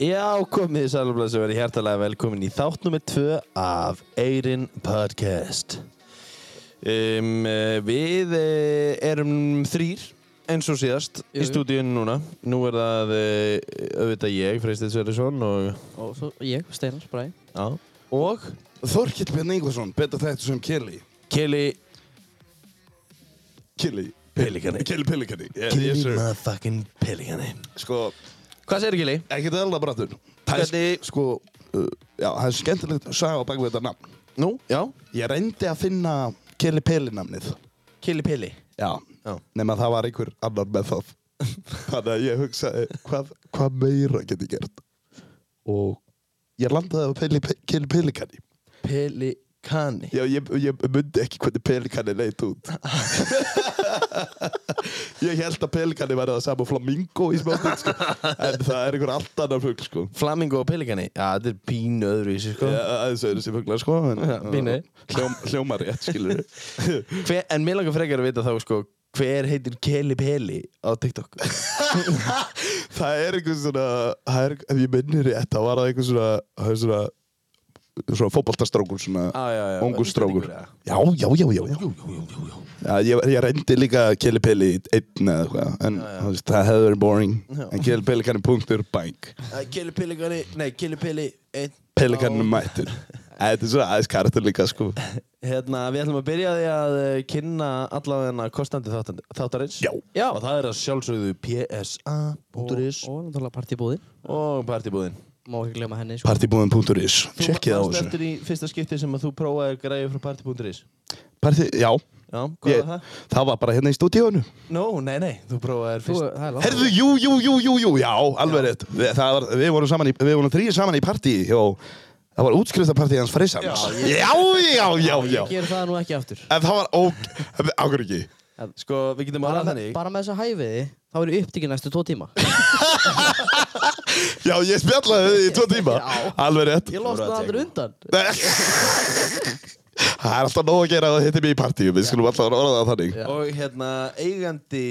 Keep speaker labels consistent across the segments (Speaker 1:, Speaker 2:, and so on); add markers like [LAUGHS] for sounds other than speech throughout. Speaker 1: Já, komið í sælumlega sem verið hjertalega velkomin í þátt nummer 2 af Eyrin Podcast. Um, eh, við eh, erum þrýr eins og síðast
Speaker 2: Jú,
Speaker 1: í
Speaker 2: jú.
Speaker 1: stúdíun núna. Nú er það eh, auðvitað ég, Freistið Sverrisson og...
Speaker 2: Og svo ég, Steinar Bræ
Speaker 1: Já. Og
Speaker 3: Þorkill Björn Ingvarsson, betur þetta sem Kelly
Speaker 1: Kelly
Speaker 3: Kelly
Speaker 1: Pelikani.
Speaker 3: Kelly Pelikani yeah,
Speaker 1: Kelly
Speaker 3: yes, sir.
Speaker 1: motherfucking Pelikani.
Speaker 3: Sko,
Speaker 1: Hvað segir Kelly?
Speaker 3: ekkert eðla brattur Það er
Speaker 1: Hvernig-
Speaker 3: sk- sko, uh, já, það er skemmtilegt að saga á bak við þetta nafn
Speaker 1: Nú, já.
Speaker 3: Ég reyndi að finna Kelly Peli namnið
Speaker 1: Kelly Peli.
Speaker 3: Já,
Speaker 1: Já.
Speaker 3: nema það var einhver annar með það [LAUGHS] Þannig að ég hugsaði hvað, hvað meira geti gert Og ég landaði á Peli, Kelly Pelikani
Speaker 1: Pelikani.
Speaker 3: Já, ég, ég myndi ekki hvernig pelikanni leit út. ég held að pelikanni væri það saman flamingo í smástund, sko. En það er einhver allt annar fugl, sko.
Speaker 1: Flamingo og Pelikani. Já, þetta er pínu öðru í sig, sko.
Speaker 3: Já, aðeins öðru sem fuglar, sko. En,
Speaker 1: Já, mínu.
Speaker 3: Hljóm, hljómar rétt, skilur við.
Speaker 1: Hver, en mér langar frekar að vita þá sko Hver heitir Kelly Peli á TikTok?
Speaker 3: [LAUGHS] það er einhver svona, það er, ef ég minnir rétt, þá var það einhver svona, það er svona, svona fótboltastrákur, svona
Speaker 1: Ah, Já, já, já.
Speaker 3: ungur strákur.
Speaker 1: Íslendingur, eða?
Speaker 3: Já, já, já, já, já. Já, ég, ég reyndi líka Kelly Pelli í einn eða eitthvað, en þú veist, það hefði verið boring. En Kelly Pelli kannu punktur bæk.
Speaker 1: Æ, Kelly Peli, Gani, nei, Kelly Peli einn,
Speaker 3: Pelli
Speaker 1: á-
Speaker 3: kannu mættur. Æ, Þetta er svona aðeins karakter líka, sko.
Speaker 1: Hérna, við ætlum að byrja á því að eh, kynna allavega kostandi þáttandi, þáttarins
Speaker 3: Já.
Speaker 1: Já, og það er að sjálfsögðu psa.is
Speaker 2: Og náttúrulega partibúðin
Speaker 1: og partibúðin
Speaker 2: Má ekki glemma henni sko.
Speaker 3: Partybúðin.is, tjekkið á
Speaker 1: Þú varst
Speaker 3: þessu.
Speaker 1: eftir í fyrsta skipti sem að þú prófaði græði frá partibúðin.is
Speaker 3: Party, já,
Speaker 1: Já, hvað
Speaker 3: ég,
Speaker 1: var það?
Speaker 3: það var bara hérna í stúdíónu.
Speaker 1: Nó, nei, nei, þú prófaði
Speaker 2: Þú,
Speaker 1: fyrst
Speaker 2: það er langt
Speaker 3: Herðu, jú, jú, jú, jú, jú, já, alveg rétt. Við, það var, við vorum saman í, við vorum þrýir saman í partí og það var útskriftapartíð hans Freysans. Já, já, já, já.
Speaker 2: Ég ger það nú ekki aftur
Speaker 3: En það var óg... Ákveður ekki.
Speaker 1: Sko, við getum að
Speaker 2: bara,
Speaker 1: ræða þannig
Speaker 2: bara með þessa hæfiði Þá er ég upptíkin næstu tvo tíma
Speaker 3: Já, ég spjallaði þið í tvo tíma.
Speaker 2: Já.
Speaker 3: Alveg rétt.
Speaker 2: Ég
Speaker 1: Voru
Speaker 2: losna
Speaker 1: að
Speaker 2: það aldrei undan
Speaker 3: Nei. Það er alltaf nóg að gera að hitti mig í partíum, við skulum alltaf orða það þannig.
Speaker 2: Já.
Speaker 1: Og hérna, eigandi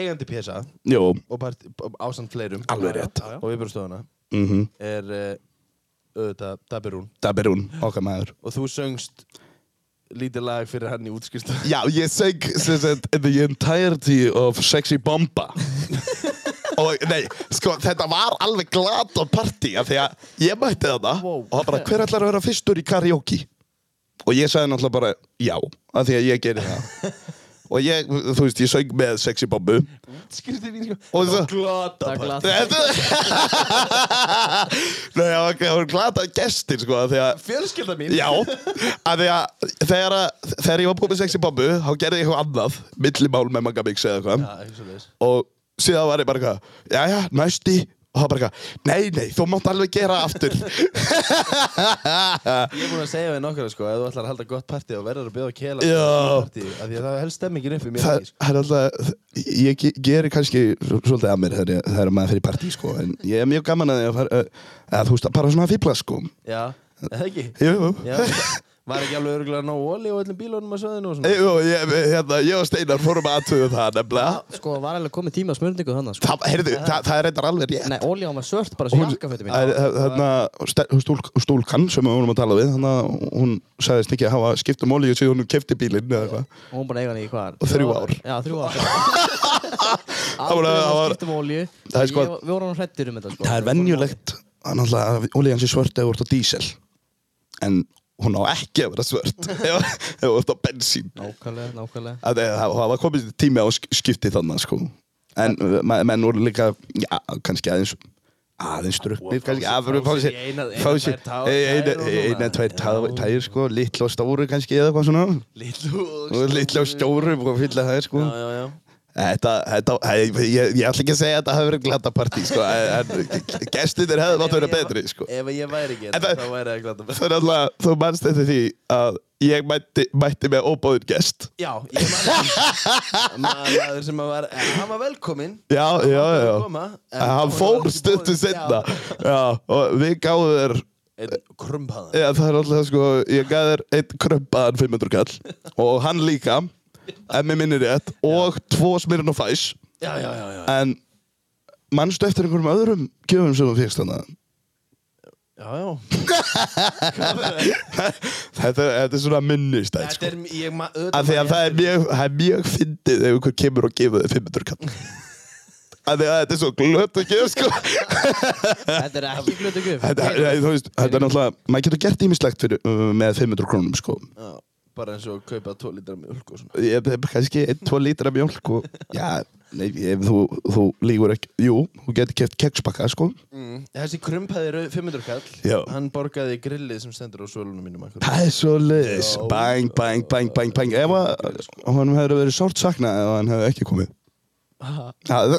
Speaker 1: eigandi psa
Speaker 3: Jú,
Speaker 1: og part, ásamt fleirum
Speaker 3: Alveg rétt.
Speaker 1: já, já. og viðbröðstofuna
Speaker 3: mhm, -hmm.
Speaker 1: er uh, auðvitað Dabirún
Speaker 3: það ber hún, okkar maður.
Speaker 1: og þú söngst lítið lag fyrir hann í útskýrstu [LAUGHS]
Speaker 3: Já, ég seg sem sagt, the entirety of sexy bomba. og nei, sko, þetta var alveg glad á partí, af því að ég mætti þetta
Speaker 2: Wow.
Speaker 3: og það bara, hver ætlar að vera fyrstur í karaoke? Og ég sagði náttúrulega bara, já, af því að ég gerði það. og ég, þú veist, ég söng með sexy bombu.
Speaker 1: útskýrstu mín sko
Speaker 3: Og svo-
Speaker 1: glata
Speaker 2: Það er
Speaker 1: bara.
Speaker 2: glata.
Speaker 3: Þetta [LAUGHS] Nei, það var- það voru glata gestir sko af því að
Speaker 1: fjölskylda mín
Speaker 3: Já, af því að þegar, að, þegar ég var búinn með sexy bombu þá gerði ég eitthvað annað, millimál með manga mix eða eitthvað
Speaker 1: Já, eitthvað svoleiðis.
Speaker 3: og síðan var ég bara eitthvað, jæja, næsti og það bara eitthvað, nei, nei, þú mátt alveg gera
Speaker 1: [LAUGHS]
Speaker 3: aftur
Speaker 1: ég er búinn að segja við nokkara sko ef þú ætlar að halda gott partí og verður að bjóða kela
Speaker 3: Já.
Speaker 1: partí, af því að það helst stemmingin upp í mér
Speaker 3: Það
Speaker 1: ekki, sko.
Speaker 3: það er alltaf, ég ge- geri kannski svo- svolítið að mér þegar ég- þegar maður fyrir partí sko, en ég er mjög gaman að, því að, fara, að þú veist, bara svona að fýbla sko
Speaker 1: já, eða ekki
Speaker 3: Jú,
Speaker 1: já, var ekki alveg örgulega nóg óli og öllum bílunum að söðinu og svona
Speaker 3: [LAUGHS] Jú, ég, hérna, ég og Steinar fórum að aðtöðu það nefnilega
Speaker 2: Sko, var alveg komið tíma að smörningu þannig sko.
Speaker 3: Það, heyrðu, það, það er reyndar alveg rétt
Speaker 2: Nei, Óli á maður svört bara svo jakkafötum mín
Speaker 3: Það er- Þarna, stel- stúlk, stúlkan sem við vorum að tala við Þannig að hún sagðist ekki að hafa skipt um olíu síðan hún kefti bílinn eða eitthvað
Speaker 2: Og hún bara eiga hann í hvað
Speaker 3: Og þrjú ár.
Speaker 2: Já, þrjú ár
Speaker 3: var-
Speaker 2: Aldrei
Speaker 3: [LAUGHS]
Speaker 2: um
Speaker 3: það
Speaker 2: var
Speaker 3: var-
Speaker 2: skiptum ólíu
Speaker 3: Það er sko-
Speaker 2: Ég- Við vorum hrettir um þetta sko.
Speaker 3: Það er venjulegt að náttúrulega að olían sé svört ef þú ert á dísel En hún á ekki að vera
Speaker 1: [LAUGHS]
Speaker 3: svört ef ef þú ert á bensín
Speaker 2: Nákvæmlega,
Speaker 3: [LAUGHS]
Speaker 2: nákvæmlega
Speaker 3: Að Það það var komið tími á sk- skipti þannig sko. En ma- menn voru líka já, kannski aðeins aðeins struknir
Speaker 1: fá
Speaker 3: kannski
Speaker 1: sér-
Speaker 3: að
Speaker 1: fá
Speaker 3: fá sér
Speaker 1: sér í eina-
Speaker 3: fá
Speaker 1: eina,
Speaker 3: sér- e-
Speaker 1: tvær tár-
Speaker 3: ei- eina,
Speaker 1: tær og
Speaker 3: eina,
Speaker 1: svona.
Speaker 3: tvær tær- tær sko, litla og stóru kannski eða eitthvað svona
Speaker 1: litlu
Speaker 3: og litla og stóru og fylla það sko
Speaker 1: já, já, já
Speaker 3: Þetta, þetta, ég, ég, ég ætla ekki að segja að þetta hafi verið glata partí sko, en en gestinir hefði mátt vera betri sko.
Speaker 1: Ef ég væri ekki,
Speaker 3: En það-
Speaker 1: þá væri það glata
Speaker 3: Þannig að þú manst eftir því að ég mætti, mætti með óbóðin gest
Speaker 1: Já, ég man Maður sem að var, en hann var velkominn
Speaker 3: Já, já, já, já.
Speaker 1: Koma, en
Speaker 3: En hann
Speaker 1: þá var
Speaker 3: fór
Speaker 1: ekki
Speaker 3: stundu
Speaker 1: boðið.
Speaker 3: setna Já, og við gáðum þér
Speaker 1: Einn krumpaðan
Speaker 3: Já, það er alltaf sko Ég gáði þér einn krömpaðan 500 kall Og hann líka En mér minnir rétt Og tvo smirn og fæs
Speaker 1: Já, já, já, já
Speaker 3: En mannstu eftir einhverjum öðrum gjöfum sem þú fyrst þannig
Speaker 1: Já, já
Speaker 3: [LAUGHS] þetta, þetta er svona minnistætt
Speaker 1: Þetta
Speaker 3: sko.
Speaker 1: er, ég maður
Speaker 3: af því að það er mjög, það er mjög fyndið ef einhver kemur og gefur þið
Speaker 1: [LAUGHS]
Speaker 3: 500 kall af því að þetta er svo glöt að gefa sko
Speaker 2: Þetta er ekki glötu guf
Speaker 3: þetta, nei, þú veist, þetta er náttúrulega maður getur gert ímislegt fyrir, uh, með 500 krónum sko
Speaker 1: Já, bara eins og kaupa 2 lítrar mjölk og svona
Speaker 3: ég hef kannski 1-2 lítra mjölk
Speaker 1: [LAUGHS]
Speaker 3: og já, nei, ef þú, þú lígur ekki, jú, þú getur keft kekspakka sko,
Speaker 1: mm. Þessi krumpaði rau- 500 kall
Speaker 3: Já.
Speaker 1: Hann borgaði grillið sem stendur á svölunum mínum akkur.
Speaker 3: það er svo leiðis
Speaker 1: Já.
Speaker 3: bang, bang, bang, bang, bang ef að hann hefur verið sárt saknað ef hann hefur ekki komið Það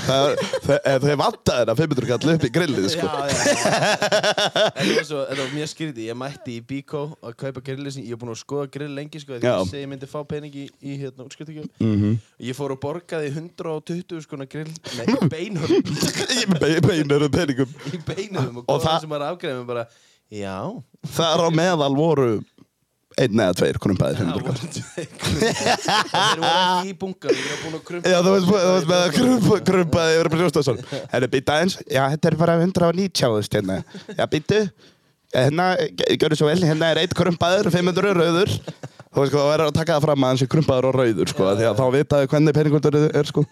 Speaker 3: það- það- þau vantaði hérna 500 kall upp í grillið sko
Speaker 1: Já, já, já. Þetta var, svo, þetta var mjög skrítið, ég mætti í Bíkó að kaupa grillið sem ég er búinn að skoða grill lengi sko, því
Speaker 3: Já. Mhm.
Speaker 1: ég segi ég myndi fá pening í, í hérna útskiptingum Ég fór og borgaði 120 skona grill, nei, í beinhörnum
Speaker 3: [LAUGHS] Ég er með beinurum peningum
Speaker 1: í beinhörnum og,
Speaker 3: Og
Speaker 1: og það
Speaker 3: það-
Speaker 1: sem var afgreðum bara, já
Speaker 3: þar á meðal voru einn eða tveir krumpaði 500
Speaker 1: það
Speaker 3: kall
Speaker 1: voru tveir krumpaðir. Þeir voru ekki í bungar, ég var búinn að krumpa
Speaker 3: Já, þú veist, þú veist með að krumpa, krumpaði yfir brjóstasón. Herru, býta eins. Já, þetta er bara 190 áðust hérna. Já, býtu. Hérna, ge- gjörðu svo vel, hérna er eitt krumpaður, 500 er rauður. Þú veist, sko, það verður að taka það fram að hans er krumpaður og rauður, sko. Því að þá vitaðu hvernig peningundur er, sko.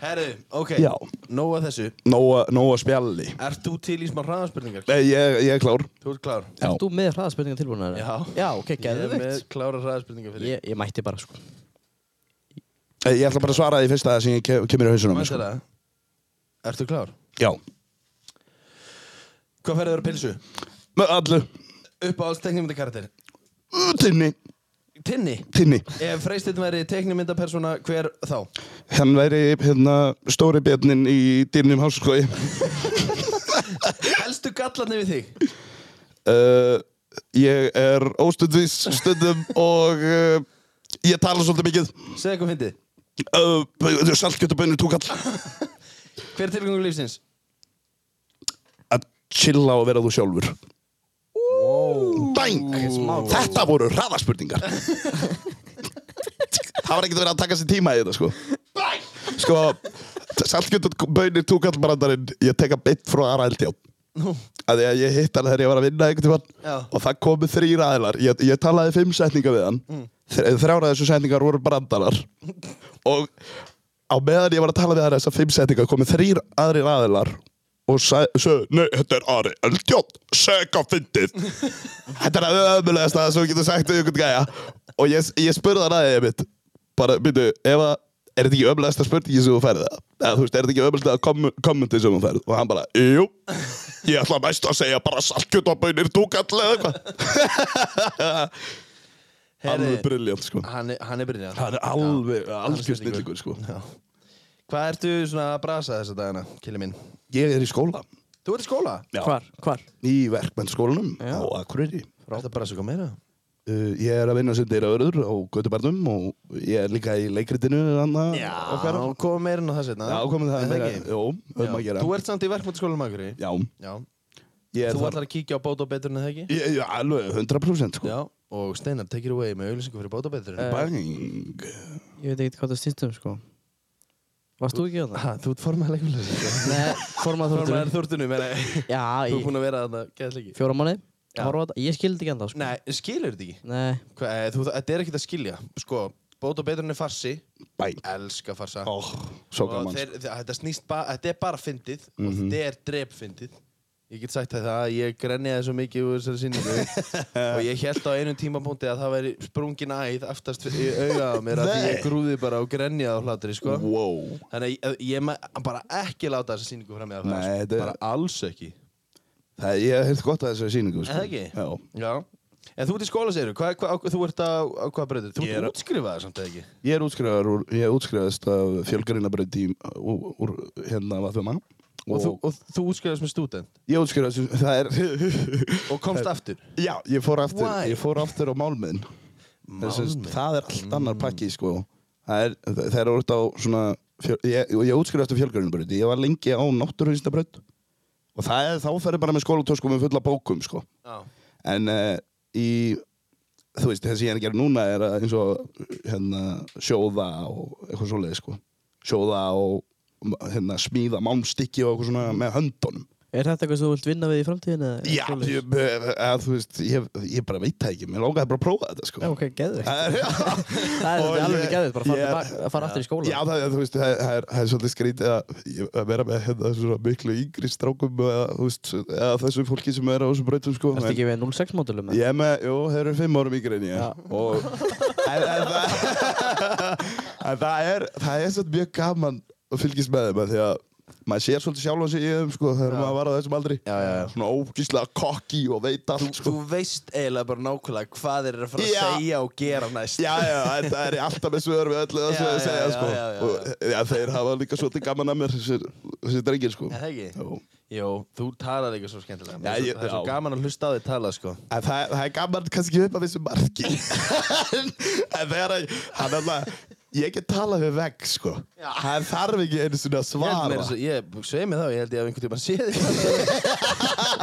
Speaker 1: Herru, ok,
Speaker 3: Já.
Speaker 1: nóga þessu
Speaker 3: Nóa, nóa spjalli.
Speaker 1: Ert þú til í smá hraðaspurningar?
Speaker 3: Nei, ég, ég er klár.
Speaker 1: Þú ert klár
Speaker 3: Já.
Speaker 2: Þú með hraðaspurningar tilbúin
Speaker 1: Já.
Speaker 2: Já, ok,
Speaker 1: Ég er með
Speaker 2: geðvikt
Speaker 1: klára hraðaspurningar fyrir
Speaker 2: ég, ég mætti bara sko
Speaker 3: Eh, Ég ætla bara að svara því fyrsta sem ég ke- kemur í hausunum, sko.
Speaker 1: Mættilega Ertu klár?
Speaker 3: Já.
Speaker 1: Hvað færðu þér að pilsu?
Speaker 3: Með allu.
Speaker 1: Uppáhalds teknimyndakarakter
Speaker 3: Tinni.
Speaker 1: Tinni
Speaker 3: Tinni.
Speaker 1: Ef freistinn væri teknimyndapersona, hver þá?
Speaker 3: Hann væri, hérna, stóri björnin í dýrnum háskói.
Speaker 1: Helstu gallarni við þig?
Speaker 3: uh, ég er óstundvís stundum [LAUGHS] og uh, ég tala svolítið mikið
Speaker 1: Segðu eitthvað fyndið
Speaker 3: uh, saltkjötabönni túkall
Speaker 1: Hver er tilgangur lífsins?
Speaker 3: að chilla og vera þú sjálfur Bang! Þetta voru hraðaspurningar Það var ekkert verið að taka sér tíma í þetta sko Sko, saltkjötabönni túkallbrandarinn ég teka beitt frá aðrældi á
Speaker 1: Nú
Speaker 3: að því að ég hitt hann þegar ég var að vinna einhvern
Speaker 1: Já.
Speaker 3: tímann og það komu þrýr aðilar ég, ég talaði fimm setningar við hann mm. þrjára þessu setningar voru brandarar og á meðan ég var að tala við hann þessar fimm setningar komu þrýr aðrir aðilar og sa- sögðu, nei, þetta er Ari Eldjón, sega fyndið þetta er að ömulegast að þú getur sagt við einhvern gæja og ég, ég spurði hann aðeins mitt bara, myndu, ef að er þetta ekki ömulegast að spurningi sem þú færði það eða þú veist, er þetta ekki ömulegast að kom, kommenti sem þú færði og hann bara, jú ég ætla mest að segja bara salkjöt og bönir túkall eða eitthvað hann
Speaker 1: Herri,
Speaker 3: er briljant sko
Speaker 1: Hann er, hann er byrjað
Speaker 3: hann er alveg,
Speaker 1: hann er
Speaker 3: algjör
Speaker 1: snillingur.
Speaker 3: snillingur sko
Speaker 1: Hvað ertu svona að brasa þessa dagana, killi minn?
Speaker 3: sko. ég er í skóla
Speaker 1: Þú ert í skóla?
Speaker 3: Já.
Speaker 2: Hvar, hvar?
Speaker 3: í verkmennskólanum
Speaker 2: Já.
Speaker 3: á Akureyri
Speaker 1: Ertu að brasa eitthvað meira?
Speaker 3: Uh, ég er að vinna sem deyra öður á Götubarnum og ég er líka í leikritinu annað okkar.
Speaker 1: Já, komum meira en á það setna
Speaker 3: Já, komið það meira.
Speaker 1: ekki?
Speaker 3: Jó, höfum að gera.
Speaker 1: Þú ert samt í verkmyndaskólanum akkur í?
Speaker 3: Já,
Speaker 1: Já
Speaker 3: ég er
Speaker 1: Þú
Speaker 3: þar.
Speaker 1: ætlar að kíkja á bóta og betur en það ekki?
Speaker 3: Ég, ég, alveg, 100% sko.
Speaker 1: Já, og Steinar, take it away með auðlýsingu fyrir bátabætturinn.
Speaker 2: Eh.
Speaker 3: Bang.
Speaker 2: Ég veit ekkert hvað það snýst um sko Varst þú ekki hérna? á það?
Speaker 1: Ha, þú ert formað leikmjöldar.
Speaker 2: Nei, formað
Speaker 1: Formaður
Speaker 2: þórtur
Speaker 1: þórtunum, en þú
Speaker 2: Já,
Speaker 1: ert
Speaker 2: í
Speaker 1: búinn að vera þarna, gæðið leiki.
Speaker 2: fjóra mánuði
Speaker 1: Já.
Speaker 2: Horfa á þetta. Ég skildi ekki enda sko
Speaker 1: Nei, skilur þetta ekki.
Speaker 2: Nei.
Speaker 1: Hva, e, þú, þetta er ekkert að skilja. Sko, bótabætturinn er farsi,
Speaker 3: Bang.
Speaker 1: elska farsa.
Speaker 3: Ó, svo
Speaker 1: Og
Speaker 3: gaman.
Speaker 1: Oh. þeir, þeir, þetta, snýst ba, þetta er bara fyndið og þetta er drepfyndið. Ég get sagt það að ég grenjaði svo mikið úr þessari [LAUGHS] sýningu og ég held á einum tímapunkti að það væri sprungin æð aftast við- í auga á mér að
Speaker 3: Nei.
Speaker 1: ég grúði bara og grenjaði á hlátri, sko.
Speaker 3: Wow.
Speaker 1: Þannig að ég- ég ma- bara ekki láta þessa sýningu fram í það
Speaker 3: Nei, þetta
Speaker 1: sko.
Speaker 3: er-
Speaker 1: Bara alls ekki
Speaker 3: Það, ég hef hirt gott að þessari síningu.
Speaker 1: Er það ekki?
Speaker 3: Já.
Speaker 1: Já En þú ert í skóla, segir hva, hva, á, þú ert á, á hvað breytir? Þú
Speaker 3: Ég er
Speaker 1: ert
Speaker 3: á-
Speaker 1: útskrifaður samt eða ekki
Speaker 3: Ég er útskrifaður, úr- ég er útskrifaðist af fjölgarinnabröð tím úr, úr hérna vatnum að.
Speaker 1: Og, þú, og þú útskrifaðist með student
Speaker 3: ég útskrifaðist, það er, [LAUGHS]
Speaker 1: Og komst aftur
Speaker 3: já, ég fór aftur,
Speaker 1: Why?
Speaker 3: ég fór aftur á málmiðin. Málmiðin? Það er allt annar
Speaker 2: Mm.
Speaker 3: pakki, sko. Það er, það er út á svona, fjör, ég, og ég útskrifaðist af fjölgarinnabröð, ég var lengi á náttúruvísindabröð og það er, þá ferði bara með skólatöskum með fulla bókum, sko.
Speaker 1: Já
Speaker 3: En uh, í, þú veist, þessi ég er að gera núna er að eins og hérna, sjóða og eitthvað svoleiði, sko. Sjóða og hérna, smíða málmstykki og eitthvað svona með höndunum
Speaker 2: Er þetta eitthvað sem þú vilt vinna við í framtíðinu? eða
Speaker 3: Já,
Speaker 2: svoleiðis?
Speaker 3: ég, eða, þú veist, ég, ég bara veit það ekki, mér langaði bara að prófa þetta sko.
Speaker 2: Já, ok, geðvikt.
Speaker 3: Það er, [LAUGHS]
Speaker 2: Það
Speaker 3: Og
Speaker 2: er alveg
Speaker 3: ég-
Speaker 2: geðvikt, bara að fara,
Speaker 3: ég-
Speaker 2: yeah. að fara aftur í skóla.
Speaker 3: Já, það, er, þú veist, það, er- það, er, það er svolítið skrítið að, ég- að vera með hérna, svona miklu yngri strákum eða, þú veist, eða þessu fólki sem er á þessum brautum sko.
Speaker 2: Ertu ekki við 06 módulum?
Speaker 3: Ég er með, jú, þeir eru fimm árum yngri en ég
Speaker 2: Já.
Speaker 3: og, en, en, það, en það er það er svolítið mjög gaman að fylgjast með þeim af því að maður sér svolítið sjálf sig í þeim sko, þegar maður var á þessum aldri
Speaker 1: Já, já, já.
Speaker 3: svona ógíslega kokki og veit allt sko.
Speaker 1: Þú veist eiginlega bara nákvæmlega hvað þeir eru að fara
Speaker 3: Já.
Speaker 1: að segja og gera næst
Speaker 3: Já, já, þetta er ég alltaf með svör við öllu það sem
Speaker 1: Já,
Speaker 3: þið
Speaker 1: já,
Speaker 3: segja
Speaker 1: já,
Speaker 3: sko.
Speaker 1: já, já, já.
Speaker 3: Og, já, þeir hafa líka svolítið gaman að mér þessir, þessir drengir sko.
Speaker 1: Er það ekki?
Speaker 3: Jú.
Speaker 1: Jó, þú talar ekki svo skemmtilega.
Speaker 3: Já,
Speaker 1: Já,
Speaker 3: ég-
Speaker 1: það er svo
Speaker 3: já.
Speaker 1: gaman að hlusta á þig tala, sko.
Speaker 3: En það, það er gaman kannski upp af þessu marki [LAUGHS] En en þegar að Hann alltaf Ég get talað við vegg sko Hann þarf ekki einu svona
Speaker 1: Ég held
Speaker 3: að svara
Speaker 1: meira svo, ég, segi mig þá, ég held ég að einhvern tíma sé
Speaker 3: [LAUGHS]
Speaker 1: þig.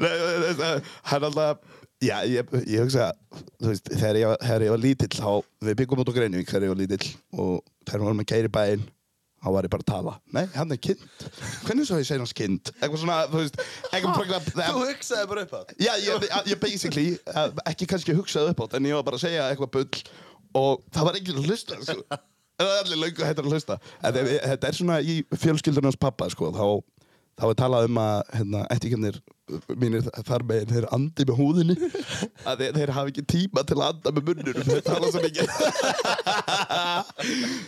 Speaker 3: Nei, þú veist, að- Hann alltaf Já, ég, ég hugsa Þú veist, þegar ég, var- þegar ég var lítill þá, Við byggum út á Greinvík þegar ég var lítill Og þegar við varum að keira í bæinn Þá var ég bara að tala Nei, hann er kind Hvernig svo ég segir hans kind? Eitthvað svona, þú veist Eitthvað bara
Speaker 1: hugsaði bara upp á það.
Speaker 3: Já, ég, ég- ég basically, eh, ekki kannski hugsaði upp átt, en ég var bara að segja eitthvað bull og það var enginn að hlusta, sko. Það var allir löngu hættur að hlusta. En þeim- Þetta er svona í fjölskyldunars pappa, sko, þá, þá er talað um að, hérna, ettikennir mínir þar meginn, þeir andi með húðinni,
Speaker 1: [LAUGHS]
Speaker 3: að þeir, þeir hafi ekki tíma til að anda með munnunum, þeir tala svo
Speaker 1: [LAUGHS]
Speaker 3: mikið.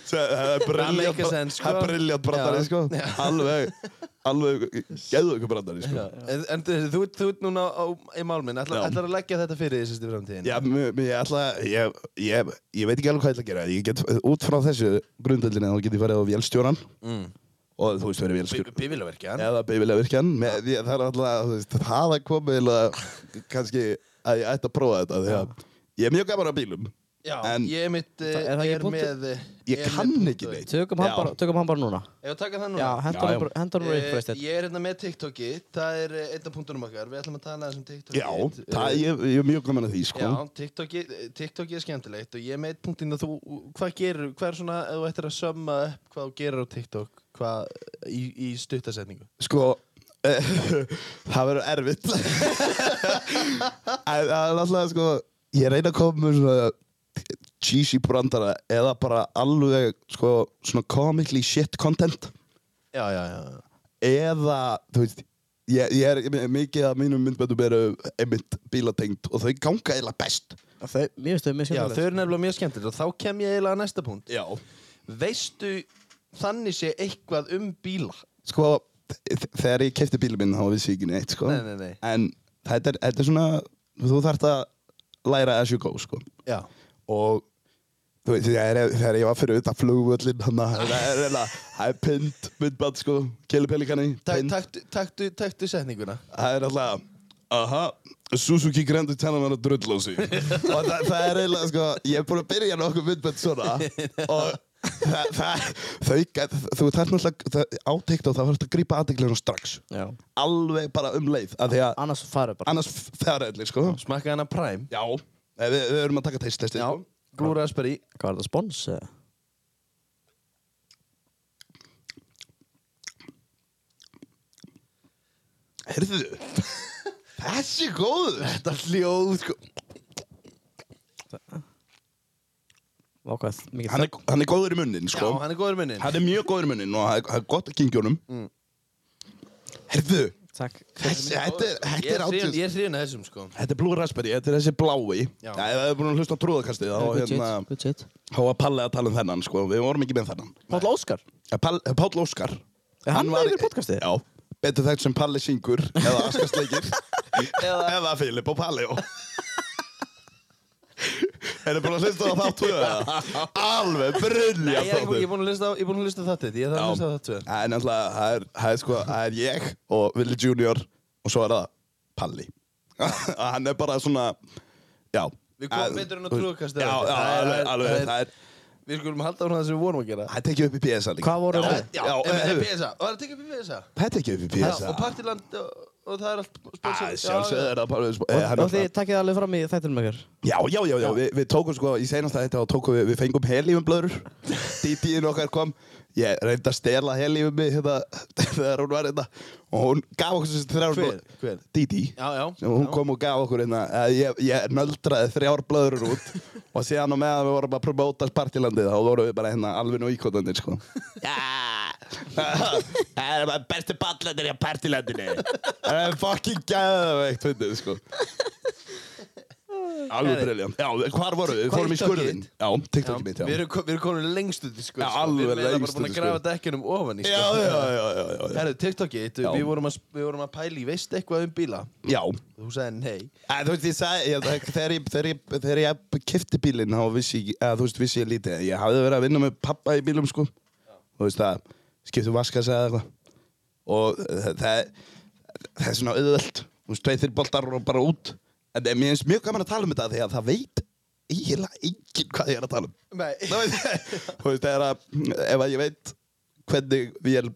Speaker 3: Svo Það er
Speaker 1: That
Speaker 3: briljant,
Speaker 1: makes sense, sko.
Speaker 3: það er briljant brandari,
Speaker 1: Já.
Speaker 3: sko.
Speaker 1: Já.
Speaker 3: Alveg, alveg, geðu ykkur brandari, sko.
Speaker 1: En, en þú, þú, þú ert núna á, í málminn, ætlar,
Speaker 3: Já.
Speaker 1: ætlar að leggja þetta fyrir því sérst í framtíðin?
Speaker 3: Já, mér, mér, ég ætla, ég, ég, ég veit ekki alveg hvað ég ætla að gera. Ég get, út frá þessu grundöldinni, þá get ég farið á vélstjóran
Speaker 1: Mm.
Speaker 3: og þú veist, verið vélstjóran.
Speaker 1: Bifilaverkja?
Speaker 3: Eða beifilega virkjan. Með, ég, það er alltaf, þú veist, það er komið eiginlega kannski að ég ætti að prófa þetta. Því að ég er mjög gaman á bílum.
Speaker 1: Já,
Speaker 3: En-
Speaker 1: ég er mitt, eh,
Speaker 2: Það- er það ekki
Speaker 1: er
Speaker 2: punktur?
Speaker 1: með... eh,
Speaker 3: Ég
Speaker 1: er
Speaker 3: kann
Speaker 1: með
Speaker 3: ekki
Speaker 1: punktur.
Speaker 3: neitt.
Speaker 2: Tökum hann
Speaker 3: Já.
Speaker 2: bara- tökum hann bara núna.
Speaker 1: Ég var að taka það núna.
Speaker 2: Já,
Speaker 3: Já,
Speaker 2: hendur
Speaker 3: já.
Speaker 2: hann bara- hendur hann bara upp,
Speaker 1: Eh,
Speaker 2: veist þetta.
Speaker 1: Ég er hérna með TikToki, það er eh, einn af punktunum okkar, við ætlum að tala þessum TikToki.
Speaker 3: Já, það, ég, ég er mjög gaman að því, sko.
Speaker 1: Já, TikToki, TikToki er skemmtilegt og ég er með eitt punktinn að þú, hvað gerir, hvað er svona, ef þú ættir að sömma upp hvað þú gerir á TikTok, hvað, í, í stuttasetningu?
Speaker 3: Sko [LAUGHS] eh, Það verður erfitt [LAUGHS] En Það er alltaf sko Ég reyna að koma með svona cheesy brandara eða bara alveg sko, svona comically shit content
Speaker 1: Já, já, já.
Speaker 3: eða, þú veist ég, ég er ég- mikið að mínum myndböndum eru einmitt bílatengt og þau ganga eða best
Speaker 2: Þau- Mér finnst þau mjög
Speaker 1: Já, þau
Speaker 2: skemmtilegt.
Speaker 1: eru nefnilega mjög skemmtilegt og þá kem ég eiginlega að næsta punkt.
Speaker 3: Já
Speaker 1: Veistu þannig sé eitthvað um bíla?
Speaker 3: Sko, þ- þegar ég kefti bílum minn þá vissi ég ekki neitt sko
Speaker 1: Nei, nei, nei.
Speaker 3: En þetta er, þetta er svona þú þarft að læra as you go sko
Speaker 1: Já.
Speaker 3: og þú veist, þegar, þegar ég var fyrir utan flugvöllin hann að það er reyna það er pynt, myndband sko kelipelikanni,
Speaker 1: Tak,
Speaker 3: pynt,
Speaker 1: taktu, taktu, taktu setninguna.
Speaker 3: það er alltaf aha, Suzuki Grand Tenna var að drull á sig og það, það er eiginlega sko, ég er búin að byrja nokkuð myndband svona og það, það, þau, gæt- þú þarf náttúrulega áteikt á það, það þarf að grípa aðeiklefna strax
Speaker 2: Já.
Speaker 3: alveg bara um leið, af því að
Speaker 2: Annars farið bara.
Speaker 3: annars það er allir sko
Speaker 1: Smakka hana Prime.
Speaker 3: já, við, við erum að taka teistlistið
Speaker 1: Já. Blue Raspberry.
Speaker 2: Hvað er það, spons? eða?
Speaker 3: Herðu, þessi góður
Speaker 1: Þetta hljóð, sko.
Speaker 2: Vá, hvað er mikið
Speaker 3: hann er, hann er góður í munnin,
Speaker 1: Já,
Speaker 3: sko
Speaker 1: hann er góður munnin.
Speaker 3: Hann er mjög góður í munnin og það er- það er gott að kynkja honum
Speaker 1: Mm.
Speaker 3: Herðu,
Speaker 2: Takk.
Speaker 3: þessi, þetta er- þetta
Speaker 1: Ég
Speaker 3: er
Speaker 1: er hrifinn-
Speaker 3: áttjus
Speaker 1: ég er hrifin að þessum, sko.
Speaker 3: Þetta er Blue Raspberry, þetta er þessi blái Já,
Speaker 1: Já.
Speaker 3: ef það er búin að hlusta á trúðakastið þá
Speaker 2: Good
Speaker 3: hérna,
Speaker 2: shit, good shit.
Speaker 3: þá var Palli að tala um þennan, sko Við vorum ekki með þennan
Speaker 2: Páll Óskar.
Speaker 3: Ja, Pall- eh, Páll Óskar
Speaker 2: Er hann með í podcastið?
Speaker 3: Já, betur þekkt sem Palli syngur eða Askasleikir eða,
Speaker 1: [LAUGHS] Eða-
Speaker 3: eða Filip og Palli [LAUGHS] Er þið búin að hlusta á þátt tvö? eða? Alveg
Speaker 1: Nei,
Speaker 3: brunja
Speaker 1: ég er ekki- ég er búin að hlusta á- ég er búin að hlusta á þetta, ég þarf að hlusta á þetta.
Speaker 3: Það er náttúrulega, það er, það er sko, það er ég og Willi Junior og svo er það Palli [LAUGHS] Hann er bara svona, já
Speaker 1: Við komum
Speaker 3: að-
Speaker 1: betur inn á trúðkastið.
Speaker 3: Já, já,
Speaker 1: Það er-
Speaker 3: alveg, alveg,
Speaker 1: það
Speaker 3: það er,
Speaker 1: Við skulum halda á það sem við vorum að gera.
Speaker 3: það er tekið upp í PSA líka
Speaker 2: Hvað voru
Speaker 1: Já,
Speaker 2: þau?
Speaker 1: já,
Speaker 3: Já,
Speaker 1: já,
Speaker 3: eh,
Speaker 1: PSA, var það tekið upp í PSA?
Speaker 3: Það er tekið upp í
Speaker 1: Já,
Speaker 3: PSA
Speaker 1: og Partiland og, og það er allt
Speaker 3: Æ,
Speaker 1: sponsorið. Já,
Speaker 3: sjálfsögðu
Speaker 1: já.
Speaker 3: er það bara eh,
Speaker 2: Og,
Speaker 3: hann
Speaker 2: og þið
Speaker 3: alltaf-
Speaker 2: takkið það alveg fram í þættinum ykkar
Speaker 3: Já, já, já, já, við, við tókum sko í senasta þetta og tókum við, við fengum helífumblöður DD-in okkar kom ég reyndi að stela helífumi hérna, [LAUGHS] þegar hún var hérna og hún gaf okkur þessi þrjár
Speaker 1: Hver?
Speaker 3: blöður.
Speaker 1: Hver?
Speaker 3: DD
Speaker 1: Já, já.
Speaker 3: og hún
Speaker 1: já.
Speaker 3: kom og gaf okkur hérna að ég, ég nöldraði þrjár blöður út og síðan og meðan við vorum að promóta spartilandið þá vorum við bara hérna alveg nú íkotandir sko Já, það er bara bestu ballandir í partilandinu það er fucking gæðveikt fyndið sko alveg briljant já, hvar vorum við? Við
Speaker 1: Hvað
Speaker 3: fórum í
Speaker 1: TikTok-ið
Speaker 3: skurðin
Speaker 1: þitt?
Speaker 3: já,
Speaker 1: Já,
Speaker 3: TikTok mitt,
Speaker 1: Við
Speaker 3: já
Speaker 1: erum, ko- við erum komin lengst út í skurð
Speaker 3: Já,
Speaker 1: sko.
Speaker 3: alveg
Speaker 1: Við erum eiginlega
Speaker 3: lengst
Speaker 1: bara búin
Speaker 3: út
Speaker 1: að
Speaker 3: í
Speaker 1: grafa
Speaker 3: skurð.
Speaker 1: dekkunum ofan í sko.
Speaker 3: já, já, já, já, já, já.
Speaker 1: Herru, TikTokið,
Speaker 3: Já.
Speaker 1: við vorum, að, við vorum að pæli, veist eitthvað um bíla?
Speaker 3: já.
Speaker 1: Þú sagði nei.
Speaker 3: Að, þú veist, ég sagði, ég, það- þegar, ég, þegar, ég, þegar ég kifti bílinn, þá vissi ég, að, þú veist, vissi ég lítið. Ég hafði verið að vinna með pappa í bílum, sko. Þú veist, það skiptum vaskasa eða eitthvað. Og það, það, það er svona auðvöld. Þú veist, tveið þirr boltar og bara út. En mér finnst mjög gaman að tala um þetta, því að það veit eiginlega enginn hvað ég er að tala um.
Speaker 1: Nei. [LAUGHS]
Speaker 3: Þú veist, þú veist, það er að, ef að ég veit hvernig vél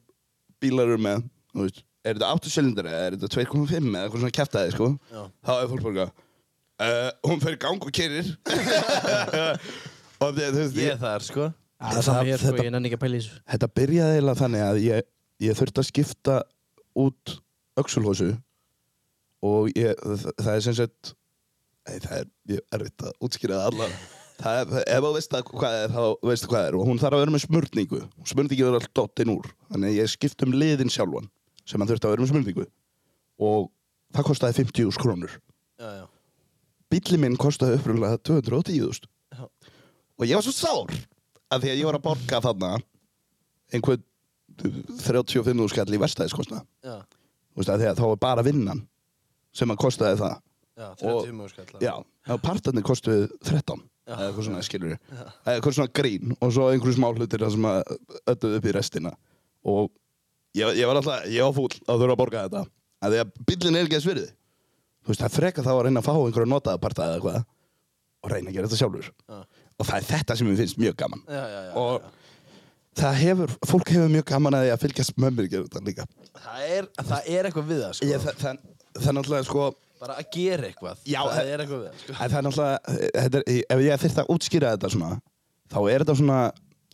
Speaker 3: bílar eru með, þú veist, er þetta 8 cylinder eða er þetta 2,5 eða eitthvað svona kæftæði, sko,
Speaker 1: Já.
Speaker 3: þá er fólk bara, uh, hún fer í gang og kyrir. [LAUGHS] og þið, þú veist,
Speaker 1: Ég er þar, sko.
Speaker 2: Það er saman
Speaker 3: það,
Speaker 2: hér sko,
Speaker 3: þetta,
Speaker 2: ég nenni ekki að pæla í þessu
Speaker 3: þetta byrjaði eiginlega þannig að ég, ég þurfti að skipta út öxulhósu og ég, það, það er sem sagt ei, það er mjög erfitt að útskýra það allar það er, ef þú veist það hvað er þá veistu hvað er og hún þarf að vera með smörningu og smörningu er alltaf dottin úr þannig að ég skipt um liðin sjálfan sem hann þurfti að vera með smörningu og það kostaði 50.000 krónur
Speaker 1: Já, já.
Speaker 3: bíli minn kostaði uppröðlega 210.000
Speaker 1: Já.
Speaker 3: og ég var svo sár að því að ég var að borga þarna einhvern 35.000 skall í vestæðiskostna
Speaker 1: Já,
Speaker 3: því að þá var bara vinnan sem að kostaði það
Speaker 1: já,
Speaker 3: Og-
Speaker 1: 30 mjög skallar.
Speaker 3: já, og partarnir kostuði 13
Speaker 1: Já.
Speaker 3: eða eitthvað svona skilur eða eitthvað svona grín og svo einhverjum smá hlutir þar sem að ölluðu upp í restina og ég, ég var alltaf, ég var fúll að þurfa að borga þetta að því að bíllinn er ekki að svirði þú veist, það er freka þá að reyna að fá einhverju notaða parta eða eitthvað og reyna að gera þetta sjálfur
Speaker 1: Já,
Speaker 3: og það er þetta sem mér finnst mjög gaman
Speaker 1: já, já. já,
Speaker 3: og
Speaker 1: já.
Speaker 3: það hefur, fólk hefur mjög gaman að því að fylgjast með mér gera þetta líka
Speaker 1: Það er, það er eitthvað við það, sko.
Speaker 3: ég, það, það, það er náttúrulega sko
Speaker 1: Bara að gera eitthvað.
Speaker 3: Já,
Speaker 1: það
Speaker 3: það-
Speaker 1: er eitthvað við það, sko.
Speaker 3: að það er náttúrulega, þetta er, ef ég þyrfti að útskýra þetta svona þá er þetta svona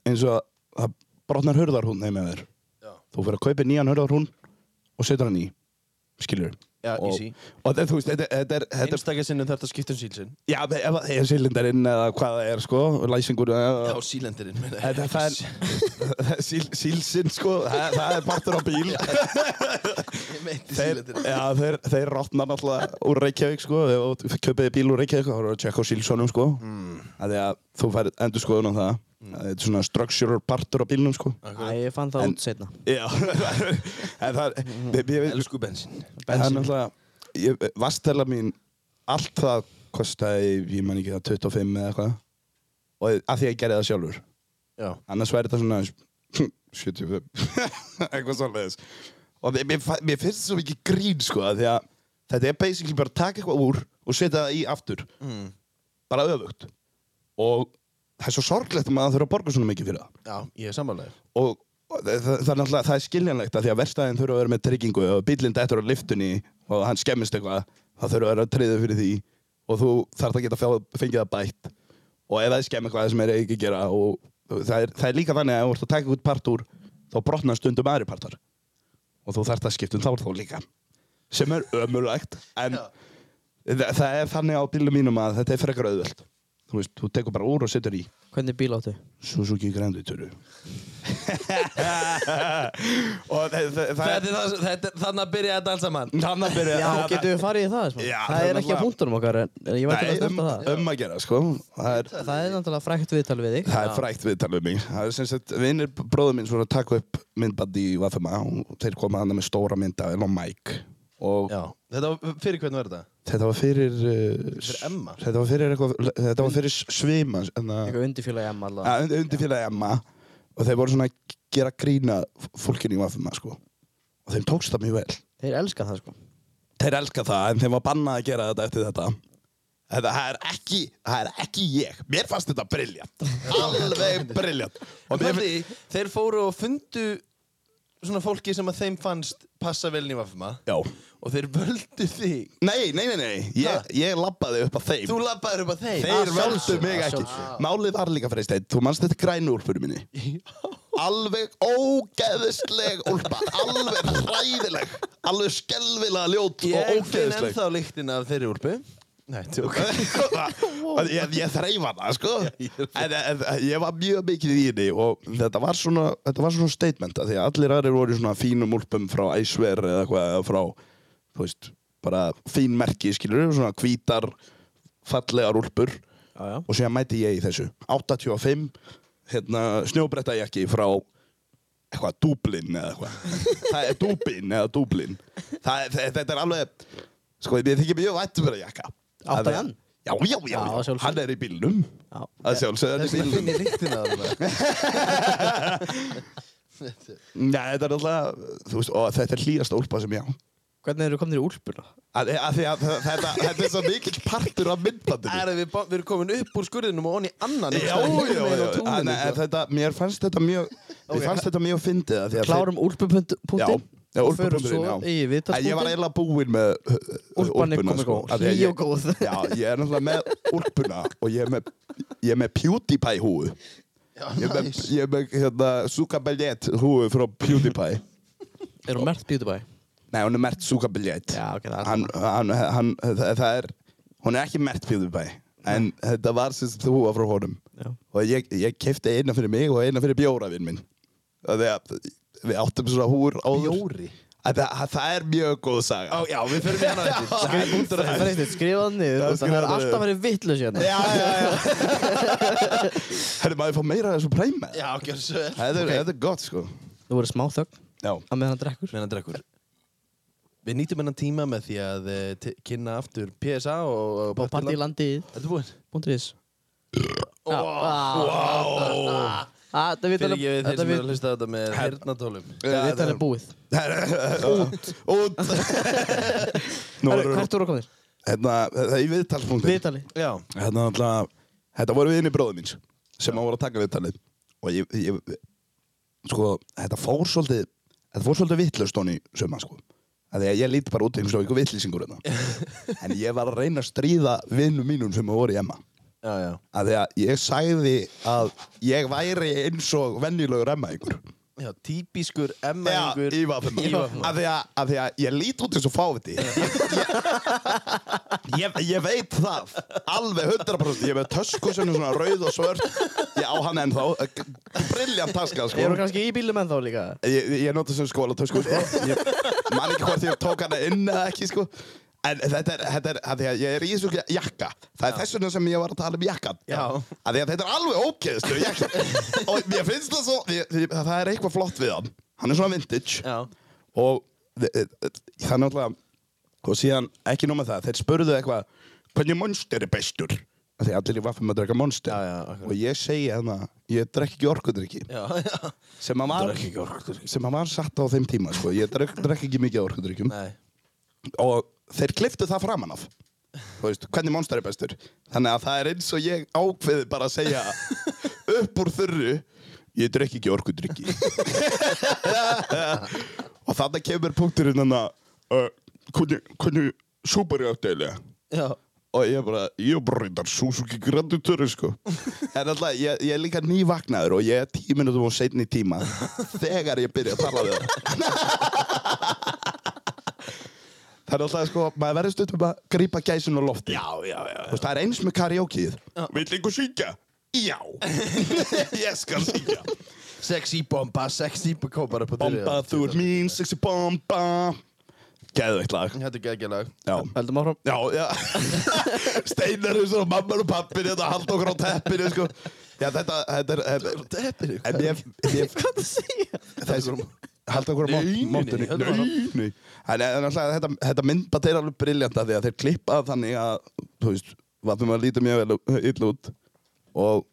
Speaker 3: eins og að það brotnar hurðarhún heim með þér
Speaker 1: Já,
Speaker 3: þú fyrir að kaupa nýjan hurðarhún og setur hann í skilur
Speaker 1: Já,
Speaker 3: og,
Speaker 1: easy.
Speaker 3: og þetta, þú veist, þetta, þetta er þetta,
Speaker 1: einstakar sinnum þarf þetta að skipta um sílsinn.
Speaker 3: já, ef það er sílindarinn eða hvað það er sko, læsingur eða,
Speaker 1: Já, sílendirinn, meina
Speaker 3: Þetta það er síl, [LAUGHS] sílsinn sko, það, það er partur á bíl
Speaker 1: Ég meinti
Speaker 3: þeir,
Speaker 1: sílendirinn.
Speaker 3: já, þeir, þeir rotna náttúrulega úr Reykjavík sko, og köpiði bíl úr Reykjavík þá voru að tjekka á sílsonum sko mm. að því að þú færið endur skoðun á það að þetta er svona structural partur á bílnum sko
Speaker 2: Æ, ég fann það
Speaker 3: En-
Speaker 2: út setna
Speaker 3: já [LAUGHS] en það er ég- ég-
Speaker 1: Elsku bensin.
Speaker 3: það er náttúrulega ég- vastela mín allt það kostaði, ég man ekki það 25 eða eitthvað og að því að ég gerði það sjálfur
Speaker 1: Já.
Speaker 3: annars væri þetta svona 75 [LAUGHS] eitthvað svolítið og mér, mér, fa- mér finnst þetta svo mikið grín sko af því að þetta er basically bara að taka eitthvað úr og setja það í aftur
Speaker 1: Mm.
Speaker 3: bara öfugt og það er svo sorglegt að maður þurfa að borga svona mikið fyrir það
Speaker 1: Já, ég er sammálaður.
Speaker 3: og og það, það, það er náttúrulega, það er skiljanlegt að því að verstaðin þurfa að vera með tryggingu og bílinn dættur á liftunni og hann skemmist eitthvað það þurfa að vera að treyða fyrir því og þú þarf að geta fjá- fengið það bætt og ef það er skemm eitthvað sem er ekki að gera og það er, það er líka þannig að ef þú ert að taka út part úr þá brotnar stundum aðri partar og þú þarf að skipta um þá þá líka sem er ömulegt en
Speaker 1: Já.
Speaker 3: það, það er þannig á bílum mínum að þetta er frekar auðvöld þú veist, þú tekur bara úr og setur í
Speaker 2: Hvernig bíl áttu?
Speaker 3: Suzuki Grand Touru [LAUGHS] og það, það, það,
Speaker 1: Þetta er það- þetta er- Þannig að byrja þetta alls saman.
Speaker 3: Þannig að byrja
Speaker 2: Já, getum við farið í það smá?
Speaker 3: Já,
Speaker 2: Það er ekki
Speaker 3: náttúrulega.
Speaker 2: að punktunum okkar en en ég var til að
Speaker 3: Nei, um,
Speaker 2: snerta það
Speaker 3: um að gera sko Það er,
Speaker 2: Það er náttúrulega frækt viðtal við þig
Speaker 3: það er frækt viðtal við mig Það er sem sagt, vinnir bróður minn svona að taka upp myndbandi í Vafema og þeir koma hann með stóra mynda og mæk og
Speaker 1: Já. Þetta var, fyrir hvernig var þetta?
Speaker 3: þetta var fyrir uh,
Speaker 1: Fyrir Emma?
Speaker 3: Þetta var fyrir, eitthvað, þetta var fyrir svima hérna,
Speaker 2: Eitthvað undirfjöla emma alltaf
Speaker 3: undirfélagi Emma og þeir voru svona að gera grína fólkinu í Vafema sko og þeim tókst það mjög vel
Speaker 2: Þeir elska það sko
Speaker 3: þeir elska það en þeim var bannað að gera þetta eftir þetta Þetta það er ekki, það er ekki ég. Mér fannst þetta briljant. Alveg briljant. Og mér
Speaker 1: Paldi, þeir fóru og fundu svona fólki sem að þeim fannst passa vel inn í vafma
Speaker 3: Já.
Speaker 1: og þeir völdu þig
Speaker 3: Nei, nei, nei, nei,
Speaker 1: Ha?
Speaker 3: ég, ég labbaði upp að þeim
Speaker 1: Þú labbaðir upp að þeim
Speaker 3: Þeir
Speaker 2: Að
Speaker 3: völdu
Speaker 2: sjálfsögðu,
Speaker 3: mig
Speaker 2: að
Speaker 3: ekki
Speaker 2: sjálfsögðu.
Speaker 3: Málið var líka freysteinn, þú manst þetta grænu úlpunni minni Alveg ógeðisleg úlpa Alveg hræðileg Alveg skelvilega ljót og
Speaker 1: Ég finn
Speaker 3: ógeðisleg
Speaker 1: ennþá lyktin af þeirri úlpu Nei, [LAUGHS] tjók
Speaker 3: Ég, ég, ég þreif hana, sko
Speaker 1: ég
Speaker 3: en, en, en ég var mjög mikið í henni Og þetta var svona, þetta var svona statement af Því að allir aðrir voru í svona fínum úlpum Frá Æsver eða hvað eða Frá, þú veist, bara fín merki Skilur, svona hvítar Fallegar úlpur
Speaker 2: Já, já.
Speaker 3: og síðan mæti ég í þessu 85 hérna, snjóbrettajakki frá eitthvað Dublin eða eitthvað það er Dublin eða Dublin það, er- þe- þetta er alveg sko ég þykir mjög vætt um þetta jakka
Speaker 2: Áttu
Speaker 3: Að-
Speaker 2: hann?
Speaker 3: Já, já, já,
Speaker 2: Já, að
Speaker 3: já.
Speaker 2: sjálfsögðu.
Speaker 3: hann er í bílnum
Speaker 2: Já.
Speaker 3: að sjálfsögðu hann
Speaker 1: Þess
Speaker 3: er í
Speaker 1: að
Speaker 3: bílnum
Speaker 1: finn ég lyktin af [LAUGHS] það
Speaker 3: Nei, þetta er alltaf, þú veist, og þetta er hlýjasta úlpa sem ég á
Speaker 2: Hvernig eru komnir í úlpuna?
Speaker 3: að, að því að þe- þetta, þetta er svo mikill partur af myndbandinu
Speaker 1: Er að við, ba- við erum komin upp úr skurðinum og onni annan
Speaker 3: Já, já, já, já. Að- nei, en þetta, mér fannst þetta mjög mér
Speaker 1: Ok.
Speaker 3: fannst þetta mjög fyndið að því að þeir-
Speaker 2: Klárum úlpupunktinn
Speaker 3: Já,
Speaker 2: og
Speaker 3: úlpupunkturinn,
Speaker 2: förum svo
Speaker 3: já.
Speaker 2: í
Speaker 3: En ég var
Speaker 2: vitarspunktinn
Speaker 3: eiginlega búinn með uh,
Speaker 2: Úlpan er
Speaker 3: úlpuna,
Speaker 2: komin góð,
Speaker 3: Af því að
Speaker 2: hlý
Speaker 3: ég-
Speaker 2: og góð.
Speaker 3: [LAUGHS] Já, ég er náttúrulega með úlpuna og ég er með, ég er með PewDiePie húu Ég er með,
Speaker 1: Næs
Speaker 3: ég er með hérna, Suka Bellet húu frá PewDiePie
Speaker 2: Er hún mert beauty by?
Speaker 3: Nei, hún er mert Suka Bellet
Speaker 2: Já, ok, það er
Speaker 3: hann, hann, hann, það, það er, Hún er ekki mert PewDiePie En þetta var sem sagt húa frá honum
Speaker 2: Já.
Speaker 3: Og ég, ég kefti eina fyrir mig og eina fyrir bjórafinn minn Af því að Við áttum svona húur áður
Speaker 1: Bjóri
Speaker 3: Að Það, að það er mjög góð saga
Speaker 1: Já, við fyrir með hana [LAUGHS]
Speaker 2: Skrifa búndur að það skrifa það niður
Speaker 3: Já,
Speaker 2: út af Það
Speaker 3: skrifaðu
Speaker 2: er
Speaker 3: niður.
Speaker 2: alltaf verið vittlust hérna
Speaker 3: já, já, [LAUGHS] já. Herri, maður fá meira af þessu præma
Speaker 1: Já, gjör svo vel
Speaker 3: Þetta er- þetta er gott, sko
Speaker 2: Þú voru smá þögn
Speaker 3: Já,
Speaker 2: á meðan hann drekkur
Speaker 1: Menna drekkur Við nýtum hennan tíma með því að eh, t- kynna aftur PSA og og
Speaker 2: Og partílandið
Speaker 1: Ertu búinn?
Speaker 2: Búndur ís
Speaker 3: Vá.
Speaker 2: Ah, Þetta
Speaker 1: Fyrir ekki
Speaker 2: viðtal er-
Speaker 1: við þeir
Speaker 2: þetta
Speaker 1: sem eru
Speaker 2: við-
Speaker 1: að hlusta á þetta með hernatólum
Speaker 2: þetta
Speaker 3: Já,
Speaker 2: viðtal
Speaker 3: það-
Speaker 2: er búið
Speaker 3: út Út [LAUGHS] Nú
Speaker 2: Herru,
Speaker 3: erum
Speaker 2: Hvert voru komnir?
Speaker 3: Hérna, það er í viðtalspunktin
Speaker 2: Viðtali
Speaker 1: Já
Speaker 3: Hérna, alltaf Þetta voru viðinni bróðum míns sem að voru að taka viðtalið og ég, ég sko, þetta fór svolítið þetta fór svolítið vittlust honni suma, sko að því að ég líti bara út eins og ykkur vittlýsingur [LAUGHS] hérna en ég var að reyna að stríða vinnum mínum sem voru í Emma
Speaker 1: Já, já
Speaker 3: að því að ég sagði að ég væri eins og venjulegur emmaðingur
Speaker 1: Já, típiskur
Speaker 3: Já,
Speaker 1: emmaðingur
Speaker 3: í vafnum
Speaker 1: Ívaðum
Speaker 3: Af því að, af því að ég lít út eins og fáviti ég, ég, ég veit það Alveg 100% Ég er með tösku sem er svona rauð og svört Ég á hann ennþá Briljant taska sko
Speaker 2: Eru kannski í bílum ennþá líka?
Speaker 3: Ég, ég nota sem skóla tösku sko Ég man ekki hvort ég tók hana inn eða ekki sko En þetta er, þetta er, að því að ég er í þessu jakka Það er þess vegna sem ég var að tala um jakkan
Speaker 1: Já.
Speaker 3: Að því að þetta er alveg ógeðslu jakka Og mér finnst það svo, ég, ég, það er eitthvað flott við hann Hann er svona vintage
Speaker 1: Já
Speaker 3: og þe- þe- þe- það er náttúrulega og síðan ekki nóg með það, þeir spurðu eitthvað hvernig monster er bestur af því allir í vaffum að drekka monster
Speaker 1: Já, já, akkurat.
Speaker 3: og ég segi hérna, ég drekk ekki orkudrykki
Speaker 1: Já, já
Speaker 3: sem að var,
Speaker 1: Drekk ekki orkudrykki.
Speaker 3: sem að var satt á þeim tíma sko. ég drekk, drekk ekki mikið af orkudrykkjum
Speaker 1: Nei
Speaker 3: og þeir kliftu það framan af Þú veist, hvernig monster er bestur þannig að það er eins og ég ákveði bara að segja upp úr þurru ég drekk ekki orkudrykki [LAUGHS] og þarna kemur punkturinn hann að uh, hvernig, hvernig súpar ég aftur
Speaker 1: Já
Speaker 3: og ég bara, ég bara reyndar Suzuki Grand Tour sko. [LAUGHS] en alltaf, ég, ég er líka nývagnaður og ég er tíu minútum og setni [LAUGHS] tíma þegar ég byrja að tala við það [LAUGHS] það er alltaf sko, maður verður stundum að grípa gæsin á lofti já, já, já, já. það er eins með karaokeið vill einhver syngja? [LAUGHS] já ég skal syngja
Speaker 1: Sexy bomba, sexy kópar upp á dyrir
Speaker 3: bomba, þú ert mín, sexy bomba geðveikt lag
Speaker 1: Þetta er geggjalag
Speaker 3: já
Speaker 2: Heldum áfram
Speaker 3: Já, já [LAUGHS] Steinar er svona mamman og pappin Þetta hald okkur á teppinu sko. Já, þetta, þetta er þetta-
Speaker 1: Deppir
Speaker 3: En mér, mér
Speaker 2: Hvað það segja?
Speaker 3: Þessi Hald okkur á
Speaker 1: Nei, nei, nei,
Speaker 3: móttunni
Speaker 1: þetta var-
Speaker 3: Neini En en alltaf þetta, þetta myndbætt er alveg briljant af Því að þeir klippa þannig að Þú veist, vatum að líta mjög vel ill út Og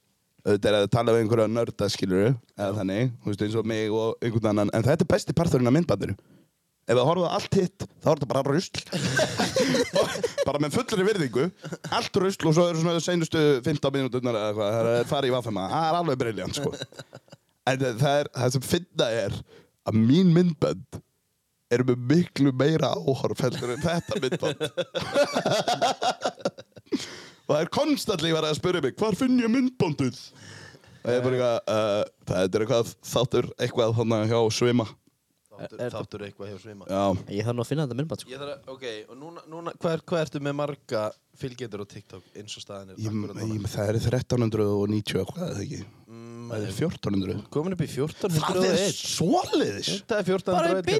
Speaker 3: auðvitað er að tala við einhverja nörda skilur Eða þannig, þú veist, eins og mig og einhvern annan En þetta er besti parturinn af myndbættinu Ef það horfðu á allt hitt, þá er þetta bara rusl Bara með fullri virðingu Allt rusl og svo eru svona seinustu 15 minúturnar eða eitthvað Það er farið í vaffema, það er alveg briljant sko En það er, það sem finna er að mín myndbönd eru með miklu meira áhorf heldur en þetta myndbönd og það er konstantli verið að spyrja mig hvar finn ég myndböndið og ég er bara eitthvað uh, það er eitthvað þáttur eitthvað þannig hjá svima
Speaker 1: Þáttur,
Speaker 2: Er- er-
Speaker 1: þáttur eitthvað hjá svima
Speaker 3: já,
Speaker 2: Ég þarf nú að finna þetta myndband sko.
Speaker 1: Ég þarf að, ok, og núna, núna hvað, er, hvað ertu með marga fylgjendur á TikTok eins og staðan er
Speaker 3: ég,
Speaker 1: akkúrat núna? Mm,
Speaker 3: ég, það er 1390 eitthvað eða ekki það er 1400
Speaker 1: Komin upp í 1401
Speaker 3: það er svoleiðis
Speaker 1: Þetta er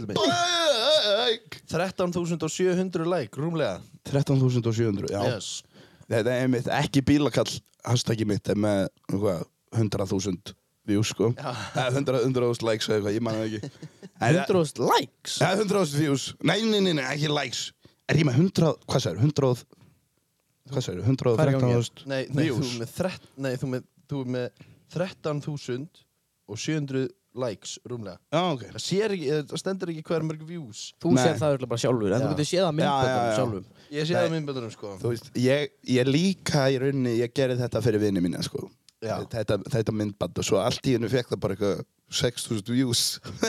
Speaker 2: Bara í
Speaker 1: 1401 kallum minn. 13.700 like, rúmlega
Speaker 3: 13.700 já
Speaker 1: Yes.
Speaker 3: Þetta er einmitt ekki bílakall hashtaggi mitt er með hvað, 100.000 views sko
Speaker 1: Já.
Speaker 3: Eða 100 100.000 likes eða eitthvað, ég man það
Speaker 1: [LAUGHS]
Speaker 3: ekki En-
Speaker 2: 100.000 likes
Speaker 3: Eða 100.000 views, nei, nei, nei, nei, ekki likes Er ég með 100, hvað sér, 100 Hvað sér,
Speaker 2: Hvað er í gangi hér?
Speaker 3: 115.000
Speaker 1: Nei, nei, þú
Speaker 3: Views.
Speaker 1: með, þrett, nei þú með, þú með 13.700 likes, rúmlega
Speaker 3: Já, ok
Speaker 1: Það sér ekki, eh, það stendur ekki hver mörg views
Speaker 2: Þú
Speaker 3: Nei.
Speaker 2: sér það örugglega bara sjálfur En
Speaker 1: Já.
Speaker 2: þú getur séð það
Speaker 3: Já, já,
Speaker 2: myndbandum
Speaker 3: já.
Speaker 2: sjálfum
Speaker 1: Ég sé
Speaker 3: Nei.
Speaker 1: það á myndböndunum sko
Speaker 3: Þú veist, ég, ég líka í rauninni, ég gerði þetta fyrir vini mína, sko.
Speaker 1: Já.
Speaker 3: Þetta, þetta myndband og svo allt í hennu fekk það bara eitthvað 6.000 views [LAUGHS]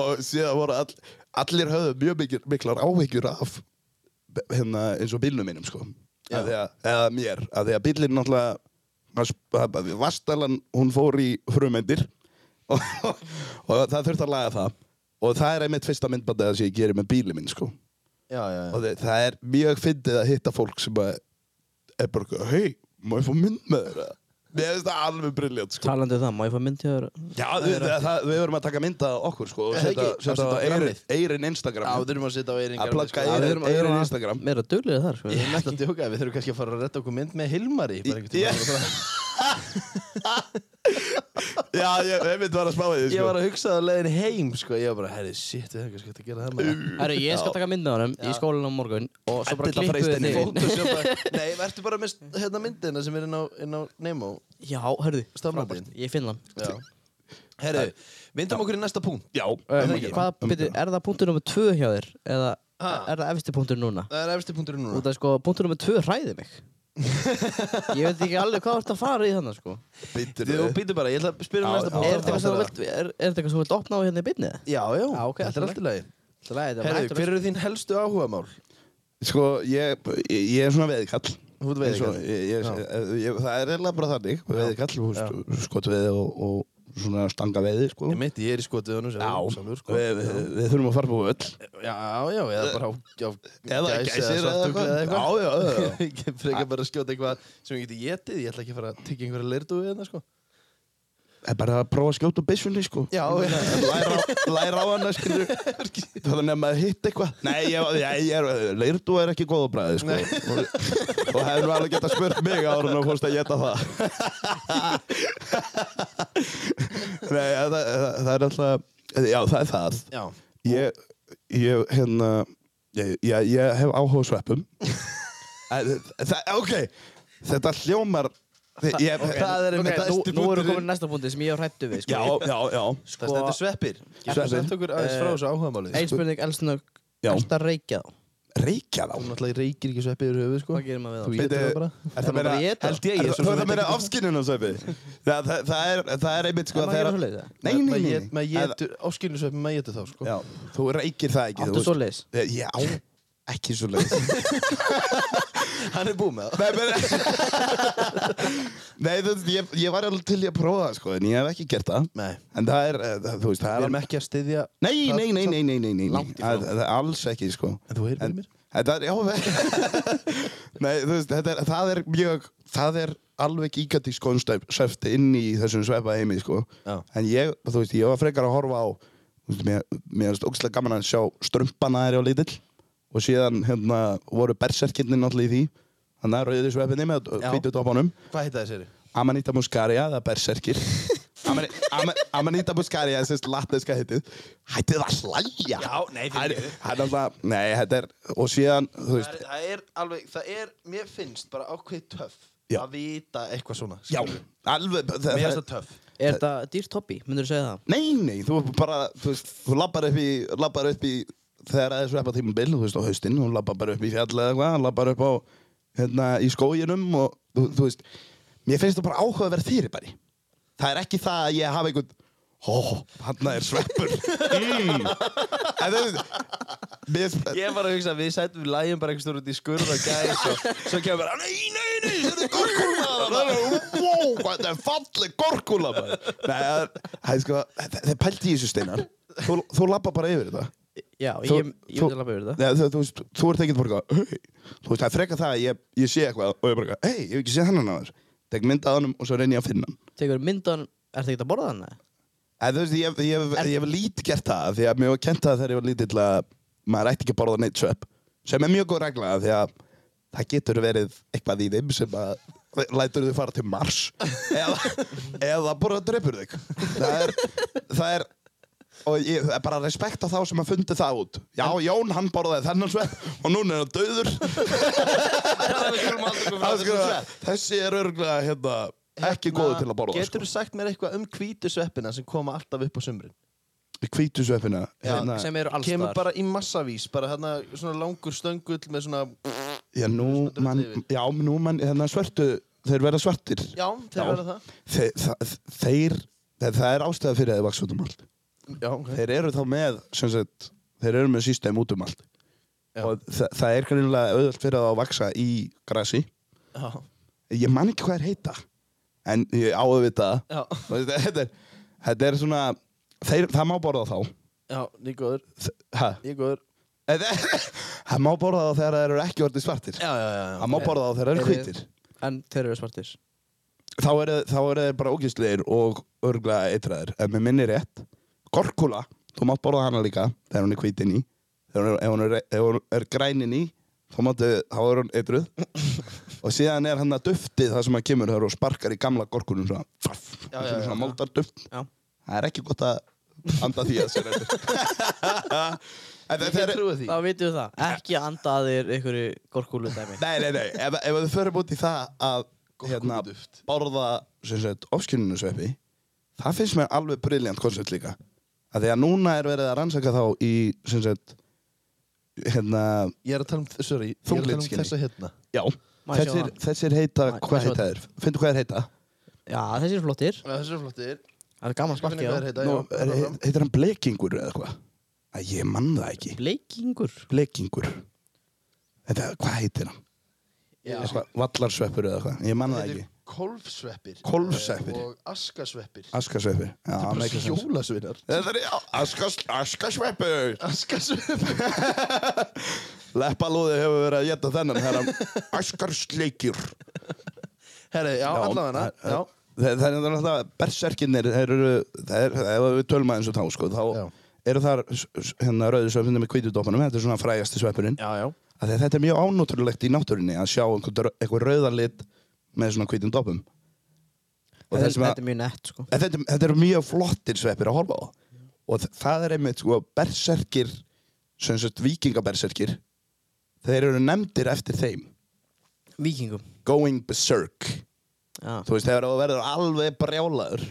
Speaker 3: og síðan voru all, allir höfðu mjög mikil, miklar áhyggjur af hérna eins og bílnum mínum, sko.
Speaker 1: Já.
Speaker 3: Að því að, eða mér, að því að bílinn náttúrulega, að sp- að- að vastalan, hún fór í frumendir [LAUGHS] og, og það þurfti að laga það og það er einmitt fyrsta myndbandið sem ég gerir með bílinn minn, sko
Speaker 1: Já, já, já
Speaker 3: og þið, það er mjög fyndið að hitta fólk sem að er bara eitthvað, hei, má ég fá mynd með þeirra? Mér finnst það alveg briljant, sko.
Speaker 2: Talandi um það, má ég fá mynd hjá þér
Speaker 3: Já, við, það, við verum að taka mynd af okkur, sko,
Speaker 1: Er
Speaker 3: og
Speaker 1: það
Speaker 3: setja,
Speaker 1: ekki? Að
Speaker 3: setja
Speaker 1: setja á
Speaker 3: á eyrin,
Speaker 1: grammið?
Speaker 3: eyrin
Speaker 1: Já,
Speaker 3: Instagram.
Speaker 1: við þurfum að setja á eiringar
Speaker 3: Að plugga í-
Speaker 1: sko.
Speaker 2: Við
Speaker 3: Eyrin-
Speaker 2: erum-
Speaker 3: Eyrin
Speaker 2: erum að-
Speaker 3: Instagram.
Speaker 2: Við erum að duglega þar sko.
Speaker 1: Ég er ekki að djóka, við þurfum kannski að fara að redda okkur mynd með Hilmari bara einhvern
Speaker 3: Ég-
Speaker 1: tímann.
Speaker 3: Já, ég, ég mynd var að spá í því,
Speaker 1: Ég
Speaker 3: sko.
Speaker 1: var að hugsa það á leiðin heim, sko Ég var bara, herri, shit, við hefum kannski hægt að gera það með
Speaker 2: Herru, ég skal taka mynd af honum í skólanum á morgun Og svo bara
Speaker 3: Edita
Speaker 2: klippu við
Speaker 3: Freysteini.
Speaker 2: þig
Speaker 1: Photoshop Nei, verður bara með hérna myndina sem er inn á, inn á Nemo
Speaker 2: Já, herru,
Speaker 1: Stafnabinn.
Speaker 2: Ég finn hann
Speaker 1: Já Herru, vindum okkur í næsta punkt
Speaker 3: Já,
Speaker 1: það
Speaker 2: Um,
Speaker 1: ekki?
Speaker 2: Hvað, byrju, er það punktur nummer 2 hjá þér? Eða
Speaker 1: Ha?
Speaker 2: er það efsti punktur núna?
Speaker 1: Það er efsti punkturinn núna
Speaker 2: Út af sko, punktur nummer 2 hræði [LAUGHS] mig Ég veit ekki alveg hvað þú ert að fara í þannig sko
Speaker 3: býttir
Speaker 1: Þú
Speaker 3: þið.
Speaker 1: býtu bara, ég ætla að spyrja um
Speaker 3: Já,
Speaker 1: næsta
Speaker 3: já,
Speaker 1: punkt
Speaker 2: Er þetta eitthvað sem þú
Speaker 1: Já,
Speaker 2: vilt, er, er þetta eitthvað sem þú vilt opna á hérna í byrnið?
Speaker 1: Já, já,
Speaker 2: Já, ok,
Speaker 1: þetta er
Speaker 2: allt í
Speaker 1: allt í lagi
Speaker 2: Það er
Speaker 1: Herru, hver eru þín helstu áhugamál?
Speaker 3: Sko, ég, ég, ég er svona veðikall.
Speaker 1: Þú ert veiðikall.
Speaker 3: Eins og- Ég, ég, ég, ég, það er eiginlega bara þannig, veðikall, skotveði og, og svona stanga veði, sko.
Speaker 1: Ég mitt, ég er í skotuðunum
Speaker 3: Já,
Speaker 1: sjálfur, sko.
Speaker 3: við, við, við þurfum að fara búið öll.
Speaker 1: Já, já, eða bara á, á
Speaker 3: Eh, Eða
Speaker 1: gæs
Speaker 3: gæsir eða
Speaker 1: svartugla
Speaker 3: eitthvað. Já, já, já, Ah. já.
Speaker 1: [LAUGHS] Ég get frekar bara að skjóta eitthvað sem ég geti getið Ég ætla ekki að fara að tyggja einhverja leirduðu hérna, sko
Speaker 3: Það er bara að prófa að skjóta úr byssunni sko
Speaker 1: Já,
Speaker 3: Ég meina, læra, á- læra á hana
Speaker 2: [LAUGHS]
Speaker 3: skilur Það er nefn að hitta eitthvað Nei, ég, ég, ég er, leirdu er ekki góð á bræði sko Og og hefði nú alveg geta spurt mig ára og fórst að geta það [LAUGHS] Nei, það, það, það er alltaf Já, það er það
Speaker 1: Já,
Speaker 3: Ég, ég, hérna Ég, ég, ég hef áhuga á
Speaker 2: [LAUGHS]
Speaker 3: sveppum En það, Ok, þetta hljómar Þi- ég-
Speaker 1: það er
Speaker 2: Ok,
Speaker 1: einmitt
Speaker 2: nú,
Speaker 1: efsti
Speaker 2: nú erum
Speaker 1: punkturinn.
Speaker 2: við komin í næsta punkti sem ég er hrættu við
Speaker 3: Já,
Speaker 2: sko.
Speaker 3: já, já
Speaker 1: það stendur sveppir
Speaker 3: Sveppir. Eh,
Speaker 1: Sveppir okkur aðeins frá þessu áhugamálið
Speaker 2: Ein spurning, elsinu,
Speaker 3: Já.
Speaker 2: elsta reykja þá
Speaker 3: Reykja þá
Speaker 1: Þú náttúrulega reykir ekki sveppi yfir höfuð sko
Speaker 2: Hvað gerir maður við
Speaker 1: Þú étur
Speaker 2: það?
Speaker 3: Bíddu,
Speaker 1: það bara
Speaker 2: Er maður
Speaker 3: Er það meira
Speaker 2: bara að éta?
Speaker 1: Held ég, ég
Speaker 3: Er
Speaker 1: er
Speaker 3: það-
Speaker 1: svo sem
Speaker 3: þú er það
Speaker 1: veit
Speaker 3: meira
Speaker 1: ekki-
Speaker 3: afskinnun á sveppi [LAUGHS] það, það, það, er, það er einmitt sko
Speaker 2: Er maður
Speaker 3: það er
Speaker 2: að gera svoleiðis, eða?
Speaker 3: Nei, nei, nei,
Speaker 1: Maður- Maður
Speaker 3: nei.
Speaker 1: getur, áskilinu sveppi, maður getur þá sko
Speaker 3: Já, Þú reykir það ekki
Speaker 2: Áttu
Speaker 3: þú veist.
Speaker 2: svoleiðis?
Speaker 3: Ég- Já, ekki svo leis
Speaker 1: Hann er búið með það
Speaker 3: Nei, men, [LAUGHS] nei þú, veist, ég, ég var alveg til í að prófa það sko, en ég hef ekki gert það
Speaker 1: Nei.
Speaker 3: En það er, eh, það, þú veist, það
Speaker 1: Við
Speaker 3: er
Speaker 1: erum ekki að styðja
Speaker 3: Nei, nei, nei, nei, nei, nei, nei, nei.
Speaker 2: Langt í frá.
Speaker 3: Það, það er alls ekki, sko.
Speaker 1: En þú heyrðir í mér?
Speaker 3: Þetta er, já, [LAUGHS] nei, þú veist, þetta er, það er mjög, það er alveg gigantísk koncept inn í þessum sveppa heimi, sko.
Speaker 1: Já.
Speaker 3: En ég, þú veist, ég var frekar að horfa á, þú veist, mér, mér er ógstlega gaman að sjá strumpana þeirri á lítill og síðan, hérna, voru berserkinni náttúrulega í því. Þannig að rauðið sveppinni með
Speaker 1: Já.
Speaker 3: hvítu topanum.
Speaker 1: Hvað heita þessi?
Speaker 3: Amanita muscaria, það er berserkir Amani- Ama- Amanita muscaria, þessi latneska heitið Hættið að hlæja
Speaker 1: Já, nei,
Speaker 3: það
Speaker 1: fyrirgefðu.
Speaker 3: er alltaf, nei, þetta er Og síðan, þú veist,
Speaker 1: Það er alveg, það er, mér finnst bara ákveð töff
Speaker 3: Já.
Speaker 1: að vita eitthvað svona
Speaker 3: já,
Speaker 1: skilurðu.
Speaker 3: alveg það-
Speaker 1: Mér
Speaker 3: það-
Speaker 1: finnst það töff
Speaker 2: Er þetta dýrt hobby? Myndur þú segja það?
Speaker 3: Nei, nei, þú bara, þú veist, þú lappar upp í Lappar upp í, þegar það er sveppa tímabil Þú veist, á haustinn, þú lappar bara upp í fjall eða eitthvað Lappar upp á, hérna, í skóginum Og, þú, þú veist, mér finnst það bara áhugaverð fyrirbæri Það er ekki það að ég hafa einhvern Ó, hann
Speaker 1: [LAUGHS]
Speaker 3: er sveppur mm. En það Mér
Speaker 1: Ég var að hugsa að við sætum við lægjum bara einhvers stór út í skurða gæs og svo kemur [LAUGHS] bara Nei, nei, nei, þetta er
Speaker 3: Górkúla Wow, þetta er falleg górkúla Nei, það er- það er sko Þeir pælti í þessu steinar Þú, þú lappa bara yfir þetta
Speaker 2: Já,
Speaker 3: Þú-
Speaker 2: ég, ég
Speaker 3: þú-
Speaker 2: vil alveg verið það
Speaker 3: Nei, þú, þú, veist, þú ert ekkert bara eitthvað, hey. Þú veist, það er frekar það að ég, ég sé eitthvað og ég bara, eitthvað, hei, ég hef ekki séð hennan að þér Tek mynd að honum og svo reyni ég að finna hann
Speaker 2: Tekur myndan, ertu ekki að borða hann? eða?
Speaker 3: En þú veist, ég, ég, ég, ég hef lít gert það því að mér var kent það þegar ég var lítill að maður ætti ekki að borða neitt svepp sem er mjög góð regla því að það getur verið eitthvað í þeim sem að lætur þau fara til Mars eða, eða bara dreipur þig það er, það er og ég það er bara respekt á þá sem að fundi það út já, Jón, hann borðaði þennan svepp og núna er hann döður
Speaker 1: um
Speaker 3: Það er sko-
Speaker 1: górkúla
Speaker 3: þessi er örgulega hérna, ekki góður til að borða
Speaker 1: Getur þú sagt mér eitthvað um hvítu sveppina sem koma alltaf upp á sumrin?
Speaker 3: sko. hvítu sveppina
Speaker 1: Já,
Speaker 3: hérna,
Speaker 2: Sem eru alls
Speaker 1: Kemur
Speaker 2: staðar.
Speaker 1: bara í massavís, bara hérna svona langur stöngull með svona
Speaker 3: Já, nú
Speaker 1: Svona
Speaker 3: mann,
Speaker 1: yfir.
Speaker 3: já, nú mann, þannig svörtu, þeir verða svartir.
Speaker 1: Já, þeir verða það
Speaker 3: Þeir, það, þeir, það, það er ástæða fyrir að þeir vaks út um allt.
Speaker 1: Já, ok
Speaker 3: Þeir eru þá með, sem sagt, þeir eru með system út um allt.
Speaker 1: Já.
Speaker 3: Og það, það er kannilega auðvöld fyrir þá að vaksa í grasi.
Speaker 1: Já,
Speaker 3: Ég man ekki hvað þeir heita, en ég á að vita það.
Speaker 1: já,
Speaker 3: Og Þetta, [LAUGHS] þetta, er, þetta er svona, þeir, það má borða þá.
Speaker 1: já, ég er góður,
Speaker 3: Þ- Ha?
Speaker 1: ég er góður
Speaker 3: Það má borða þá þegar þeir eru ekki orðið svartir.
Speaker 1: Já, já, já,
Speaker 3: Það má borða þá þegar þeir eru
Speaker 2: Eru-
Speaker 3: hvítir.
Speaker 2: En þeir eru svartir
Speaker 3: þá eru, þá eru þeir bara ógæstlegir og örglega eitraðir. Ef mér minni rétt, gorkula, þú mátt borða hana líka þegar hún er hvítin í. Þegar hún er, ef, hún er, ef hún er grænin í, þá, máttu, þá er hún
Speaker 1: [LAUGHS]
Speaker 3: eitruð. og síðan er hann að dufti það sem að kemur þar og sparkar í gamla gorkunum svona, faff,
Speaker 1: Já, já,
Speaker 3: svona,
Speaker 1: já,
Speaker 3: svona
Speaker 1: já.
Speaker 3: moldar duft.
Speaker 2: Já.
Speaker 3: Það er ekki gott að anda því að sér eftir.
Speaker 1: [LAUGHS]
Speaker 3: En
Speaker 1: Ég
Speaker 3: þetta
Speaker 1: get
Speaker 3: er...
Speaker 1: trúið því
Speaker 2: Þá vitum við það Ekki að anda að þér einhverju gorkúlu dæmi
Speaker 3: Nei, nei, nei, ef, ef þið förum út í það að hérna,
Speaker 1: Gúrkuduft.
Speaker 3: borða sem sagt, ofskjörnunusveppi það finnst mér alveg briljant koncept líka að því að núna er verið að rannsaka þá í sem sagt hérna,
Speaker 1: Ég er að tala um, sorry, ég er að tala um
Speaker 3: Þunglyndiskenning.
Speaker 1: þessa hérna
Speaker 3: já
Speaker 2: Má ég sjá
Speaker 3: þessir,
Speaker 2: hana?
Speaker 3: þessir heita,
Speaker 2: Má- má ég
Speaker 3: hvað
Speaker 2: sjá
Speaker 3: heita þér? Fyndu hvað þeir heita?
Speaker 2: Já, þessi eru flottir
Speaker 1: Já, þessi er flottir
Speaker 2: Það er gaman
Speaker 1: Sparkið
Speaker 2: sparkið á
Speaker 1: heita,
Speaker 3: Nú,
Speaker 1: já,
Speaker 3: er,
Speaker 1: áfram.
Speaker 3: he- heitir hann blekingur eða eitthvað? að ég mann það ekki
Speaker 2: Bleikingur
Speaker 3: blekingur þetta, hvað heitir hann?
Speaker 1: Já.
Speaker 3: Eitthvað, vallarsveppur eða eitthvað, ég mann það
Speaker 1: Þetta
Speaker 3: ekki
Speaker 1: er kólfsveppir
Speaker 3: Kólfsveppir.
Speaker 1: eh, Og askasveppir
Speaker 3: askasveppur já,
Speaker 1: Bara
Speaker 3: make a sense.
Speaker 1: Jólasveinar
Speaker 3: Þetta er já, askas, askasveppur
Speaker 1: Askasveppir
Speaker 3: Leppalúði hefur verið að geta þennan herra Æskarsleikir
Speaker 1: [LAUGHS] Herri, já, allavega Já,
Speaker 3: Það það er náttúrulega berserkinir þeir eru, það er, ef við tölum aðeins og þá sko, þá
Speaker 1: Já.
Speaker 3: eru þar s- s- hérna rauðu sveppinu með kvítudópanum þetta er svona frægasti sveppurinn
Speaker 1: já, já
Speaker 3: Af því að þetta er mjög ánótrulegt í náttúrinni að sjá einhver, einhver rauðan lit með svona hvítum dópum og
Speaker 2: Þetta
Speaker 3: þessum að
Speaker 2: þetta er mjög nett sko
Speaker 3: En þetta, þetta eru mjög flottir sveppir að horfa á og þ- það er einmitt sko berserkir sem sagt vikingaberserkir þeir eru nefndir eftir þeim
Speaker 2: Víkingum
Speaker 3: going berserk
Speaker 2: Já
Speaker 3: þú veist þegar þú verður alveg brjálaður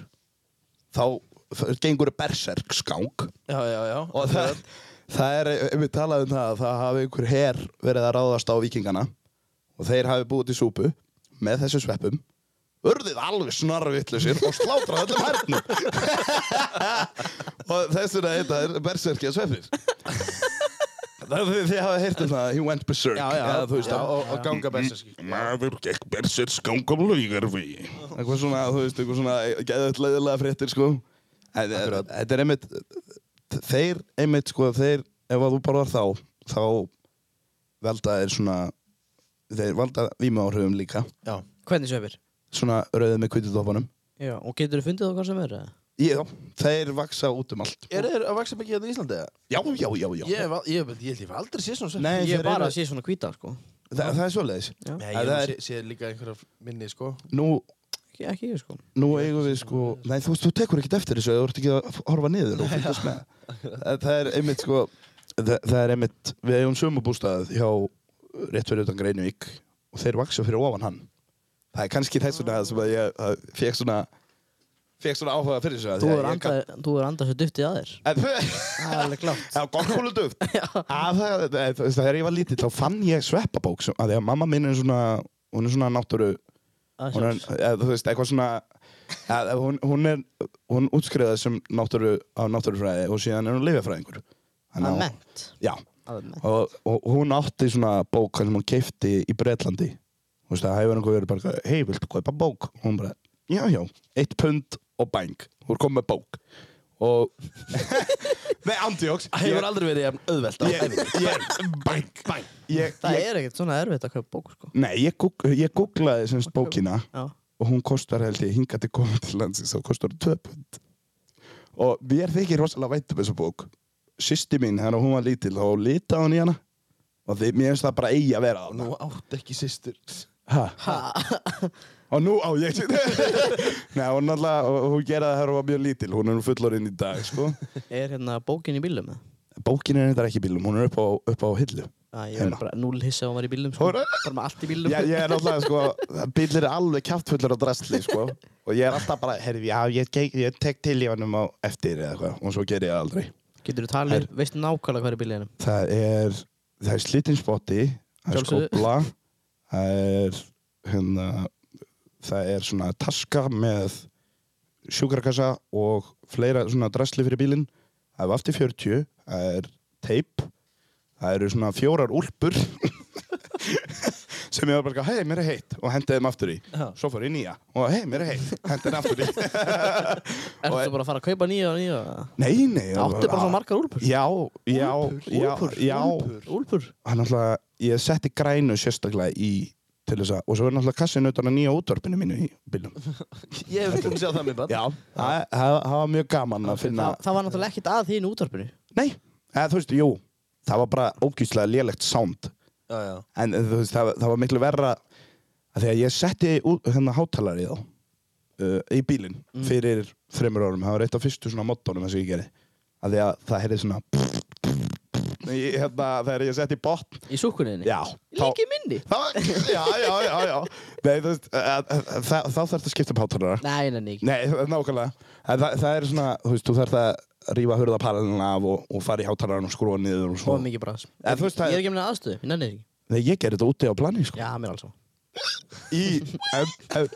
Speaker 3: þá f- gengur berserk skang
Speaker 1: Já, já, já
Speaker 3: og það, það er, við talaðum um það að það hafi einhver her verið að ráðast á vikingana og þeir hafi búið til súpu með þessu sveppum urðið alveg snarvitlusir og slátrað öllum hernum [LAUGHS] og þess vegna þetta er berserkja
Speaker 1: [LAUGHS]
Speaker 3: sveppir það er því þið hafa heyrt um það he went berserk
Speaker 1: Já, já,
Speaker 3: eða, þú veist,
Speaker 1: já,
Speaker 3: að-
Speaker 1: og, og ganga
Speaker 3: Mm,
Speaker 1: berserski
Speaker 4: Maður gekk bersir skang á
Speaker 3: um
Speaker 4: laugarvegi.
Speaker 3: eitthvað svona, þú veist, eitthvað svona geðvægt leiðilega fréttir, sko En, eh, Þetta er einmitt þeir, einmitt, sko, þeir ef að þú borðar þá, þá velda þeir svona þeir valda vímaáhrifum líka
Speaker 1: Já,
Speaker 2: Hvernig sveppir?
Speaker 3: svona rauðið með kvítutoppanum
Speaker 2: Já, og getur þú fundið það hvað sem er? eða?
Speaker 3: Já, þeir vaksa út um allt
Speaker 1: eru þeir að vaksa mikið hérna í Íslandi? eða?
Speaker 3: Já, já, já, já
Speaker 1: Ég hef al- ég hef- ég held ég hef aldrei séð svona sveppir
Speaker 3: Nei,
Speaker 2: Ég
Speaker 3: þeir
Speaker 2: er bara
Speaker 3: eru-
Speaker 2: að sé svona hvíta sko
Speaker 3: Þa, Það er svoleiðis
Speaker 2: Já.
Speaker 1: Nei,
Speaker 3: Það
Speaker 1: ég
Speaker 3: er-
Speaker 1: sé, sé líka einhverja minni, sko
Speaker 3: Nú,
Speaker 2: Ekki, ekki ég sko
Speaker 3: nú eigum við sko Nei, þú veist, þú tekur ekkert eftir þessu Þú ert ekki að horfa niður og fylgjast með En Það er einmitt sko Það, það er einmitt, við eigum sumabústað hjá rétt fyrir utan Greinvík og þeir vaksa fyrir ofan hann Það er kannski þess vegna sem að ég fekk svona fekk svona áhuga fyrir þessu af
Speaker 2: Þú
Speaker 3: því að
Speaker 2: er
Speaker 3: ég gat-
Speaker 2: andað, þú er andað svo duftið að þér
Speaker 3: En þau-
Speaker 2: Það er alveg klátt
Speaker 3: Það var gorkúluduft Þegar ég var lítill þá fann ég sveppabók sem, að því að mamma minn er svona hún er svona náttúru
Speaker 2: Að
Speaker 3: hún er,
Speaker 2: sjálfs-
Speaker 3: eða, þú veist, eitthvað svona eða, hún, hún er, hún útskriðað sem náttúru, á náttúrufræði og síðan er hún lifjafræðingur Þannig að-
Speaker 2: Almennt.
Speaker 3: já,
Speaker 2: Almennt.
Speaker 3: og, og hún átti svona bók sem hún keipti í Bretlandi þú veist, það hefur einhver verið bara hei, viltu kaupa bók? og hún bara, já, já, eitt pund og bæng hún kom með bók
Speaker 1: [LAUGHS]
Speaker 3: og nei, andjóks
Speaker 1: Það hefur aldrei verið jafn auðvelt á
Speaker 3: ég,
Speaker 1: ævinni.
Speaker 3: ég,
Speaker 4: Bang, bang.
Speaker 3: ég,
Speaker 2: Það
Speaker 3: ég,
Speaker 2: er ekkert svona erfitt að kaupa bók, sko.
Speaker 3: nei, ég, gúgg- ég googlaði semst bókina
Speaker 2: Já.
Speaker 3: og hún kostar held ég hinga til komið til landsins og kostar 2 pund og mér þykir rosalega vænt um þessu bók sýsti mín þegar hún var lítil þá litaði hún í hana og því, mér finnst það bara eigi að vera á
Speaker 1: Nú átt ekki sýstur.
Speaker 3: ha. og nú á ég [LAUGHS] Nei, hún náttúrulega, og- og hún gera það þegar hún var mjög lítil hún er nú fullorinn í dag sko.
Speaker 2: [LAUGHS] Er hérna bókin í bílum með?
Speaker 3: bókin er þetta ekki í bílum, hún er upp á, upp á hillu
Speaker 2: Já, ég var
Speaker 3: Heima.
Speaker 2: bara núl hissa að hún var í bílum, sko.
Speaker 3: Hún er-
Speaker 2: Bara með allt í bílum.
Speaker 3: Já, ég er náttúrulega, sko, bílir er alveg kjáttfullur á drastli, sko. Og ég er alltaf bara, herri, já, ég, ég, ég tek til í honum á eftir eða eitthvað. Og svo ger ég það aldrei.
Speaker 2: Getur þú talið, veistu nákvæmlega hvað er í bílunum?
Speaker 3: Það er, það er slittinspotti, það er
Speaker 2: Sjálfsögðu.
Speaker 3: skóbla, það er, hérna, það er svona taska með sjúkrakassa og fleira svona drastli fyrir bílinn. Það er aftur 40, það er teip, það eru svona fjórar úlpur sem ég var bara, hei, mér er heitt og hendiði þeim aftur í.
Speaker 1: Já.
Speaker 3: Svo fór ég í nýja og hei, mér er heitt, hendiði þeim aftur í. [LAUGHS]
Speaker 2: Ertu
Speaker 3: Og-
Speaker 2: bara að fara að kaupa nýja og nýja?
Speaker 3: nei, nei.
Speaker 2: Áttu bara svo margar úlpur?
Speaker 3: Já, já, já, já,
Speaker 2: Úlpur?
Speaker 3: hann náttúrulega, ég setti grænu sérstaklega í til þess að, og svo er náttúrulega kassin utan að nýja útvarpinu mínu í bílum.
Speaker 1: Ég hef búin að sjá það mér bara.
Speaker 3: Já, það það- það var mjög gaman að finna,
Speaker 2: Það, það var náttúrulega ekkert að þínu útvarpinu.
Speaker 3: nei, eða, þú veist, jú, það var bara ógýslega lélegt sound,
Speaker 1: Já, já.
Speaker 3: en eh, þú veist, það, það var miklu verra að þegar ég setti út- hérna hátalari þá, uh, í bílinn, fyrir þreymur árum, það var eitt af fyrstu svona mottónum sem ég gerði, að því að það heyrði svona, Í- hérna, þegar ég setti botn,
Speaker 2: Í súkunniðinni?
Speaker 3: já, þá-
Speaker 2: Líki minni?
Speaker 3: Það var, já, já, já, já. Nei, þú veist, að- að- að- þá- þá þarf það að skipta um hátalara.
Speaker 2: Nei, nei, nei.
Speaker 3: Nei, nákvæmlega. En það, það er svona, þú veist, þú þarf að rífa hurðaparalinn af og, og fara í hátalaran og skrúa niður og
Speaker 2: Svo
Speaker 3: svo.
Speaker 2: mikið bras.
Speaker 3: En þú veist
Speaker 2: Ég
Speaker 3: það-
Speaker 2: er ekki með neina aðstöðu, ég nennir ekki.
Speaker 3: Nei, ég gerði þetta úti á plani, sko.
Speaker 2: Já, mér alls.
Speaker 3: Í, ef, ef,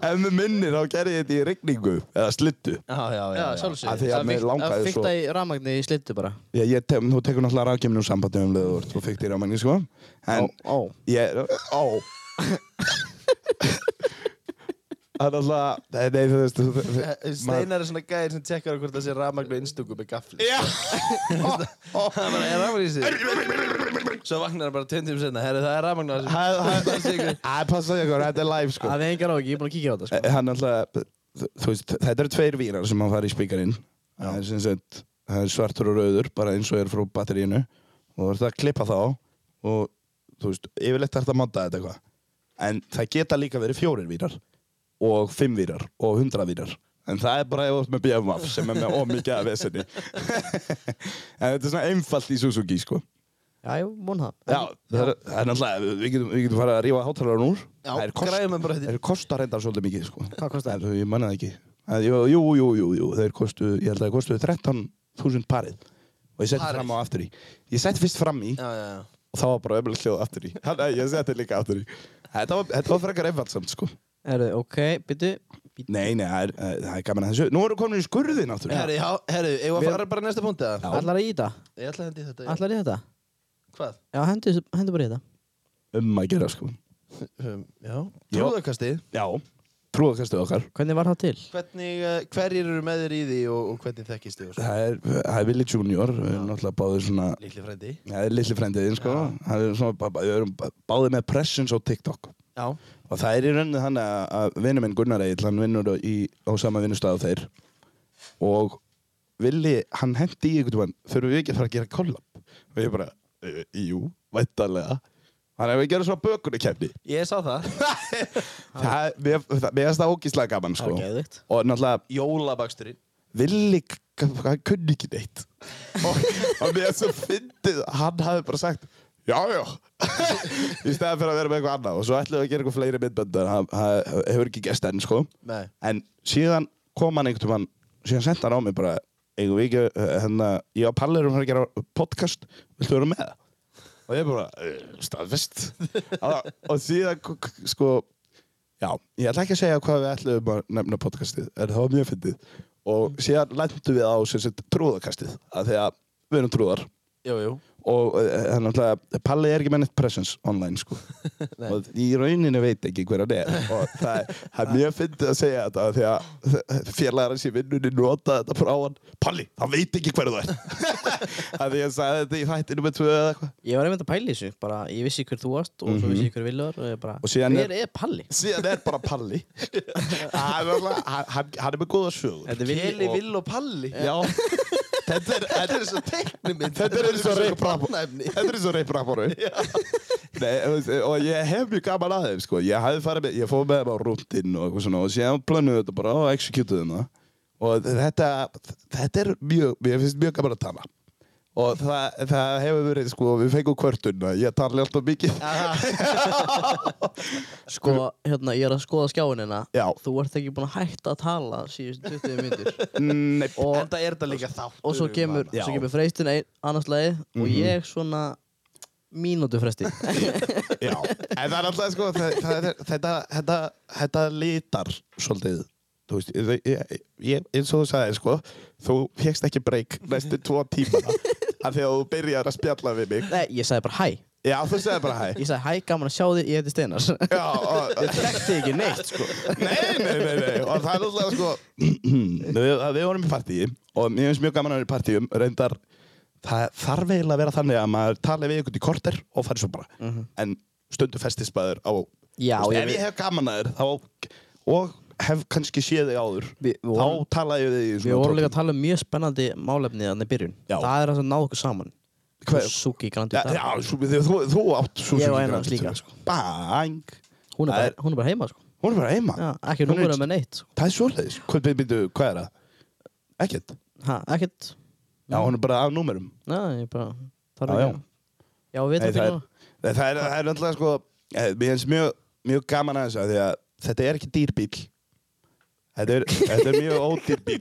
Speaker 3: ef mér minnir þá gerði ég þetta í rigningu eða slittu.
Speaker 1: Já, já, já.
Speaker 2: Já,
Speaker 1: já.
Speaker 2: sjálfsög.
Speaker 3: Af því að mig langaði svo-
Speaker 2: Fyrta í rafmagni í slittu bara.
Speaker 3: Ég, ég te, nú tekur náttúrulega rafgefni úr sambandi um leður og fikk þér á manni, sko. En,
Speaker 2: Ó, ó.
Speaker 3: Ég, á Það er alltaf Nei, nei, þú veist þú- þú-
Speaker 1: Eh,
Speaker 3: maður-
Speaker 1: Steinar er svona gæðir sem tekkar hvort það sé rafmagn og innstöku með gafli.
Speaker 3: Já [LAUGHS]
Speaker 1: Það er bara, er rafmagn í sig? Svo vaknar hann bara 20 tíma senna. Herri, það er rafmagn á þessu.
Speaker 3: Það er passaði ykkur, þetta er live sko
Speaker 2: Það er engar áhugi, ég er búin að kíkja á þetta, sko.
Speaker 3: Hann alltaf Þú veist, þetta eru tveir vírar sem hann fari í spíkarinn Það er sem sagt það er svartur og rauður Bara eins og er frá batteríinu Og þú ert að klippa þá Og þú veist, yfirleitt þarf það að monta þetta eitthvað En það geta líka verið fjórir vírar Og fimm vírar Og hundra vírar En það er bara ef þú ert með BMF sem er með ómikið af vesenni [LAUGHS] En þetta er svona einfalt í Suzuki sko
Speaker 2: Já, ég vona það.
Speaker 3: Já, það er, það er náttúrulega, við getum, við getum farið að rífa hátalarun úr
Speaker 1: Já,
Speaker 3: Það er kost-
Speaker 1: græðum við bara þetta.
Speaker 3: Þeir kosta reyndar svolítið mikið, sko
Speaker 2: Hvað kosta
Speaker 3: það? Ég manna það ekki Það- Jú, jú, jú, jú, jú, þeir kostu, ég held að þeir kostu 13.000 parið Og ég setti
Speaker 1: Parið?
Speaker 3: fram á aftur í Ég setti fyrst fram í
Speaker 1: Já, já, já.
Speaker 3: og þá var bara ömlega hljóð aftur í Þannig að ég setti líka aftur í Þetta var, þetta var frekar einfaldsamt, sko
Speaker 2: Erðu, ok, byttu.
Speaker 3: Nei, nei, það er, eh, það er gaman að þessu Nú eru komin í skurðin aftur
Speaker 1: Herri, já, herri, eigum við að fara bara í næsta punkt eða?
Speaker 2: Ætlar að í þetta?
Speaker 1: Ég ætla að hendi í þetta. já.
Speaker 2: Ætlar í þetta?
Speaker 1: Hvað?
Speaker 2: Já, hendur, hendur bara í þetta.
Speaker 3: Um að gera, sko
Speaker 1: Um, já.
Speaker 3: Já.
Speaker 1: Trúðakasti.
Speaker 3: Já, trúðakastuð okkar
Speaker 2: Hvernig var það til?
Speaker 1: Hvernig, eh, hverjir eru með þér í því og, og hvernig þekkist þið og svo?
Speaker 3: Það er, það er Willi Junior, við erum náttúrulega báðir svona
Speaker 1: Lítli frændi.
Speaker 3: Það er litli frendiðin sko Hann er svona, bara- við erum báðið með presence á TikTok
Speaker 1: Já.
Speaker 3: og það er í rauninu þannig að- að vinnu minn Gunnar Egil, hann vinnur í, á sama vinnustaf og þeir og villi, hann hendi í einhvern veginn þurfum við ekki að fara að gera kollab og ég bara, e, jú, væntalega hann hefur gerað svona bökunarkefni
Speaker 1: Ég sá
Speaker 3: [LAUGHS]
Speaker 1: það.
Speaker 3: það, mér það- mér finnst það ógíslega gaman sko
Speaker 2: Það er geðvikt.
Speaker 3: og náttúrulega
Speaker 1: Jólabaksturinn.
Speaker 3: Willi, k- hann kunni ekki neitt og, og mér er svo fyndið að hann hafi bara sagt já, já [LAUGHS] í stæðan fyrir að vera með eitthvað annað og svo ætlaði að gera eitthvað fleiri myndböndur hann hann hefur ekki gæst enn sko
Speaker 1: Nei.
Speaker 3: en síðan kom hann einhvern tímann síðan senda hann á mig bara eigum við ekki, eh, hérna, ég og Palli erum að fara að gera podcast viltu vera með það? og ég bara, eh, staðfest [LAUGHS] og, og því að, k- k- sko já, ég ætla ekki að segja hvað við ætlum að nefna podcastið, en það var mjög fyndið og síðan lendum við á sem sagt trúðakastið, að því að við erum trúðar
Speaker 1: Jú, jú.
Speaker 3: og eh, hann náttúrulega, Palli er ekki með neitt presence online [LAUGHS] sko og í rauninu veit ekki hver hann er og það er, það er mjög fyndið að segja þetta af því að [LAUGHS] félagar hans í vinnunni nota þetta frá hann Palli, hann veit ekki hver [LAUGHS] þú er að því að sagði þetta í þættinu með tvö eða eitthvað
Speaker 2: Ég var einmitt að pæla í þessu, bara ég vissi hver þú varst og svo vissi ég hver Villur og ég bara,
Speaker 3: Og síðan
Speaker 2: hver
Speaker 3: er-
Speaker 2: er Palli?
Speaker 3: síðan er bara [LAUGHS] Palli hann, er náttúrulega- hann, hann, hann er með góða sögur
Speaker 2: Þetta er Villi-
Speaker 1: Keli,
Speaker 2: og-
Speaker 1: Vill og Palli.
Speaker 3: já [LAUGHS] þetta er, þetta er svo teiknuminn þetta er eins og
Speaker 1: Svo
Speaker 3: reyprap
Speaker 1: barnaefni.
Speaker 3: Þetta er eins og reypraporu Og ég hef mjög gaman að þeim sko. Ég hafði farið með, ég fóð með þeim á rúntinn og eitthvað svona og síðan plönuðu þetta bara og executuðum það og þetta, þetta er mjög, ég finnst mjög gaman að tala og það, það hefur verið sko, við fengum kvörtun að ég tala alltaf mikið
Speaker 2: Sko, hérna, ég er að skoða skjáinina
Speaker 3: Já.
Speaker 2: Þú ert ekki búin að hætta að tala síðust 20 [LAUGHS] myndur
Speaker 3: mm, Nei,
Speaker 2: og,
Speaker 1: Enda er þetta líka þátt.
Speaker 2: og svo kemur,
Speaker 3: Já. Mhm.
Speaker 2: svo kemur freystin ein, annars leið og ég svona mínútu fresti [LAUGHS]
Speaker 3: já En það er alltaf sko, það, það, er- þetta, þetta, þetta litar svolítið Þú veist, ég- ég, ég, eins og þú sagði sko, þú fegst ekki breyk næstu tvo tímana af því að þú byrjar að spjalla við mig
Speaker 2: Nei, ég sagði bara hæ
Speaker 3: Já, þú segði bara hæ
Speaker 2: Ég sagði hæ, gaman að sjá þig, ég heiti
Speaker 3: [LAUGHS]
Speaker 2: Steinar
Speaker 3: Já, og,
Speaker 2: Ég þekkti ekki neitt, sko
Speaker 3: [LAUGHS] nei, nei, nei, nei, og það er alltaf sko [CLEARS THROAT] við, að við vorum í partíi og mér finnst mjög gaman að vera í partíum reyndar, það þarf eiginlega að vera þannig að maður tali við ykkur í korter og fari svo bara, en stundu festisbæður á,
Speaker 2: Já,
Speaker 3: Þú
Speaker 2: ég
Speaker 3: veist, ef ég
Speaker 2: veit-
Speaker 3: hef gaman að þér þá, og hef kannski séð þig áður
Speaker 2: Við- við vorum-
Speaker 3: þá tala ég við þig í
Speaker 2: Við
Speaker 3: svona
Speaker 2: vorum líka að
Speaker 3: tótum.
Speaker 2: tala um mjög spennandi málefni þannig í byrjun
Speaker 3: Já.
Speaker 2: Það er að ná okkur saman
Speaker 3: Hver-
Speaker 2: Suki Grandi
Speaker 3: Já, já, svo, þú, þú, þú átt svo
Speaker 2: Ég
Speaker 3: sem
Speaker 2: og
Speaker 3: ég
Speaker 2: eina
Speaker 3: grætur
Speaker 2: hans
Speaker 3: til
Speaker 2: líka.
Speaker 3: þig, sko. Bang
Speaker 2: hún, er
Speaker 3: Það
Speaker 2: bara, hún er bara heima, sko
Speaker 3: Hún er bara heima
Speaker 2: já, Ekki
Speaker 3: Hún er-
Speaker 2: númurða með neitt, sko
Speaker 3: Það er svoleiðis Hvað, byrju, byrju, hvað er það? Ekkert
Speaker 2: Ha, ekkert
Speaker 3: Já, hún er bara af númerum
Speaker 2: Nei, ég bara þarf ekki
Speaker 3: Já, já.
Speaker 2: að- Já, við
Speaker 3: Nei,
Speaker 2: veitum
Speaker 3: það,
Speaker 2: fyrir
Speaker 3: er, nei, það, er, það er náttúrulega sko eh, Mér finnst mjög, mjög gaman að þessu af Því að þetta er ekki dýrbíl Þetta er, þetta er mjög ódýr bíl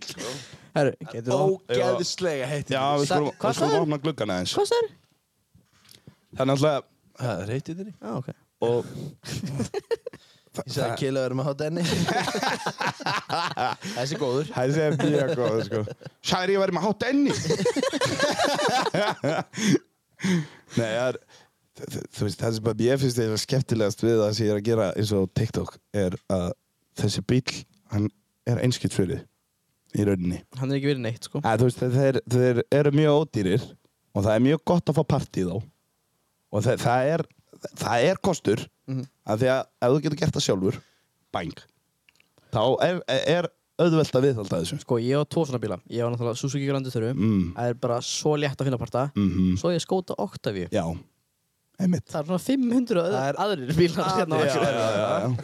Speaker 2: Herru, getur þú
Speaker 1: Ógeðislega heitir
Speaker 3: Já, við
Speaker 2: Sa-
Speaker 3: skulum,
Speaker 2: hvað
Speaker 3: við skulum
Speaker 2: sagðirðu?
Speaker 3: opna gluggan aðeins
Speaker 2: Hvað það er?
Speaker 3: Það er náttúrulega
Speaker 1: Það er heitir þeirri.
Speaker 2: Já, ok [LAUGHS]
Speaker 3: og,
Speaker 1: Ég sagði að Keli verður með hátta enni. [LAUGHS] Þessi er góður.
Speaker 3: Það sé mjög góð sko Sæðir ég væri með hátt enni Nei, það er þ- þ- Þú veist, það sem bara ég finnst þeirra skemmtilegast við það sem ég er að gera eins og TikTok er að þessi bíl, hann er einskipt fyrir í rauninni
Speaker 2: Hann er ekki verið neitt, sko
Speaker 3: að, Þú veist, þeir, þeir eru mjög ódýrir og það er mjög gott að fá partíð á og það, það er það er kostur
Speaker 2: Mhm.
Speaker 3: af því að ef þú getur gert það sjálfur bang þá er, er auðvelt að viðhalda þessu
Speaker 2: Sko, ég á tvo svona bíla Ég á náttúrulega Suzuki Grandi Þurru
Speaker 3: Mm.
Speaker 2: Það er bara svo létt að finna parta
Speaker 3: Mhm.
Speaker 2: Svo ég skóta Octavíu
Speaker 3: Já, einmitt
Speaker 2: Það er svona 500 öð,
Speaker 1: Það er-
Speaker 2: aðrir bílar hérna á
Speaker 1: Já,
Speaker 2: ekki
Speaker 1: já, já.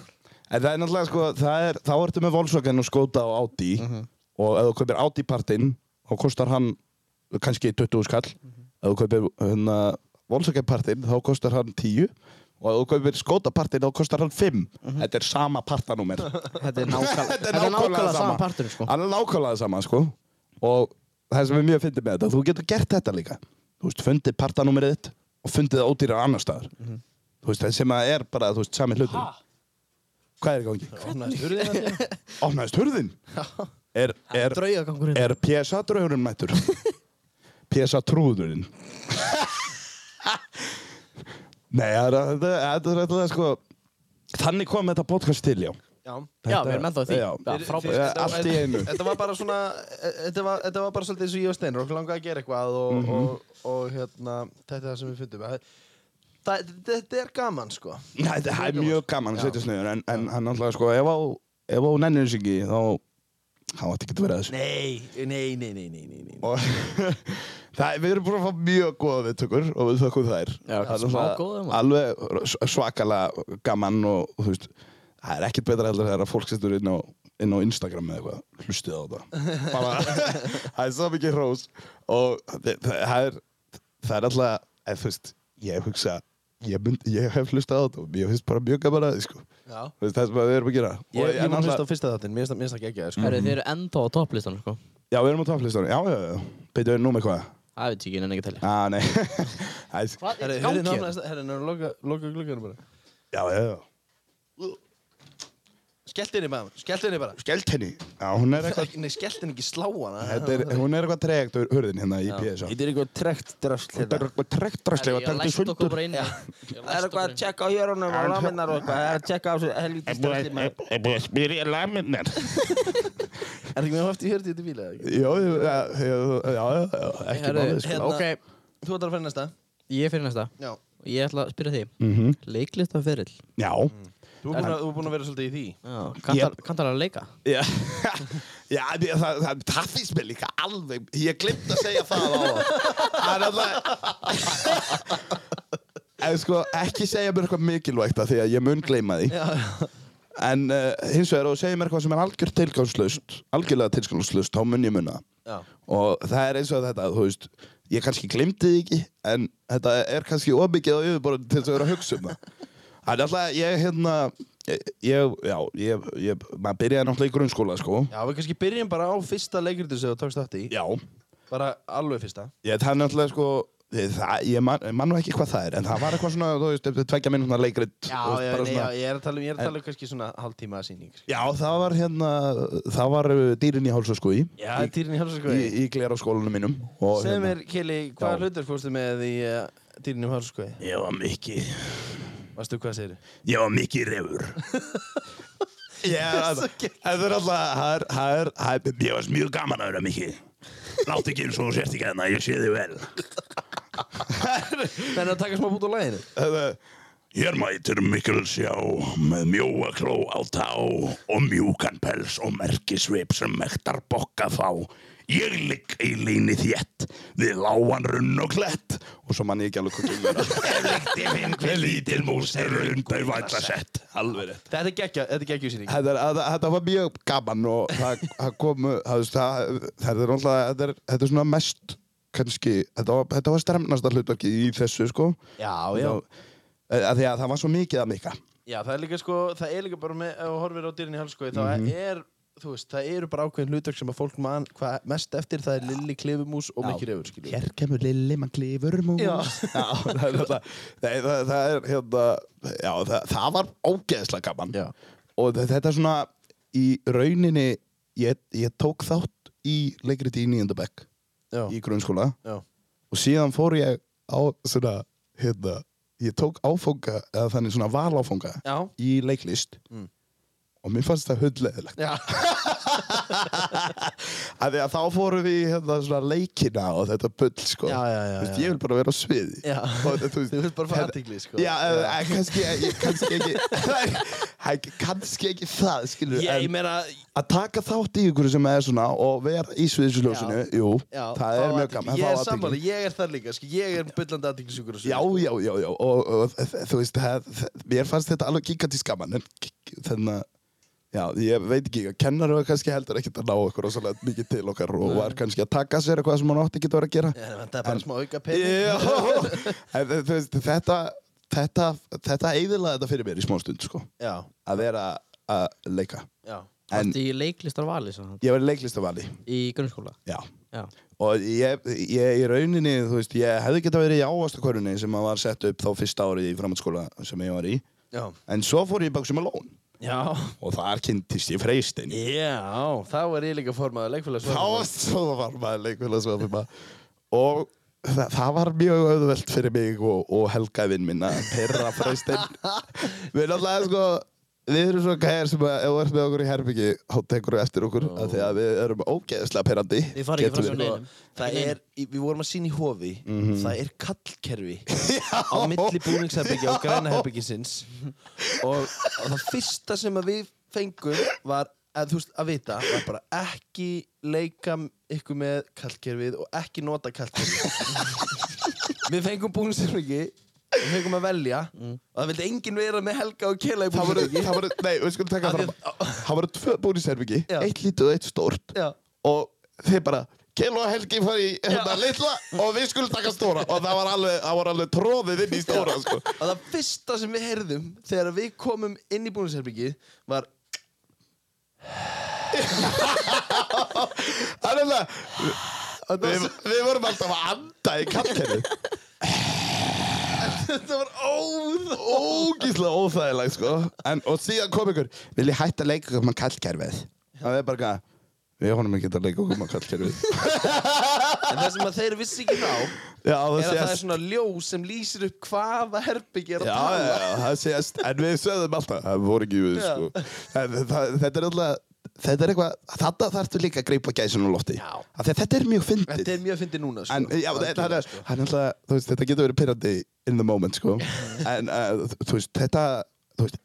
Speaker 3: En það er náttúrulega sko, það er, þá ertu með Volkswagen og Skoda og Audi
Speaker 1: Mhm.
Speaker 3: og ef þú kaupir Audi partinn þá kostar hann kannski 20 skall
Speaker 1: Mhm.
Speaker 3: ef þú kaupir hérna, Volkswagen partinn þá kostar hann 10 og ef þú kaupir Skoda partinn þá kostar hann 5
Speaker 1: Mhm.
Speaker 3: Þetta er sama
Speaker 1: [LAUGHS]
Speaker 3: partanúmer
Speaker 2: Þetta er nákvæmlega
Speaker 3: Þetta
Speaker 2: Þetta er nákvæmlega sama parturinn, sko
Speaker 3: Hann er nákvæmlega sama sko og það sem er mjög fyndið með þetta þú getur gert þetta líka þú veist, fundið partanúmerið þitt og fundið það ódýrar annar staðar þú veist, það sem að er bara, þú veist, sami hlutur Hvað er í gangi?
Speaker 1: Opnaðist hurðin að þér.
Speaker 3: Opnaðist hurðin? Er,
Speaker 2: sko.
Speaker 3: er,
Speaker 2: Draugagangurinn
Speaker 3: er PSA draugurinn mættur? PSA trúðurinn? Nei, það er- þetta þetta er alltaf sko Þannig kom þetta podcast til, já
Speaker 1: Já.
Speaker 2: Já, við erum ennþá í því.
Speaker 3: Já,
Speaker 2: Já,
Speaker 1: Fyrir-
Speaker 2: frábært.
Speaker 1: fyrir-
Speaker 3: Já,
Speaker 1: þetta var-
Speaker 3: allt í einu.
Speaker 1: Þetta var bara svona e- Þetta var, þetta var bara svolítið eins og ég og Steinar Okkur langaði að gera eitthvað og, og, og hérna Þetta er það sem við fundum Það- það- Þetta er gaman sko
Speaker 3: Nei, það er
Speaker 1: Mjög
Speaker 3: mjög gaman að setja sniður En, en hann alltaf sko, ef á, ef á nennir sig ekki Þá, þá átti ekki að vera að þessu
Speaker 1: Nei, nei, nei, nei, nei, nei, nei.
Speaker 3: Og [LAUGHS] það, við erum búin að fá mjög góða viðtökur Og við þökkum þær
Speaker 2: Já,
Speaker 3: Það er
Speaker 2: smá
Speaker 3: náttúrulega
Speaker 2: góðar, maður.
Speaker 3: Alveg s- svakalega gaman og, og þú veist Það er ekkert betra heldur þegar að fólk setur inn á, inn á Instagram eða eitthvað, hlustið
Speaker 2: [LAUGHS]
Speaker 3: á þetta bara, [LAUGHS] það er svo mikið hrós og það, það er það er alltaf, eða þú veist ég hugsa, ég, mynd, ég hef hlustað á þetta og ég finnst bara mjög gaman að því sko
Speaker 1: Já.
Speaker 3: Þú veist, það sem við erum að gera
Speaker 1: Ég, ég, ég
Speaker 3: en
Speaker 1: var
Speaker 3: náttúrulega-
Speaker 1: hlust á fyrsta þáttinn, mér finnst það ekki ekki sko.
Speaker 2: Herru, þið eru enda á topplistan, sko
Speaker 3: Já, við erum á topplistunum, já, já, já Beidu, nú með hvað
Speaker 2: Það veit ég ekki, en ekki telja.
Speaker 3: Á, nei [LAUGHS] Æ, s-
Speaker 2: Hvað er
Speaker 1: Herri,
Speaker 2: gangið? hérna?
Speaker 1: herri, nána, herri, nána, loka, loka glugganum bara.
Speaker 3: Já, já, já
Speaker 1: Skellt henni bara, skellt henni bara.
Speaker 3: Skellt henni Já, hún er eitthvað
Speaker 1: Ekki- Nei, skellt henni ekki slá hana.
Speaker 3: þetta er, Hún er eitthvað tregt úr hurðin hérna í PSA
Speaker 1: Þetta er eitthvað trekt drasl
Speaker 3: Þetta er
Speaker 1: hérna.
Speaker 3: eitthvað tregt drastlega
Speaker 2: Ég læst okkur bara inn.
Speaker 1: Það er eitthvað að tjekka á hjörunum og laminnar og eitthvað. Það er að tjekka á þessu helvítið
Speaker 4: búið
Speaker 1: strassli maður.
Speaker 4: að- er búið að spyrja laminnar.
Speaker 1: Er ekki með haft í hjörtið þetta bíla? eða ekki?
Speaker 3: Já, já, já, já, já, já, ekki
Speaker 2: Herri,
Speaker 3: máli sko.
Speaker 1: hérna-
Speaker 2: Ok,
Speaker 1: Þú ætlar að finna næsta.
Speaker 2: ég fyrir næsta.
Speaker 1: Já.
Speaker 2: Og Ég ætla að spyrja þig.
Speaker 3: Mhm.
Speaker 2: Leiklistaferill.
Speaker 3: Já
Speaker 2: Mm.
Speaker 1: Þú er búin að- þú er búin að vera svolítið í því.
Speaker 2: Já, kanntar- kanntar að leika.
Speaker 3: Já, [LAUGHS] já því að það, það, það finnst mér líka alveg Ég glimt að segja það á það Það er alltaf [LAUGHS] En sko, ekki segja mér eitthvað mikilvægt að því að ég mun gleyma því En uh, hins vegar, og segja mér eitthvað sem er algjör tilgangslaust Algjörlega tilgangslaust, þá mun ég munna
Speaker 1: Já.
Speaker 3: Og það er eins og þetta, þú veist Ég kannski glimti því ekki En þetta er kannski ofbyggið á yfirborðin til þess að vera að hugsa um það Það er alltaf, ég hérna Ég, ég- já, ég, ég Maður byrjaði náttúrulega í grunnskóla, sko
Speaker 1: Já, við kannski byrjum bara á fyrsta leikritu sem þú tókst þátt í.
Speaker 3: Já
Speaker 1: Bara alveg fyrsta.
Speaker 3: Ég, það er náttúrulega sko það, Ég man, man nú ekki hvað það er En það var eitthvað svona, þú veist, eftir tveggja minnum leikrit
Speaker 1: Já,
Speaker 3: þú veist,
Speaker 1: já,
Speaker 3: bara
Speaker 1: nei,
Speaker 3: svona-
Speaker 1: já, ég er að tala um, ég er að tala um kannski svona hálftíma sko. síning.
Speaker 3: já, það var hérna Það var uh, dýrin í hálsa sko í
Speaker 1: Já, Dýrin í
Speaker 3: Í,
Speaker 1: hálsaskói.
Speaker 3: í glera mínum og,
Speaker 1: Segð
Speaker 3: hérna-
Speaker 1: mér, Kelly,
Speaker 3: Já.
Speaker 1: hvaða hlutur fórstu með í uh, Dýrin í hálsaskói?
Speaker 3: Ég var mikið
Speaker 1: Varstu hvað segir
Speaker 3: Ég var mikið reyfur
Speaker 1: [LAUGHS]
Speaker 3: Já,
Speaker 1: Svo
Speaker 3: það það er alltaf það er- það er- það er- Ég var mjög gaman að vera mikið Látt ekki eins og þú sért ekki hérna, ég sé þig vel
Speaker 1: [LAUGHS] Þannig að taka smá bút á læginu.
Speaker 4: Hér mætir mikil sjá með mjóa kló á tá og mjúkan pels og merkisvip sem mektar bokka fá. Ég ligg í líni þétt við lágan runn og klett
Speaker 3: Og svo mann ég ekki alveg hvað
Speaker 4: [LAUGHS]
Speaker 3: kemur
Speaker 4: Ef líkti finn hver lítil mús er rundau vætla sett. Alveg rétt.
Speaker 1: Þetta er geggja, þetta er geggju síning.
Speaker 3: Þetta er- þetta- þetta var mjög gaman og það, það komu, það, veist, það, það er alltaf, þetta er, þetta er svona mest kannski, þetta var, þetta var stremnasta hlutverki í þessu sko
Speaker 1: Já, já.
Speaker 3: Það- að eh, Því að það var svo mikið að mikka
Speaker 1: Já, það er líka sko, það er líka bara með, ef þú horfir á Dýrin í hálsaskói, þá
Speaker 3: Mhm.
Speaker 1: er, þú veist, það eru bara ákveðin hlutverk sem að fólk man hvað mest eftir, það er Lilli Klifumús og Mikki Refur, skiljum.
Speaker 3: Hér kemur lilli, mann klifur mús
Speaker 1: Já.
Speaker 3: það, er alltaf, nei, það, það er hérna já, það, það var ógeðslega gaman
Speaker 1: Já.
Speaker 3: og þe- þetta er svona í rauninni ég, ég tók þátt í leikriti í nýjöndabæk
Speaker 1: Já.
Speaker 3: í grunnskóla
Speaker 1: Já.
Speaker 3: og síðan fór ég á svona, hérna, ég tók áfanga eða þannig svona valáfanga
Speaker 1: Já.
Speaker 3: í leiklist og mér fannst það hundleðilegt
Speaker 1: Mm. Já.
Speaker 3: [LAUGHS] af því að þá fórum við í, hérna svona leikina og þetta bull sko
Speaker 1: Já, já, já,
Speaker 3: Þú veist,
Speaker 1: já.
Speaker 3: ég vil bara vera á sviði [LAUGHS]
Speaker 1: Já.
Speaker 3: Og þetta,
Speaker 1: Þú vilt bara fá
Speaker 3: þetta-
Speaker 1: athygli, sko.
Speaker 3: já, já. En, kannski, ég, kannski ekki
Speaker 1: [LAUGHS]
Speaker 3: það er kannski ekki það skilur
Speaker 1: Ég, ég
Speaker 3: en
Speaker 1: meina,
Speaker 3: að taka þátt í ykkur sem er svona og vera í sviðisljósinu jú,
Speaker 1: já,
Speaker 3: það
Speaker 1: fá
Speaker 3: er mjög
Speaker 1: athygli.
Speaker 3: gaman
Speaker 1: Ég
Speaker 3: fá
Speaker 1: er
Speaker 3: athygli.
Speaker 1: sammála, ég er þar líka, sko, ég er byllandi aðtíklisugur
Speaker 3: Já, já, já, já, og, og þ- þú veist, það, það, mér fannst þetta alveg gigantísk gaman, en gig- þannig að, já, ég veit ekki, kennar var kannski heldur ekkert að ná okkur rosalega mikið til okkar og var kannski að taka sér eitthvað sem hann átti ekki að vera að gera.
Speaker 1: Já, það er bara smá auka pening.
Speaker 3: Já, [LAUGHS] en þú veist, þetta, þetta, þetta eigðilaði þetta fyrir mér í smá stund, sko,
Speaker 1: Já,
Speaker 3: að vera að leika.
Speaker 1: já.
Speaker 3: En
Speaker 2: Varstu í leiklistarvali svona,
Speaker 3: ég var leiklistavali,
Speaker 2: í grunnskóla?
Speaker 3: já.
Speaker 2: Já.
Speaker 3: og ég, ég í rauninni þú veist, ég hefði geta verið í ávastakörunni sem að var sett upp þá fyrsta árið í framhaldsskóla sem ég var í,
Speaker 1: Já.
Speaker 3: en svo fór ég í baksum alón
Speaker 1: Já.
Speaker 3: og þar kynntist ég freystein
Speaker 1: Já, þá er ég líka formaður leikfélags
Speaker 3: þá var svo var maður leikvöla svo fyrir maður og það, það var mjög auðvelt fyrir mig og, og helgaðinn minn að perra freystein við náttúrulega sko Við erum svona gæjar sem að ef þú ert með okkur í herbyggi þá tekur þú eftir okkur af því að við erum ógeðslega perandi
Speaker 2: Þið farið ekki
Speaker 3: Getum
Speaker 2: fram hjá
Speaker 3: við-
Speaker 2: neinum.
Speaker 1: Það er, í- við vorum að sína í hofi
Speaker 3: Mhm.
Speaker 1: Það er
Speaker 3: [LAUGHS]
Speaker 1: kallkerfi Á milli búningsherbyggja og græna herbyggisins og, og það fyrsta sem að við fengum Var, að, þú veist, að vita Var bara ekki leika ykkur með kallkerfið Og ekki nota
Speaker 3: [LAUGHS]
Speaker 1: kallkerfið Við fengum búningsherbyggi Við fengum að velja Og það vildi enginn vera með Helga og Kela í
Speaker 3: Það voru,
Speaker 1: búningsherbyggi
Speaker 3: það voru, nei, við skulum taka
Speaker 1: Af því
Speaker 3: fram Það voru tvö búnisherbyggi,
Speaker 1: Já.
Speaker 3: eitt lítið og eitt stórt
Speaker 1: Já.
Speaker 3: Og þeir bara Kjell og Helgi fari í hérna litla og við skulum taka stóra og það var alveg, það var alveg tróðið inn í stóra sko.
Speaker 1: Og það fyrsta sem við heyrðum þegar við komum inn í búningsherbyggið var
Speaker 3: Það er alveg
Speaker 2: Þetta
Speaker 3: Við,
Speaker 2: var,
Speaker 3: við vorum alltaf að anda í kallkerfi
Speaker 2: þetta var óð
Speaker 3: Ógíslega óþægileg sko en, Og síðan kom ykkur Vil ég hætta að leika okkur með kallkerfið Það er bara eitthvað Við honum ekki að leika okkur með kallkerfið
Speaker 1: En það sem að þeir vissi ekki þá
Speaker 3: Já, það
Speaker 1: er að það er
Speaker 3: sést
Speaker 1: svona ljó sem lýsir upp hvaða herbyggir að
Speaker 3: Já, já,
Speaker 1: tala
Speaker 3: já, það sést En við sögðum alltaf Það voru ekki við sko en, það, Þetta er alltaf Þetta er eitthvað Þetta þarftu líka að greipa gæsinn á lofti
Speaker 1: Já.
Speaker 3: Af því að Þetta er mjög fyndið
Speaker 1: Þetta er mjög fyndið núna sko.
Speaker 3: En, já, það, það, er,
Speaker 1: Algjörlega, sko.
Speaker 3: það er alltaf, þú veist, þetta getur verið pyrrandi in the moment,
Speaker 1: [LAUGHS]
Speaker 3: sko. En, uh, þú veist, þetta, þú veist,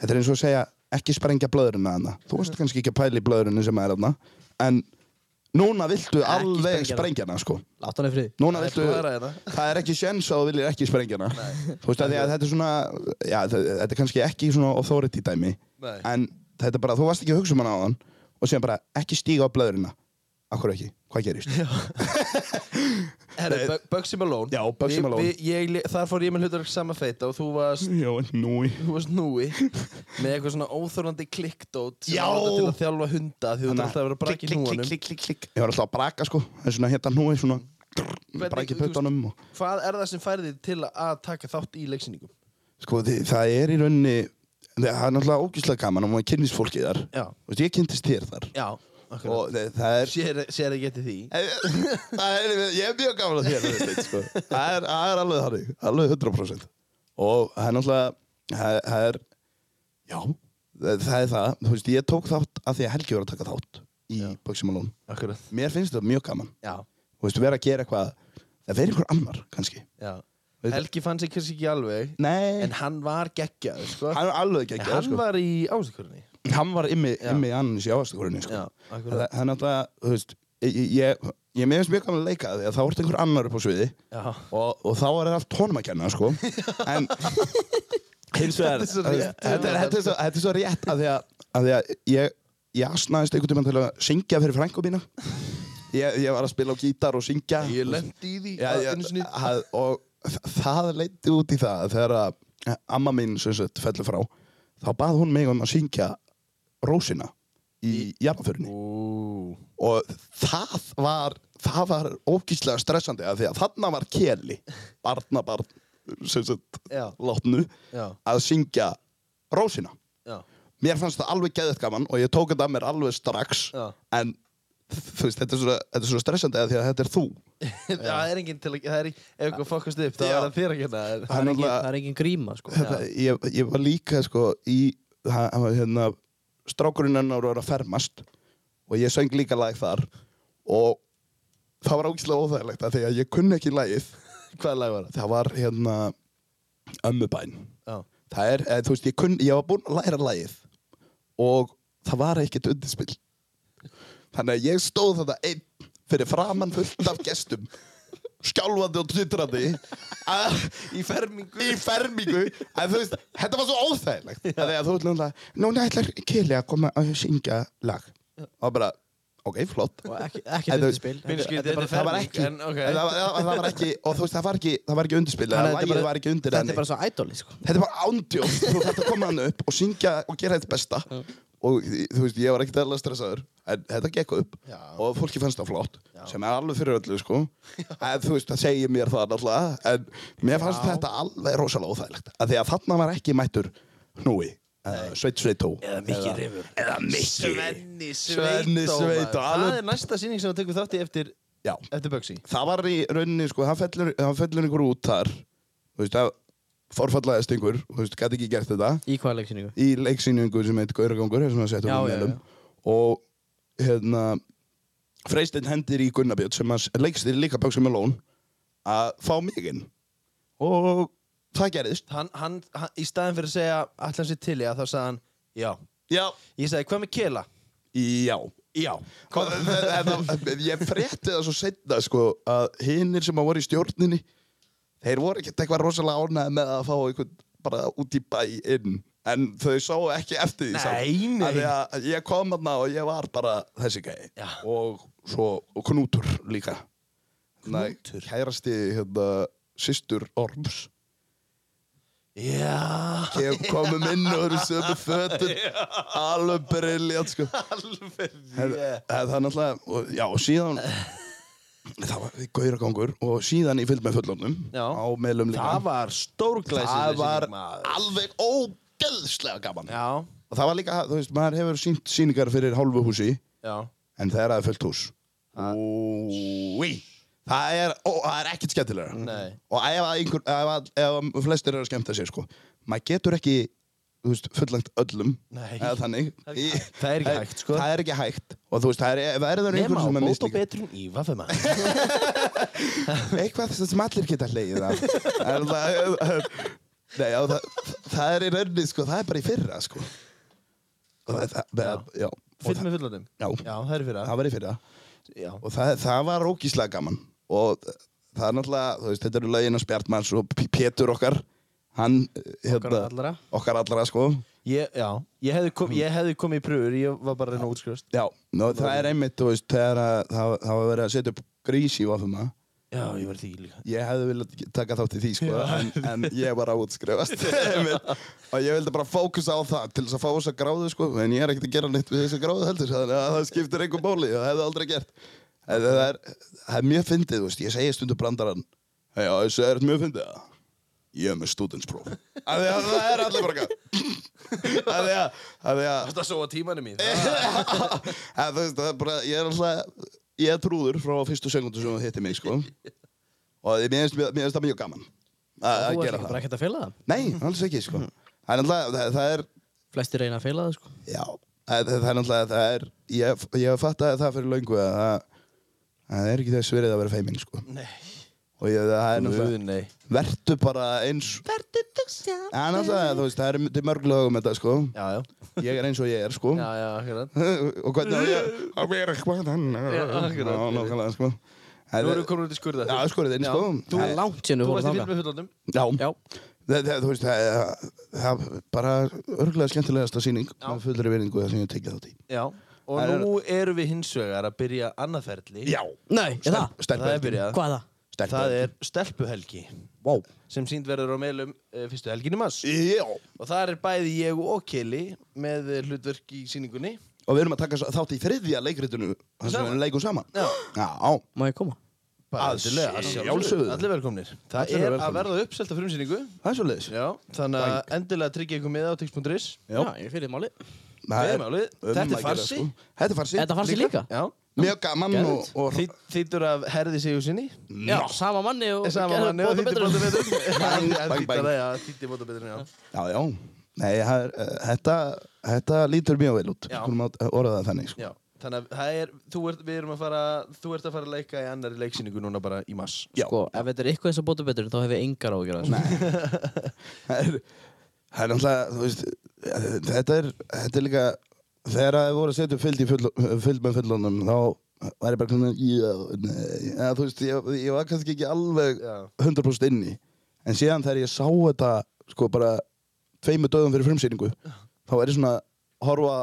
Speaker 3: þetta er eins og að segja, ekki sprengja blöðruna hana. Þú veist kannski ekki að pæla í blöðrunu sem er hana, en núna viltu alveg
Speaker 2: sprengja hana.
Speaker 3: sprengja hana, sko.
Speaker 2: Látt hann í frið
Speaker 3: Núna
Speaker 1: Það er
Speaker 3: viltu,
Speaker 1: blöðra hérna.
Speaker 3: það er ekki sjens að þú viljir ekki sprengja hana. Þú veist, af því að þetta er svona, já, þe- þetta er kannski ekki svona authority dæmi,
Speaker 1: Nei.
Speaker 3: en þetta er bara, þú varst ekki að hugsa um hana á og síðan bara, ekki stíga á blöðruna. Akkur ekki, hvað gerist?
Speaker 1: Herru, Bu- Bugsy Malone
Speaker 3: Já, Bugsy
Speaker 1: Við-
Speaker 3: Malone.
Speaker 1: við- ég le- Þar fór ég með hlutur sama feita og þú varst
Speaker 3: Já, núi.
Speaker 1: þú varst núi með eitthvað svona óþorlandi klikkdót sem
Speaker 3: Já.
Speaker 1: var þetta til að þjálfa hunda því þú þarf alltaf að vera að braka í núanum
Speaker 3: klikk, klikk, klikk. Ég var alltaf að braka sko, það er svona hérna núi, svona
Speaker 1: Hvernig-
Speaker 3: braki
Speaker 1: þú veist-
Speaker 3: puttanum og
Speaker 1: Hvað er það sem færði þig til að taka þátt í leiksýningum?
Speaker 3: sko þið, það er í rauninni, það er náttúrulega ógíslega gaman og maður kynnist fólkið þar.
Speaker 1: Já.
Speaker 3: Þú veist, ég kynntist þér þar
Speaker 1: Já,
Speaker 3: og
Speaker 1: akkurat
Speaker 3: þið, það er...
Speaker 1: Sér sér ekki eftir því
Speaker 3: það er, ég er mjög gaman að þér, þú veist, sko. það, er, það er alveg þannig, alveg 100% og það er náttúrulega, það það er, já, það það er það, þú veist, ég tók þátt af því að Helgi var að taka þátt í Böksimalón.
Speaker 1: Akkurat
Speaker 3: Mér finnst þetta mjög gaman.
Speaker 1: Já,
Speaker 3: þú veist, vera að gera eitthvað það verið einhver annar, kannski
Speaker 1: já
Speaker 3: Veit-
Speaker 1: Helgi fann sig kannski ekki alveg
Speaker 3: nei,
Speaker 1: En hann var geggjaður, sko
Speaker 3: hann var alveg ekki
Speaker 1: En
Speaker 3: ekki,
Speaker 1: hann
Speaker 3: sko.
Speaker 1: var í ásakurinn
Speaker 3: hann var ymmi,
Speaker 1: Já.
Speaker 3: ymmi annars í ávastakorinu sko.
Speaker 1: Já, akkurat.
Speaker 3: það það er náttúrulega, þú veist ég, ég, ég meðist mjög gaman að leika því að þá ertu einhver annar upp á sviði
Speaker 1: Já
Speaker 3: og, og þá er allt honum að kenna,
Speaker 1: [LAUGHS]
Speaker 3: sko en hins
Speaker 1: Þetta
Speaker 3: vegar
Speaker 1: er svo
Speaker 3: þú veist,
Speaker 1: rétt.
Speaker 3: þetta er- þetta er svo- þetta er svo rétt af því að, af því að ég, ég asnaðist einhvern tímann til að syngja fyrir frængu mína ég, ég var að spila á gítar og syngja
Speaker 1: Ég lendi í því
Speaker 3: já,
Speaker 1: að
Speaker 3: já,
Speaker 1: einu sinni.
Speaker 3: að, og þ- það leiti út í það að þegar að amma mín sem sagt fellur frá þá bað hún mig um að syngja rósina í jafnfyrinni
Speaker 1: Ú,
Speaker 3: og það var það var ógíslega stressandi af því að þarna var keli barnabarn sem sagt
Speaker 1: Já.
Speaker 3: látnu
Speaker 1: Já.
Speaker 3: að syngja rósina
Speaker 1: Já,
Speaker 3: mér fannst það alveg geðið gaman og ég tók þetta að mér alveg strax
Speaker 1: Já.
Speaker 3: en þú veist, þetta er svona, þetta er svona stressandi af því að þetta er þú
Speaker 1: [LAUGHS] það er enginn til að, það er í, ef eitthvað fokkast upp, þá
Speaker 3: Já.
Speaker 1: er það þér að gera það.
Speaker 3: Það er
Speaker 2: Það er engin-
Speaker 3: náttúrulega-
Speaker 2: það er engin gríma sko
Speaker 3: þetta, ég, ég var líka sko í ha- hann var hérna strákurinn hennar var að fermast og ég söng líka lag þar og það var ógæslega óþægilegt af því að ég kunni ekki lagið
Speaker 1: Hvaða lag var það?
Speaker 3: það var hérna ömmubæn
Speaker 1: Já,
Speaker 3: það er, eð, þú veist, ég, kunn, ég var búinn að læra lagið og það var ekkert undirspill þannig að ég stóð þetta einn fyrir framann fullt af gestum skjálfandi og titrandi að
Speaker 1: í fermingu.
Speaker 3: í fermingu að þú veist, þetta var svo óþægilegt að þú veist náttúrulega núna ætlar Kili að koma að syngja lag og bara, ok, flott
Speaker 2: Og ekki,
Speaker 3: En
Speaker 2: ekki
Speaker 3: þú-
Speaker 2: undirspil
Speaker 1: Minn
Speaker 2: Þetta
Speaker 1: skil-
Speaker 3: Þetta er
Speaker 1: þetta
Speaker 3: bara-
Speaker 1: er
Speaker 3: það var
Speaker 1: ferming,
Speaker 3: ekki-
Speaker 1: en ok.
Speaker 3: en það var- það var- það var ekki og þú veist, það var ekki, það var ekki undirspil eða
Speaker 2: er
Speaker 3: lagið
Speaker 2: bara-
Speaker 3: var ekki undir
Speaker 2: þetta
Speaker 3: henni
Speaker 2: er bara svo ædoli sko
Speaker 3: þetta er bara ándjóð þú þarf að koma hann upp og syngja og gera þetta besta og þú veist, ég var ekkert eðla stressaður en þetta gekk upp
Speaker 1: Já.
Speaker 3: og fólki fannst það flott sem er alveg fyrir öllu sko en þú veist, það segir mér það náttúrulega en mér fannst þetta alveg rosalega óþægilegt að því að þarna var ekki mættur hnúi, uh, sveit sveit tó
Speaker 1: Eða Mikki Rifur.
Speaker 4: Eða Mikki
Speaker 1: Svenni
Speaker 3: Svenni
Speaker 1: Sveitó.
Speaker 3: Sveitó,
Speaker 1: maður.
Speaker 3: alveg-
Speaker 1: Það er næsta sýning sem það tekur þátt í eftir,
Speaker 3: já,
Speaker 1: eftir Bugsy.
Speaker 3: það var í rauninni sko, hann fellur, hann fellur einhver út þar þú veist, það forfallaðist einhver þú veist, gæti ekki gert þetta
Speaker 2: Í hvaða leiksýningu?
Speaker 3: í leiksýningu sem heit Gauragangur sem það settum
Speaker 2: Já,
Speaker 3: við
Speaker 2: já,
Speaker 3: meðlum og hérna Freysteinn hendir í Gunnabjörn sem að leikstir líka Böksum Malone að fá mig inn og það gerðist
Speaker 1: Hann, hann, hann, í staðin fyrir að segja allan sér til ég, þá sagði hann, já.
Speaker 3: Já,
Speaker 1: Ég sagði, hvað með Kela?
Speaker 3: já
Speaker 1: Já.
Speaker 3: Og það- það- það- Ég frétti það svo setna sko að hinnir sem að voru í stjórninni þeir voru ekkert eitthvað rosalega ánæði með að fá einhvern bara út í bæ inn en þau sáu ekki eftir því
Speaker 1: Nei, nei.
Speaker 3: Af því að ég kom aðna og ég var bara þessi gæi
Speaker 1: Já.
Speaker 3: og svo og knútur líka knútur? kærasti hérna sýstur Orms
Speaker 1: Já.
Speaker 3: Ég komum inn og eru sömu fötun alveg briljant sko
Speaker 1: Alveg,
Speaker 3: Her,
Speaker 1: yeah.
Speaker 3: Það er náttúrulega, og- já og síðan það var gauragangur og síðan í fylgd með fullornum
Speaker 1: Já.
Speaker 3: á meðlum líka
Speaker 1: Það var stórglæsir
Speaker 3: Það var
Speaker 1: alveg
Speaker 3: alveg ógeðslega gaman
Speaker 1: Já,
Speaker 3: og það var líka, þú veist, maður hefur sínt síningar fyrir hálfu húsi
Speaker 1: já
Speaker 3: en þegar það er fullt hús Úi Það er, ó, það er ekkert skemmtilega
Speaker 1: Nei.
Speaker 3: Og ef, að einhver, ef, að, ef að flestir eru að skemmta sér sko. Maður getur ekki þú veist, fullangt öllum
Speaker 1: Nei.
Speaker 3: eða þannig
Speaker 1: Það er ekki hægt. Það er ekki hægt, sko.
Speaker 3: Það er ekki hægt Og þú veist, það er verður
Speaker 1: Nema
Speaker 3: einhver
Speaker 1: á
Speaker 3: sem er
Speaker 1: bót og
Speaker 3: mislíka
Speaker 1: betrun í Vafema [LAUGHS]
Speaker 3: Eitthvað sem allir geta hlegið af Það er það Nei, já, það, það er í rauninni, sko, það er bara í fyrra, sko Og það, það, já, já. Og
Speaker 1: Fyllt
Speaker 3: það,
Speaker 1: með fullorðum
Speaker 3: Já.
Speaker 1: já, það er fyrir að
Speaker 3: það var í fyrra
Speaker 1: Já,
Speaker 3: og það, það var ógíslega gaman og það er náttúrulega, þú veist, þetta eru lögin að Spjartmanns og P- Pétur okkar hann, hérna,
Speaker 2: Okkar allra.
Speaker 3: okkar allra sko
Speaker 1: ég, já. Ég, hefði kom,
Speaker 3: Hmm.
Speaker 1: ég hefði komið í pröfur Ég var bara að reyna að útskrifast
Speaker 3: já, Nú, það er einmitt, þú veist, þegar að, það, það var verið að setja upp grís í vafuma
Speaker 1: Já, ég var því líka
Speaker 3: ég hefði viljað taka þátt í því sko en, en ég var að útskrifast einmitt. og ég vildi bara fókusa á það til þess að fá þess að gráðu sko en ég er ekkert að gera neitt við þess að gráðu heldur þannig að það skiptir einhver bóli og hefði aldrei gert en það er, það er mjög fyndið, þú veist, ég segi stundum brandarann hei, já, þessu er mjög fyndið eða?" ég er með studentspróf af því að það er allir bara eitthvað [LAUGHS] af því að, af því að
Speaker 1: Þetta svo að tímanum mín
Speaker 3: að, þú veist, það er bara, ég er alltaf ég er trúður frá fyrstu sekundu sem þú hittir mig sko. og ég- mér finnst- mér mér finnst það mjög gaman að að
Speaker 2: Þú er
Speaker 3: gera
Speaker 2: bara
Speaker 3: það
Speaker 2: ekkert að fela það.
Speaker 3: nei, alls ekki sko. það er alltaf, það, það er
Speaker 2: Flestir reyna að fela það, sko.
Speaker 3: já, það, það er alltaf það er, ég, ég hef fattaði það fyrir löngu að að það er ekki þess verið að vera feiminn sko.
Speaker 1: Nei,
Speaker 3: og ég, það er
Speaker 1: Guð,
Speaker 3: alltaf
Speaker 1: nei
Speaker 3: vertu bara eins
Speaker 2: Verður þú sjálf?
Speaker 3: en alltaf, þú veist, það er til mörgulega um þetta sko.
Speaker 1: Já, já,
Speaker 3: ég er eins og ég er sko.
Speaker 1: já, já, akkurat
Speaker 3: og hvernig á ég að vera eitthvað annar
Speaker 1: Já, akkurat.
Speaker 3: Já, nákvæmlega, sko
Speaker 1: Nú erum við komin út í skurða
Speaker 3: Já, skurðið inn, sko
Speaker 2: Það er langt
Speaker 1: Þú
Speaker 2: sérna þú voru
Speaker 1: varst í fyllt
Speaker 2: þangað.
Speaker 1: með fullorðum
Speaker 3: Já,
Speaker 2: Já,
Speaker 3: Það, það, þú veist, það, það, það er bara örgulega skemmtilegasta sýning
Speaker 1: Já.
Speaker 3: með fullri vinningu sem ég hef tekið þátt í
Speaker 1: Já Og
Speaker 3: Það er-
Speaker 1: nú erum við hins vegar að byrja annaðferðli
Speaker 3: Já,
Speaker 2: nei, er það?
Speaker 1: Það er byrjað
Speaker 2: Hvað er það?
Speaker 1: Það er stelpuhelgi
Speaker 3: Wow.
Speaker 1: sem sínd verður á meilum uh, fyrstu helginni mass
Speaker 3: Já,
Speaker 1: og þar er bæði ég og Kelly með eh, hlutverk í síningunni
Speaker 3: og við erum að taka s- þátt í þriðja leikritinu þar sem
Speaker 1: Saman.
Speaker 3: við leikum saman
Speaker 1: Já.
Speaker 3: Já,
Speaker 2: Má ég koma?
Speaker 1: Bara
Speaker 3: Að
Speaker 1: endilega, að
Speaker 3: sjálfsögðu.
Speaker 1: Allir velkomnir Það
Speaker 3: Allir
Speaker 1: er að
Speaker 3: velkomnir.
Speaker 1: verða uppselt á frumsýningu
Speaker 3: það er svo leiðis
Speaker 1: Já, þannig að endilega tryggja ykkur með á tix.is
Speaker 3: Já.
Speaker 2: ég fyrir máli.
Speaker 1: það er málið. Þetta er farsi.
Speaker 3: sko. Þetta er farsi
Speaker 2: Þetta farsi líka?
Speaker 1: Já
Speaker 3: Mjög gaman og, og
Speaker 1: Þýt- Þýttur af Herði Sigursinni
Speaker 2: Já, sama manni og
Speaker 1: Saman manni og þýttur bóta betur Hann hann
Speaker 3: [LAUGHS] Bang,
Speaker 1: þýttur
Speaker 3: bang.
Speaker 1: það, já, þýttur bóta betur, já
Speaker 3: Já, já. Nei, það er, eh, þetta, þetta lítur mjög vel út.
Speaker 1: Já.
Speaker 3: Skulum að orða það þannig. Sko.
Speaker 1: Já, þannig að það er, þú ert, við erum að fara, þú ert að fara að leika í annari leiksýningu núna bara í mass
Speaker 3: Já.
Speaker 2: Sko, ef þetta er eitthvað eins og bóta betur, þá hef ég engar ágjör að þessu.
Speaker 3: Það er, það er náttúrulega, þú veist, þetta er, þetta er líka, þegar það voru að setja upp fylgd í full, fylgd með fullunum, þá var ég bara svona, já, nei, eða, þú veist, ég, ég var kannski ekki alveg
Speaker 1: Já.
Speaker 3: 100% inni. En síðan þegar ég sá þetta, sko, bara tveimu dögum fyrir frumsýningu, þá er ég svona að horfa,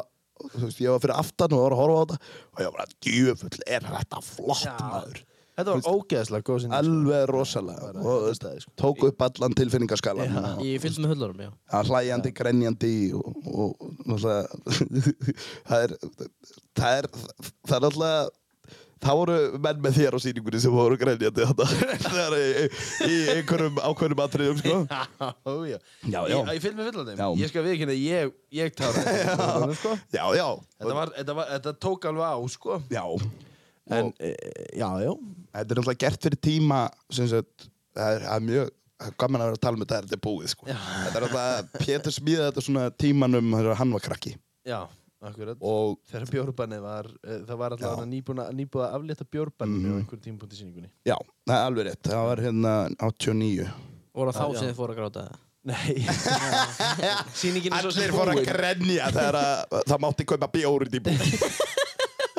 Speaker 3: þú veist, ég var fyrir aftan og var að horfa á þetta og ég var bara, djöfull, er þetta flott, maður.
Speaker 1: Þetta var ógeðslega góð
Speaker 3: [LAUGHS]
Speaker 1: sýning
Speaker 3: alveg rosalega og þú veist, tók upp allan tilfinningaskalan og
Speaker 2: Ég fylgst með hullurum, já.
Speaker 3: það er hlæjandi, grenjandi og, og, og náttúrulega [LAUGHS] það er það er, það er náttúrulega það voru menn með þér á sýningunni sem voru grenjandi [LAUGHS] þetta þegar í, í einhverjum ákveðnum atriðum sko.
Speaker 1: Já, já.
Speaker 3: Já, já.
Speaker 1: Ég, ég fylg með fullandum.
Speaker 3: Já.
Speaker 1: Ég skal viðkynna, ég, ég tára
Speaker 3: [LAUGHS]
Speaker 1: þetta. sko.
Speaker 3: já, já,
Speaker 1: Þetta, var, þetta, var, þetta tók alveg á, sko.
Speaker 3: já
Speaker 1: En, e, já, já.
Speaker 3: þetta er náttúrulega gert fyrir tíma sem sagt, það er, það er mjög það er gaman að vera að tala um þetta þegar þetta er búið sko. þetta er náttúrulega Pétur smíðaði þetta svona tímanum þegar hann var krakki
Speaker 1: Já, akkurat.
Speaker 3: og
Speaker 1: Þegar bjórbannið var, e, það var alltaf nýbúið nýbúið að aflétta
Speaker 3: Mhm.
Speaker 1: bjórbanninu á einhverjum tímapunkti síningunni.
Speaker 3: Já, það er alveg rétt. Það var hérna 89.
Speaker 2: Voru þá
Speaker 1: Já, já.
Speaker 2: sem þið fóru að gráta það?
Speaker 1: Nei. [LAUGHS] Sýningin er svo sem
Speaker 3: Allir fóru að
Speaker 1: búin.
Speaker 3: grenja þegar að, það mátti kaupa bjórið í búið.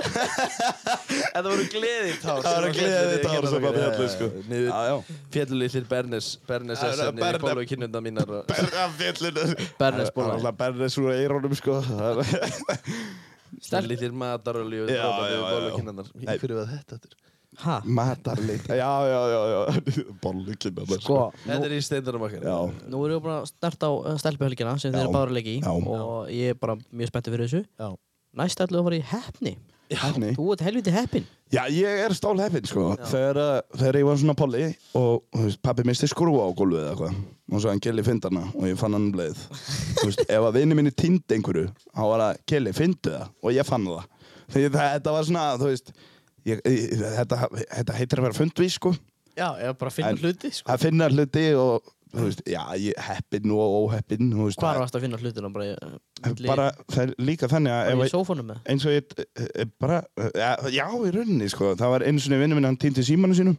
Speaker 1: [LAUGHS] Þetta voru gleðið tár.
Speaker 3: Það voru gleðitár sem að fjallu, sko. Já, já.
Speaker 1: Fjallulillir Bernes, Bernes
Speaker 3: Já, já,
Speaker 1: SN,
Speaker 3: Bernes-
Speaker 1: bólu kynnunda mínar. og-
Speaker 3: Berrafjallinu.
Speaker 2: Bernes bóla.
Speaker 3: Bernes úr eirónum, sko. Það er-
Speaker 1: Lillir matarolju,
Speaker 3: Já, já, já,
Speaker 1: bólu
Speaker 3: já.
Speaker 1: kynnundar.
Speaker 3: Nei.
Speaker 1: Hverju var þetta þetta?
Speaker 2: Ha?
Speaker 3: Matarlit. Já, já, já, já. Bollukinn.
Speaker 2: Sko,
Speaker 1: Þetta er í steindarum okkar.
Speaker 3: Já.
Speaker 2: nú erum við búin að starta á uh, stelpuhelgina sem þið
Speaker 3: Já.
Speaker 2: eru báður að leika í
Speaker 3: Já.
Speaker 2: og ég er bara mjög spenntið fyrir þessu.
Speaker 1: Já.
Speaker 2: Næst ætlum við að fara í hefni.
Speaker 3: Heppni.
Speaker 2: Þú ert helviti heppin.
Speaker 3: Já, ég er stál heppin, sko. Þegar, uh, þegar ég var svona polli og þú veist, pappi misti skrúa á gólfið eða eitthvað. Og svo hann Kelly fyndi hana og ég fann hann um
Speaker 2: [LAUGHS]
Speaker 3: leið. Þú veist, ef að vinni minni týndi einhverju, þá var það Kelly fyndi það og ég fann það. Þegar þetta var svona, þú veist, ég, ég, þetta, þetta heitir að vera fundvís, sko.
Speaker 2: Já, ég bara að finna
Speaker 3: En-
Speaker 2: hluti, sko.
Speaker 3: Að finna hluti og, þú veist, já, ég, heppin og óheppin, þú veist.
Speaker 2: Hvar varst að finna hlutina? Bara, í- milli-
Speaker 3: Bara, það er líka þannig að... ef
Speaker 2: bara
Speaker 3: að-
Speaker 2: í sófanum með?
Speaker 3: eins og ég eh, bara, ja, já, í rauninni sko, það var eins og vinnu minn hann týndi símanu sínum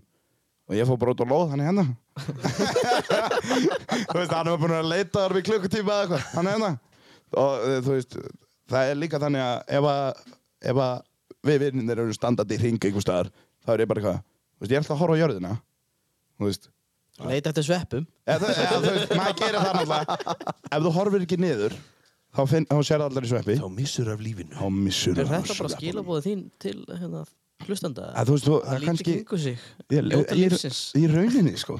Speaker 3: og ég fór bara út á lóð, hann er hérna [LAUGHS] þú veist, hann var búin að leita þar við klukkutíma eða eitthvað, hann er hérna og eh, þú veist, það er líka þannig að ef að, ef að við vinninir eru standandi í ring einhver staðar þá er ég bara eitthvað, þú veist, ég ætla að horfa á jörðina þú veist
Speaker 2: Leita eftir sveppum.
Speaker 3: Eða, þú- eða, þú veist, maður gerir það náttúrulega ef þú horfir ekki niður þá, finn, þá sér allar í sveppi
Speaker 1: Þá missur af lífinu.
Speaker 3: þá missur
Speaker 2: Er þetta bara skilabóðið þín til hérna, hlustanda?
Speaker 3: Að þú veist, þú,
Speaker 2: að líti
Speaker 3: kannski,
Speaker 2: kringu sig.
Speaker 3: Ég,
Speaker 2: Ljóta
Speaker 3: ég-
Speaker 2: lífsins.
Speaker 3: Í rauninni, sko.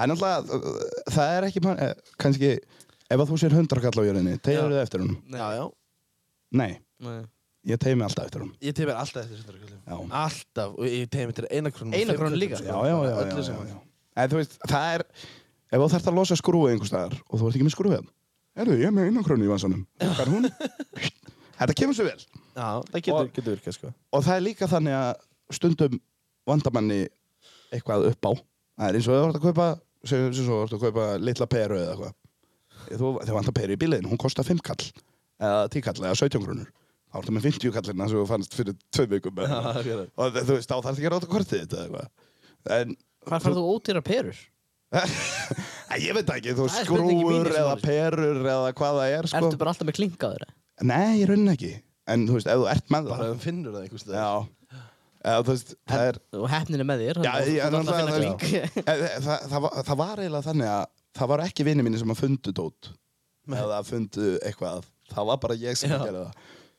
Speaker 3: En alltaf, það er ekki, man- eh, kannski, ef að þú sér hundrakall á jörðinni,
Speaker 2: Já.
Speaker 3: tegur þið eftir hún?
Speaker 1: Já, já.
Speaker 3: Nei,
Speaker 2: Nei.
Speaker 3: ég tegi mig alltaf eftir hún.
Speaker 1: Ég tegur alltaf eftir hundra kallum.
Speaker 3: Já.
Speaker 1: Alltaf. Og ég tegur mér til eina krónu.
Speaker 2: Eina
Speaker 1: fimm
Speaker 2: krónu
Speaker 1: köllum,
Speaker 2: líka?
Speaker 1: sko.
Speaker 3: Já, já, já, já,
Speaker 1: Öllu
Speaker 3: já,
Speaker 1: saman.
Speaker 3: já. En þú veist, það er, ef þú þarft að losa skrúið einhvers staðar og þú ert ekki með hérna. skrúið hann, erðu, ég er með innankrönu í vansanum. Hvað er hún? [LAUGHS] Þetta kemur svo vel.
Speaker 1: Já, það getur,
Speaker 3: Og-
Speaker 1: getur virkað, sko.
Speaker 3: Og það er líka þannig að stundum vandamanni eitthvað upp á. Það er eins og þú ert að kaupa, sem, sem svo þú ert að kaupa litla peru eða eitthvað. þú, þau vantar peri í bíliðin, hún kostar 5 kall eða 10 kall eða 17 grunur þá ertu með 50 kallina sem þú fannst fyrir 2 vikum eða eitthvað.
Speaker 1: akkurat.
Speaker 3: og þú veist, þá þarfst ekki að ráta kortið þetta eða eitthvað en
Speaker 2: Hvar farðu þú ódýra perur?
Speaker 3: Æ, ég veit ekki, þú
Speaker 2: Það er spurningin mín í
Speaker 3: skrúur
Speaker 2: þessu
Speaker 3: eða
Speaker 2: máli.
Speaker 3: perur eða hvað það er sko.
Speaker 2: Ertu bara alltaf með klinkaður?
Speaker 3: nei, ég raunin ekki en þú veist, ef þú ert með
Speaker 1: Bara
Speaker 3: það
Speaker 1: ef þú finnur það einhvers veginn.
Speaker 3: já, eða þú veist, það er
Speaker 2: Og hefnin er með þér.
Speaker 3: Já,
Speaker 2: þannig að
Speaker 3: ég-
Speaker 2: þú ert alltaf að
Speaker 3: náttúrulega-
Speaker 2: finna klink.
Speaker 3: það, það, eh, það, var- það var eiginlega þannig að það var ekki vinið mínir sem að fundu dót eða fundu eitthvað það var bara ég sem
Speaker 1: Já.
Speaker 3: að gera það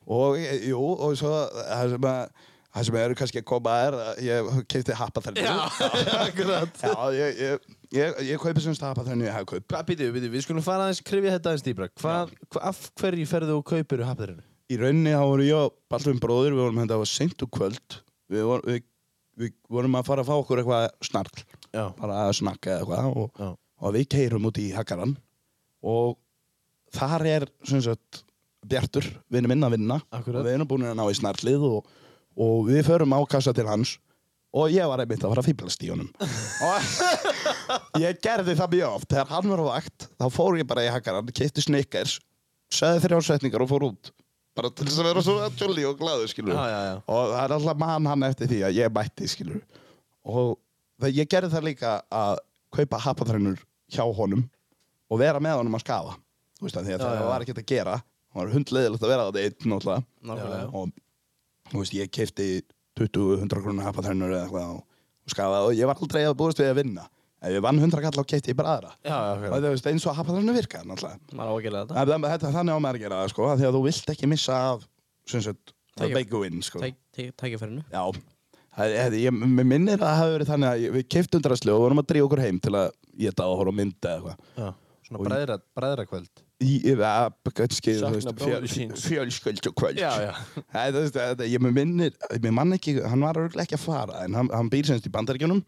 Speaker 3: og eh, jú, og svo það sem að það sem eru kannski að koma er að ég keipti hapaþennu
Speaker 1: [LAUGHS] akkurat.
Speaker 3: já, ég, ég, ég, ég kaupi semst hapaþennu í hagkaup
Speaker 1: Hvað, býtu, býtu, við skulum fara aðeins, krifja þetta aðeins dýbra. Hvað, hva, af hverju ferðu og kaupir úr hapðarinu?
Speaker 3: í rauninni þá voru ég og Baldvin bróður við vorum þetta var seint og kvöld við, vor, við, við vorum að fara að fá okkur eitthvað snarl
Speaker 1: Já.
Speaker 3: bara að snakka eða eitthvað og,
Speaker 1: Já.
Speaker 3: og við keirum út í Hakaran og þar er sem sagt Bjartur, vinur minn að vinna
Speaker 1: Akkúrat.
Speaker 3: og við erum búin að ná í snarlið og, og við förum á kassa til hans og ég var einmitt að fara að fýblast í honum og ég gerði það mjög oft þegar hann var á vakt þá fór ég bara í Hakaran, keipti snickers sagði þrjá setningar og fór út bara til þess að vera svona tjóli og glaðu skilur
Speaker 1: Já, já, já.
Speaker 3: og það er alltaf mann hann eftir því að ég mætti skilur og það, ég gerði það líka að kaupa hapaþrænur hjá honum og vera með honum að skafa þú veist að því að
Speaker 1: Já,
Speaker 3: það
Speaker 1: já.
Speaker 3: var ekkert að gera það var hundleðilegt að vera þetta einn
Speaker 2: Nákvæmlega.
Speaker 3: náttúrulega og þú veist ég kefti 20-100 krónu hapaþrænur eða eitthvað og, og skafaði og ég var aldrei að búast við að vinna ef ég vann 100 kall á kefti ég bara aðra
Speaker 1: Já, já,
Speaker 3: og
Speaker 1: akkurat.
Speaker 3: þú veist eins og hapaþrænur virkaði náttúrulega
Speaker 2: Maður á að gera þetta.
Speaker 3: Það- það- Þetta þannig á maður að gera það sko, af því að þú vilt ekki missa af sem sagt, það
Speaker 2: Tækif-
Speaker 3: beigúinn sko.
Speaker 2: Tæk- tæk- Tækifærinu.
Speaker 3: Já, það, er- ég, mér minnir að það hafi verið þannig að ég- við keiftum drasli og vorum að dríja okkur heim til að ég þetta að horfa á mynda eða eitthvað.
Speaker 1: Já. Svona bræðra, bræðra kvöld.
Speaker 3: Í, í- að- kannski, þú
Speaker 1: Sakna
Speaker 3: veist,
Speaker 1: bróður
Speaker 3: fjöl-
Speaker 1: síns.
Speaker 3: fjölskyldu kvöld.
Speaker 1: Já, já.
Speaker 3: Það, það, það, það, ég mér minnir, mér mann ekki, hann var örugglega ekki að fara, en hann, hann býr semst í bandaríkjunum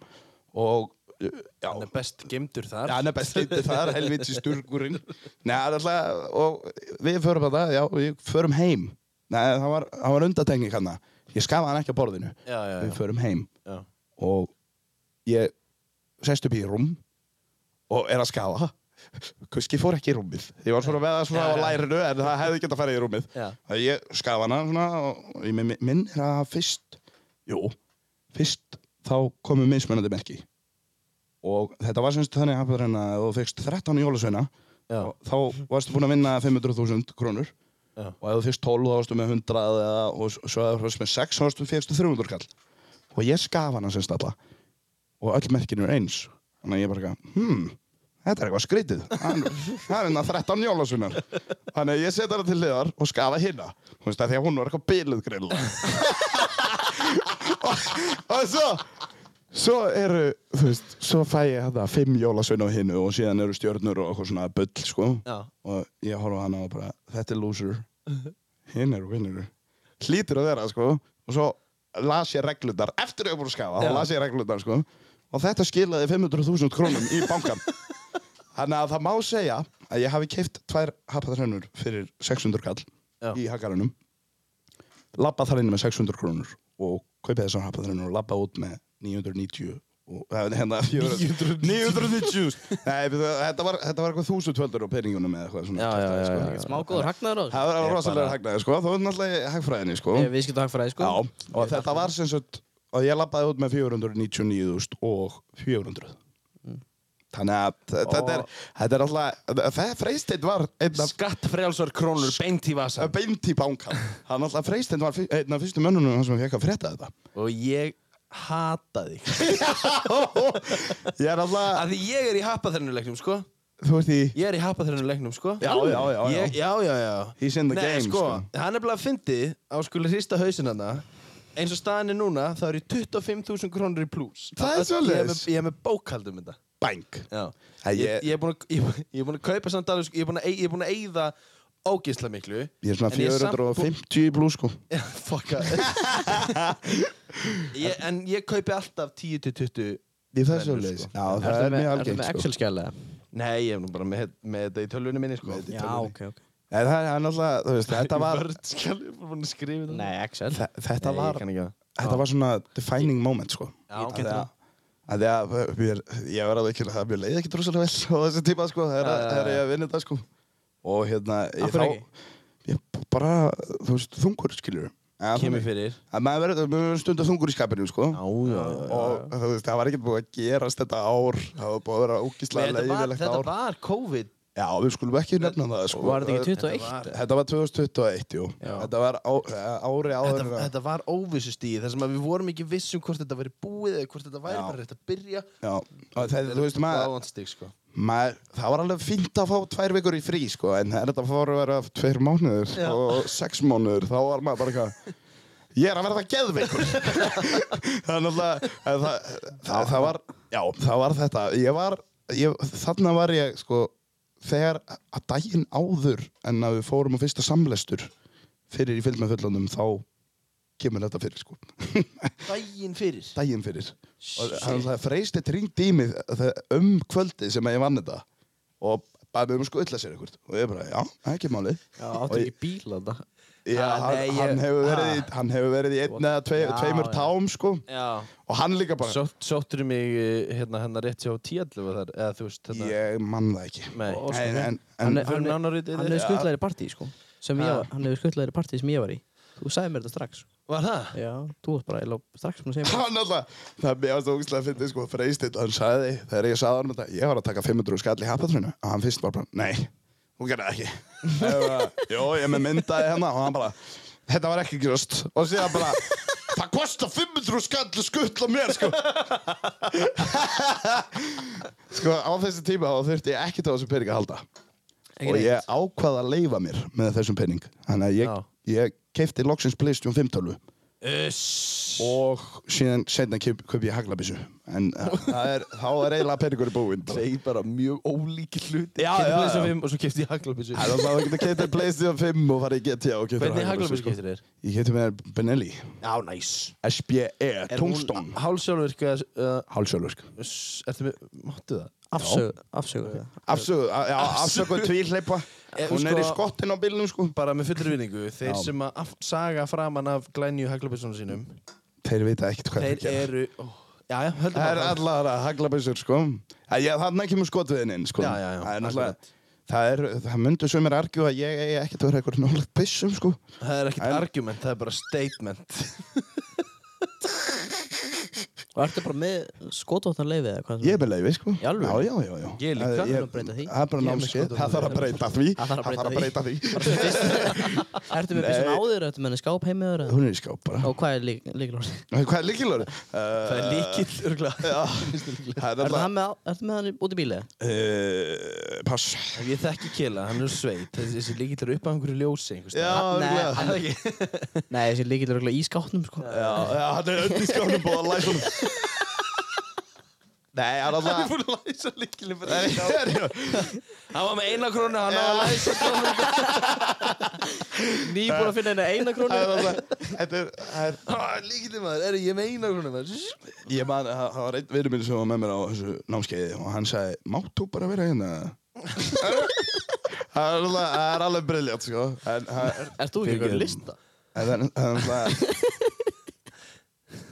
Speaker 3: og, uh,
Speaker 1: [LAUGHS]
Speaker 3: já,
Speaker 1: Hann er best gemdur þar.
Speaker 3: Já, hann er best getur þar, helvitsi sturgurinn. Nei, það er alltaf, og við förum að það, já, við förum heim. Nei, það var, það var undatenging hann. Ég skafa hann ekki á borðinu.
Speaker 1: Já, já, já.
Speaker 3: Við förum heim
Speaker 1: Já.
Speaker 3: og ég sest upp í rúm og er að skafa. Kuski fór ekki í rúmið. Ég var svona með það
Speaker 1: Já,
Speaker 3: svona á
Speaker 1: já.
Speaker 3: lærinu en það hefði getað farið í rúmið.
Speaker 1: Já.
Speaker 3: Það ég skafa hana svona og ég minn, minn er að fyrst, jú, fyrst þá komu mismunandi merki. Og þetta var semst þannig að hérna, þú fyrst 13 jólasveina
Speaker 1: Já.
Speaker 3: og þá varstu búin að vinna 500.000 krónur
Speaker 1: Já.
Speaker 3: og ef þú fyrst 12 þá varstu með 100 eða, og s- svo ef þú fyrst með 6 þá varstu fyrstu 300 kall og ég skaf hana sem stalla og öll merkinu er eins þannig að ég bara, eitthvað, hmm, þetta er eitthvað skrítið Hann- það er hérna 13 jólasvinnar þannig að ég setja hana til liðar og skafa hinna þú veist að því að hún var eitthvað bíluð greinlega [LAUGHS] og, og svo Svo eru, þú veist, svo fæ ég þetta fimm jólasveina á hinnu og síðan eru stjörnur og eitthvað svona bull, sko.
Speaker 1: Já.
Speaker 3: Og ég horfa á hana og bara, þetta er loser. Hinn er winner. Hlýtur að vera, sko. og svo las ég reglundar eftir að ég voru að skafa,
Speaker 1: Já.
Speaker 3: þá las ég reglundar sko, og þetta skilaði 500.000 krónum í
Speaker 1: [LAUGHS]
Speaker 3: bankan þannig að það má segja að ég hafi keift tvær hapaðarhennur fyrir 600 kall
Speaker 1: Já.
Speaker 3: í hakaranum labbað þar inn með 600 krónur og kaupið þessar hapaðarhennur og labbað út með 990 og, eh, hérna, 400 990 Nei, við- þetta var, þetta var eitthvað 1200 á peningunum eða eitthvað svona
Speaker 1: Já, já, já, já, já.
Speaker 2: Smá góður hagnaður á þessu.
Speaker 3: sko. Það var
Speaker 1: Ég
Speaker 3: rosalega
Speaker 1: bara-
Speaker 3: hagnaði sko, þá er náttúrulega í hagfræðinni sko
Speaker 2: Ég viðskipt að hagfræði, sko.
Speaker 3: Já, og þetta var sem sagt að ég lappaði út með 499.000 og 400 Þannig að þetta er, þetta er alltaf, það freystind var einn af
Speaker 1: Skattfrjálsar krónur beint í vasa
Speaker 3: beint í bankan Hann alltaf freystind var fyr- einn af fyrstu mönnunum hann sem fekk að frétta þetta
Speaker 1: Og ég hata þig [LAUGHS]
Speaker 3: Ég er alltaf,
Speaker 1: Af því ég er í hapaþrennuleiknum, sko
Speaker 3: þú veist í
Speaker 1: Ég er í hapaþrennuleiknum, sko
Speaker 3: Já, já, já, já.
Speaker 1: Ég, já, já, já
Speaker 3: He's in the
Speaker 1: Nei,
Speaker 3: game,
Speaker 1: sko,
Speaker 3: sko.
Speaker 1: Hann er bara að fyndi á skuli hrista hausinn hana Eins og staðan er núna, þá er ég 25.000 krónur í pluss
Speaker 3: Það er
Speaker 1: Ég er
Speaker 3: svoleiðis.
Speaker 1: með- Ég er með bókaldum þetta
Speaker 3: bank
Speaker 1: Já
Speaker 3: Æ,
Speaker 1: Ég,
Speaker 3: ég-
Speaker 1: ég, er búinn að, ég, ég er búin að kaupa samt alveg, sko, ég er búin að, ég er búin að eyða ógeðslega miklu
Speaker 3: Ég er svona
Speaker 1: en ég samt bú-
Speaker 3: 450 í blú sko
Speaker 1: Já, [LAUGHS] Fuck
Speaker 3: [LAUGHS]
Speaker 1: að ég, En ég kaupi alltaf 10-20
Speaker 3: Ég það er
Speaker 1: Mennur,
Speaker 3: svoleiðis
Speaker 1: sko.
Speaker 3: Já, það
Speaker 2: Ertu
Speaker 3: er
Speaker 2: með,
Speaker 3: mjög
Speaker 2: ertu
Speaker 3: algengt
Speaker 2: með
Speaker 3: sko
Speaker 2: Excel-skjælega?
Speaker 1: Nei, ég er nú bara með, með þetta í tölvunni minni sko.
Speaker 3: þetta í
Speaker 2: Já, ok, ok.
Speaker 3: En það er náttúrulega, þú veist, þetta var
Speaker 1: Vörðskjál, ég er bara búin að skrifa
Speaker 3: Mm.
Speaker 1: þetta
Speaker 2: Nei, Excel.
Speaker 3: Þe- Þetta
Speaker 1: Nei,
Speaker 3: var,
Speaker 1: ég kann ekki það.
Speaker 3: þetta var svona defining moment sko
Speaker 1: Já.
Speaker 3: Af því að- af því að mér, ég verði alveg ekki, það mér leiði ekki droslega vel og þessi tíma sko, það er,
Speaker 1: Já,
Speaker 3: að-
Speaker 1: já,
Speaker 3: það er
Speaker 1: já.
Speaker 3: ég að vinna þetta sko og hérna,
Speaker 2: Af
Speaker 3: ég
Speaker 2: hverju ekki?
Speaker 3: ég bara, þú veist, þungur skilur
Speaker 1: Kemur fyrir
Speaker 3: að maður verður, maður verður stundu þungur í skapinu sko
Speaker 1: já, já,
Speaker 3: og þú veist, það var ekki búið að gerast þetta ár, það var búið að vera ógíslega
Speaker 1: Þetta var,
Speaker 3: leiðilegt
Speaker 1: þetta
Speaker 3: ár
Speaker 1: var COVID
Speaker 3: já, við skulum ekki nefna það sko
Speaker 2: Var þetta ekki
Speaker 1: Þetta
Speaker 2: 21?
Speaker 1: var,
Speaker 3: Þetta var 2021, jú.
Speaker 1: Já.
Speaker 3: Þetta var á, ári áður.
Speaker 1: þetta,
Speaker 3: en að-
Speaker 1: þetta var óvissustíð þar sem að við vorum ekki vissum hvort þetta væri búið eða hvort þetta væri
Speaker 3: Já.
Speaker 1: bara rétt að byrja
Speaker 3: Já, og þetta, þú veist, maður,
Speaker 1: Báðanstík sko
Speaker 3: maður, það var alveg fínt að fá tvær vikur í frí, sko, en þegar þetta fór að vera tveir mánuður
Speaker 1: Já.
Speaker 3: og sex mánuður, þá var maður bara eitthvað, ég er að verða geðveikur. [LAUGHS] það er náttúrulega, en það, það, það var, já, það var þetta, ég var, ég, þarna var ég, sko, þegar að daginn áður en að við fórum á fyrsta samlestur fyrir í fylg með fullandum, þá kemur þetta fyrir, sko.
Speaker 1: Dægin fyrir
Speaker 3: daginn fyrir og hann sagði freystit ringdi í mig þe- um kvöldið sem að ég vann þetta og bæði mig um að skutla sér eitthvað og ég bara, já, ekki máli
Speaker 2: Já, áttu ekki bíl að það?
Speaker 3: já,
Speaker 1: Ah,
Speaker 3: hann,
Speaker 1: nei, ég-
Speaker 3: hann, hefur verið í, hann hefur verið í einn eða tve,
Speaker 2: Já,
Speaker 3: tveimur
Speaker 2: já.
Speaker 3: tám sko.
Speaker 1: Já
Speaker 3: og hann líka bara
Speaker 1: Sótt, Sóttur mig eh, hérna hennar rétt hjá tíallu þar eða þú veist þetta
Speaker 3: ég mann það ekki
Speaker 1: Nei
Speaker 2: Og- og-
Speaker 3: en, en,
Speaker 2: Hann
Speaker 3: en,
Speaker 2: er-
Speaker 1: Förum
Speaker 2: hann
Speaker 1: nánar út í
Speaker 2: er- hann
Speaker 1: þetta.
Speaker 2: hefur skuttlaðir í partí, sko. Sem ég
Speaker 1: Ha.
Speaker 2: var, hann hefur skuttlaðir í partí sem ég var í. Þú sagði mér þetta strax.
Speaker 1: Var það?
Speaker 2: Já, þú varst bara eiginlega strax búin að segja mér.
Speaker 3: hann alltaf, það er mjög stókslega að finna sko, freystit, hann sagði, þegar ég sagði hann þetta, ég var að taka 500 skall í hapatrinu og hann fyrst var bara, nei, þú gerði
Speaker 2: [LAUGHS]
Speaker 3: það ekki Ég bara, Jó, ég með myndaði hérna og hann bara, þetta var ekki gröst og síðan bara, það kostar 500 skall að skuttla mér sko [LAUGHS] sko, á þessi tíma þá þurfti ég ekki á þessum pening að halda
Speaker 2: Ekki
Speaker 3: og
Speaker 2: neitt.
Speaker 3: ég ákvað að leifa mér með þessum pening þannig að ég,
Speaker 1: Já.
Speaker 3: ég keipti loksins Playstation 5 tölvu
Speaker 1: Uss
Speaker 3: og síðan setna kaup, kaup ég haglabissu en [LAUGHS] uh, það er, þá er eiginlega peningur í búinn bara.
Speaker 1: Segir bara mjög ólíki hluti
Speaker 3: Já,
Speaker 1: Keypti PlayStation
Speaker 3: já, já.
Speaker 1: 5 Og svo kefti ég haglabissu
Speaker 3: Það er sko. það að geta keitt Playstation 5 og farið í GTA og keitt
Speaker 1: Hvernig haglabissu keftir þér?
Speaker 3: Ég keipti mér Benelli
Speaker 1: Já, næs
Speaker 3: SBE, tungstón
Speaker 1: Hálsjálfurk uh,
Speaker 3: Hálsjálfurk
Speaker 1: Ertu með, máttu það?
Speaker 2: Afsögu, afsögu. það.
Speaker 3: Afsöku, a- já, afsöku tvíhleipa
Speaker 1: Eh,
Speaker 3: Hún
Speaker 1: sko-
Speaker 3: [LAUGHS] er í skottin á bílnum sko
Speaker 1: Bara með fullur vinningu Þeir
Speaker 3: Já.
Speaker 1: sem að af- saga framan af glænju haglabissunum sínum
Speaker 3: Þeir vita ekkert hvað
Speaker 1: Þeir
Speaker 3: þeir gera
Speaker 1: eru ó, Já, já, höldum
Speaker 3: Það er
Speaker 1: áfram.
Speaker 3: allar að haglabissur sko Það er ekki með skotviðin inn sko
Speaker 1: Já, já, já,
Speaker 3: Það er náttúrulega Það, er, það myndu sumir argjú að ég eigi ekkert að vera eitthvað nálega byssum sko
Speaker 1: Það er ekkert
Speaker 3: En-
Speaker 1: argument, það er bara statement
Speaker 2: Og ertu bara með skotvotnarleifið eða hvað?
Speaker 3: Ég er með leiði, sko.
Speaker 2: Í alvöru?
Speaker 3: Já, já, já, já.
Speaker 1: Ég líka.
Speaker 2: Það
Speaker 3: Það
Speaker 2: þarf að breyta því.
Speaker 3: Það er bara
Speaker 1: Ég er með skotvopnaleyfi.
Speaker 2: Það
Speaker 3: námskeið. Það þarf að breyta því.
Speaker 2: þarf að breyta
Speaker 3: því. [LAUGHS]
Speaker 2: Ertu með byssun á þér, ertu með henni skáp heimiður?
Speaker 3: Hún er í skáp bara.
Speaker 2: Og hvað er lík, líkilvægt?
Speaker 3: Hvað er líkilöru? Það
Speaker 1: Það er líkill, örgulega
Speaker 3: [LAUGHS] Það er
Speaker 2: Ertu
Speaker 3: alltaf...
Speaker 2: hann með, ertu með hann út í bílið?
Speaker 3: Eh, Pass.
Speaker 1: Ef ég þekki Kela, hann er sveit Þessi, þessi líkill er upp á einhverju ljósi einhvers
Speaker 3: Já,
Speaker 1: staðar.
Speaker 2: Nei,
Speaker 3: örugglega.
Speaker 2: hann- Nei, þessi líkilvægt er örugglega í skápnum, sko.
Speaker 3: [LAUGHS] Já, Eh. já, hann er öll í skápnum búið að læsa hún. Nei, hann
Speaker 1: Hann er
Speaker 3: alltaf
Speaker 1: búin að læsa líkilin
Speaker 3: Nei,
Speaker 1: fyrir þetta.
Speaker 3: er ég-
Speaker 1: Hann var með eina krónu, hann var að læsa
Speaker 2: Nýbúin að finna henni eina krónu
Speaker 3: hann er alltaf- Þetta er, það er [LAUGHS]
Speaker 1: krónu. Líkilin maður, er ég með eina krónu maður?
Speaker 3: Ég man, það það var einn vinnur minn sem var með mér á þessu námskeiði og hann sagði, mátt þú bara vera hérna?
Speaker 2: [LAUGHS]
Speaker 3: það er alveg, það er alveg briljant, sko. En það er,
Speaker 2: Erst þú ekki
Speaker 1: Fyrirgefðu.
Speaker 2: einhvern lista?
Speaker 3: en það er, það er, það þegar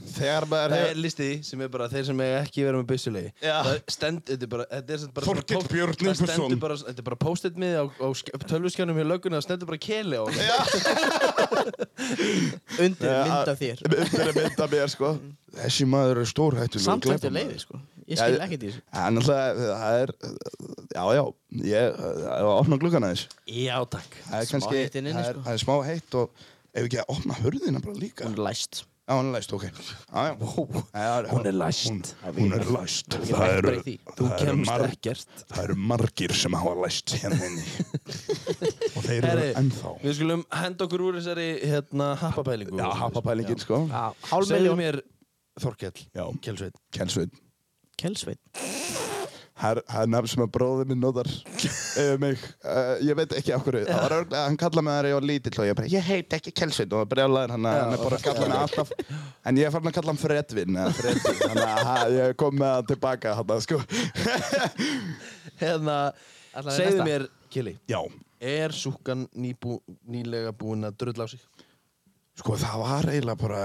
Speaker 3: maður
Speaker 1: Það er
Speaker 3: hefur,
Speaker 1: listi sem er bara þeir sem eiga ekki verið með byssulegi.
Speaker 3: Já.
Speaker 1: Það stend, þetta er bara, þetta er sem bara...
Speaker 3: Þorkell
Speaker 1: póst-
Speaker 3: Björn
Speaker 1: Það
Speaker 3: Yngvason.
Speaker 1: stendur bara, þetta er bara post-it miði á, á tölvuskjánum hjá löggunni, það stendur bara keli á hann.
Speaker 2: Undir
Speaker 3: Já,
Speaker 2: mynd af þér
Speaker 3: myndir er mynd af mér, sko. Þessi maður er stór hættulega.
Speaker 2: Samt eftir leiði sko Ég skil ekki því
Speaker 3: En alltaf, það er, já, já, ég, það var að opna gluggana þess.
Speaker 1: Já, takk.
Speaker 3: Það er
Speaker 2: Smá
Speaker 3: kannski,
Speaker 2: heitt inni,
Speaker 3: það er-
Speaker 2: sko.
Speaker 3: það er smá heitt og ef ekki að opna hurðina bara líka.
Speaker 2: Hún er læst
Speaker 3: Já, hún er læst, ok. Já, já. Já, já.
Speaker 1: Hún er læst.
Speaker 3: Hún,
Speaker 4: Hún er læst. Það
Speaker 2: hægt
Speaker 4: eru,
Speaker 2: bara í því.
Speaker 1: Þú
Speaker 4: það, eru
Speaker 1: kemst
Speaker 4: mar,
Speaker 1: ekkert.
Speaker 4: það eru margir sem hafa læst hérna inni. Og þeir eru
Speaker 1: Herri,
Speaker 4: ennþá.
Speaker 1: við skulum henda okkur úr þessari hérna, happapælingu.
Speaker 3: já, happapælingin, sko.
Speaker 2: Hálf
Speaker 1: Segðu
Speaker 2: miljón
Speaker 1: mér, Þorkell,
Speaker 3: Já.
Speaker 1: Kjelsveit.
Speaker 3: Kjensveit.
Speaker 2: Kelsveit
Speaker 3: Það er- það er nafn sem að bróði minn notar yfir mig. Uh, ég veit ekki af hverju. Það var örglega, hann kallaði mig það þegar ég var lítill og ég bara, ég heit ekki Kjensveit og brjálaðir hann að hann er bara að kalla mig alltaf. En ég er farin að kalla hann Fredvin, eða Fredvin, þannig að ha, ég kom með hann tilbaka hann, sko.
Speaker 1: Hérna,
Speaker 2: Ætlarðu
Speaker 1: segðu
Speaker 2: næsta?
Speaker 1: mér, Kili,
Speaker 3: Já,
Speaker 1: er súkkan nýbú, nýlega búin að drull á sig?
Speaker 3: sko það var eiginlega bara,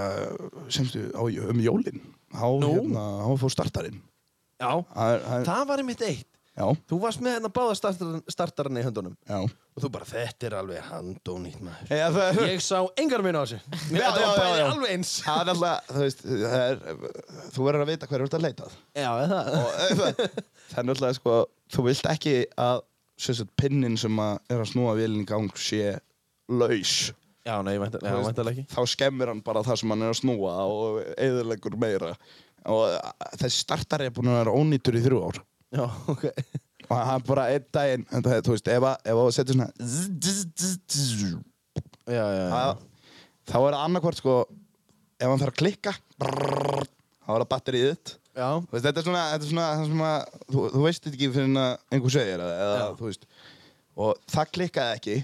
Speaker 3: semstu, á, um jólin. Há,
Speaker 1: Nú.
Speaker 3: hérna, há fór startarinn.
Speaker 1: Já.
Speaker 3: Það er- það er-
Speaker 1: Það var einmitt eitt.
Speaker 3: Já,
Speaker 1: Þú varst með hérna báða startaran- startarann í höndunum
Speaker 3: já.
Speaker 1: og þú bara, þetta er alveg handónýtt maður.
Speaker 3: Já, það er,
Speaker 1: Ég sá engar minn á
Speaker 3: [LAUGHS]
Speaker 1: þessu. Mér
Speaker 3: Já,
Speaker 1: þetta
Speaker 3: já,
Speaker 1: var
Speaker 3: já,
Speaker 1: bæði
Speaker 3: já.
Speaker 1: alveg eins.
Speaker 3: það er alltaf, þú veist, það er, þú verður að vita hverju þú ert að leitað.
Speaker 1: Já, það.
Speaker 3: [LAUGHS] Það er alltaf, sko, þú vilt ekki að, sem sagt, pinnin sem að er að snúa vélinn í gang sé laus.
Speaker 1: Já, nei, vænta- já,
Speaker 3: Þú veist,
Speaker 1: væntanlega ekki.
Speaker 3: Þá skemmir hann bara það sem hann er að snúa og eðurlegur meira. Og eh, þessi startari er búin að vera ónýtur í þrjú ár.
Speaker 1: Já, ok.
Speaker 3: Og hann bara einn daginn, en það er, þú veist, ef að, ef að setja svona zzz, zzz, zzz, zzz,
Speaker 1: Já, já, já.
Speaker 3: Það- þá er það annarkvort sko ef hann þarf að klikka brrrr, þá er það batterið þitt
Speaker 1: Já,
Speaker 3: Þú veist, þetta er svona, þetta er svona það sem að, þú, þú veist þetta ekki fyrir en að einhver segir það, eða,
Speaker 1: Já.
Speaker 3: þú veist og það klikkaði ekki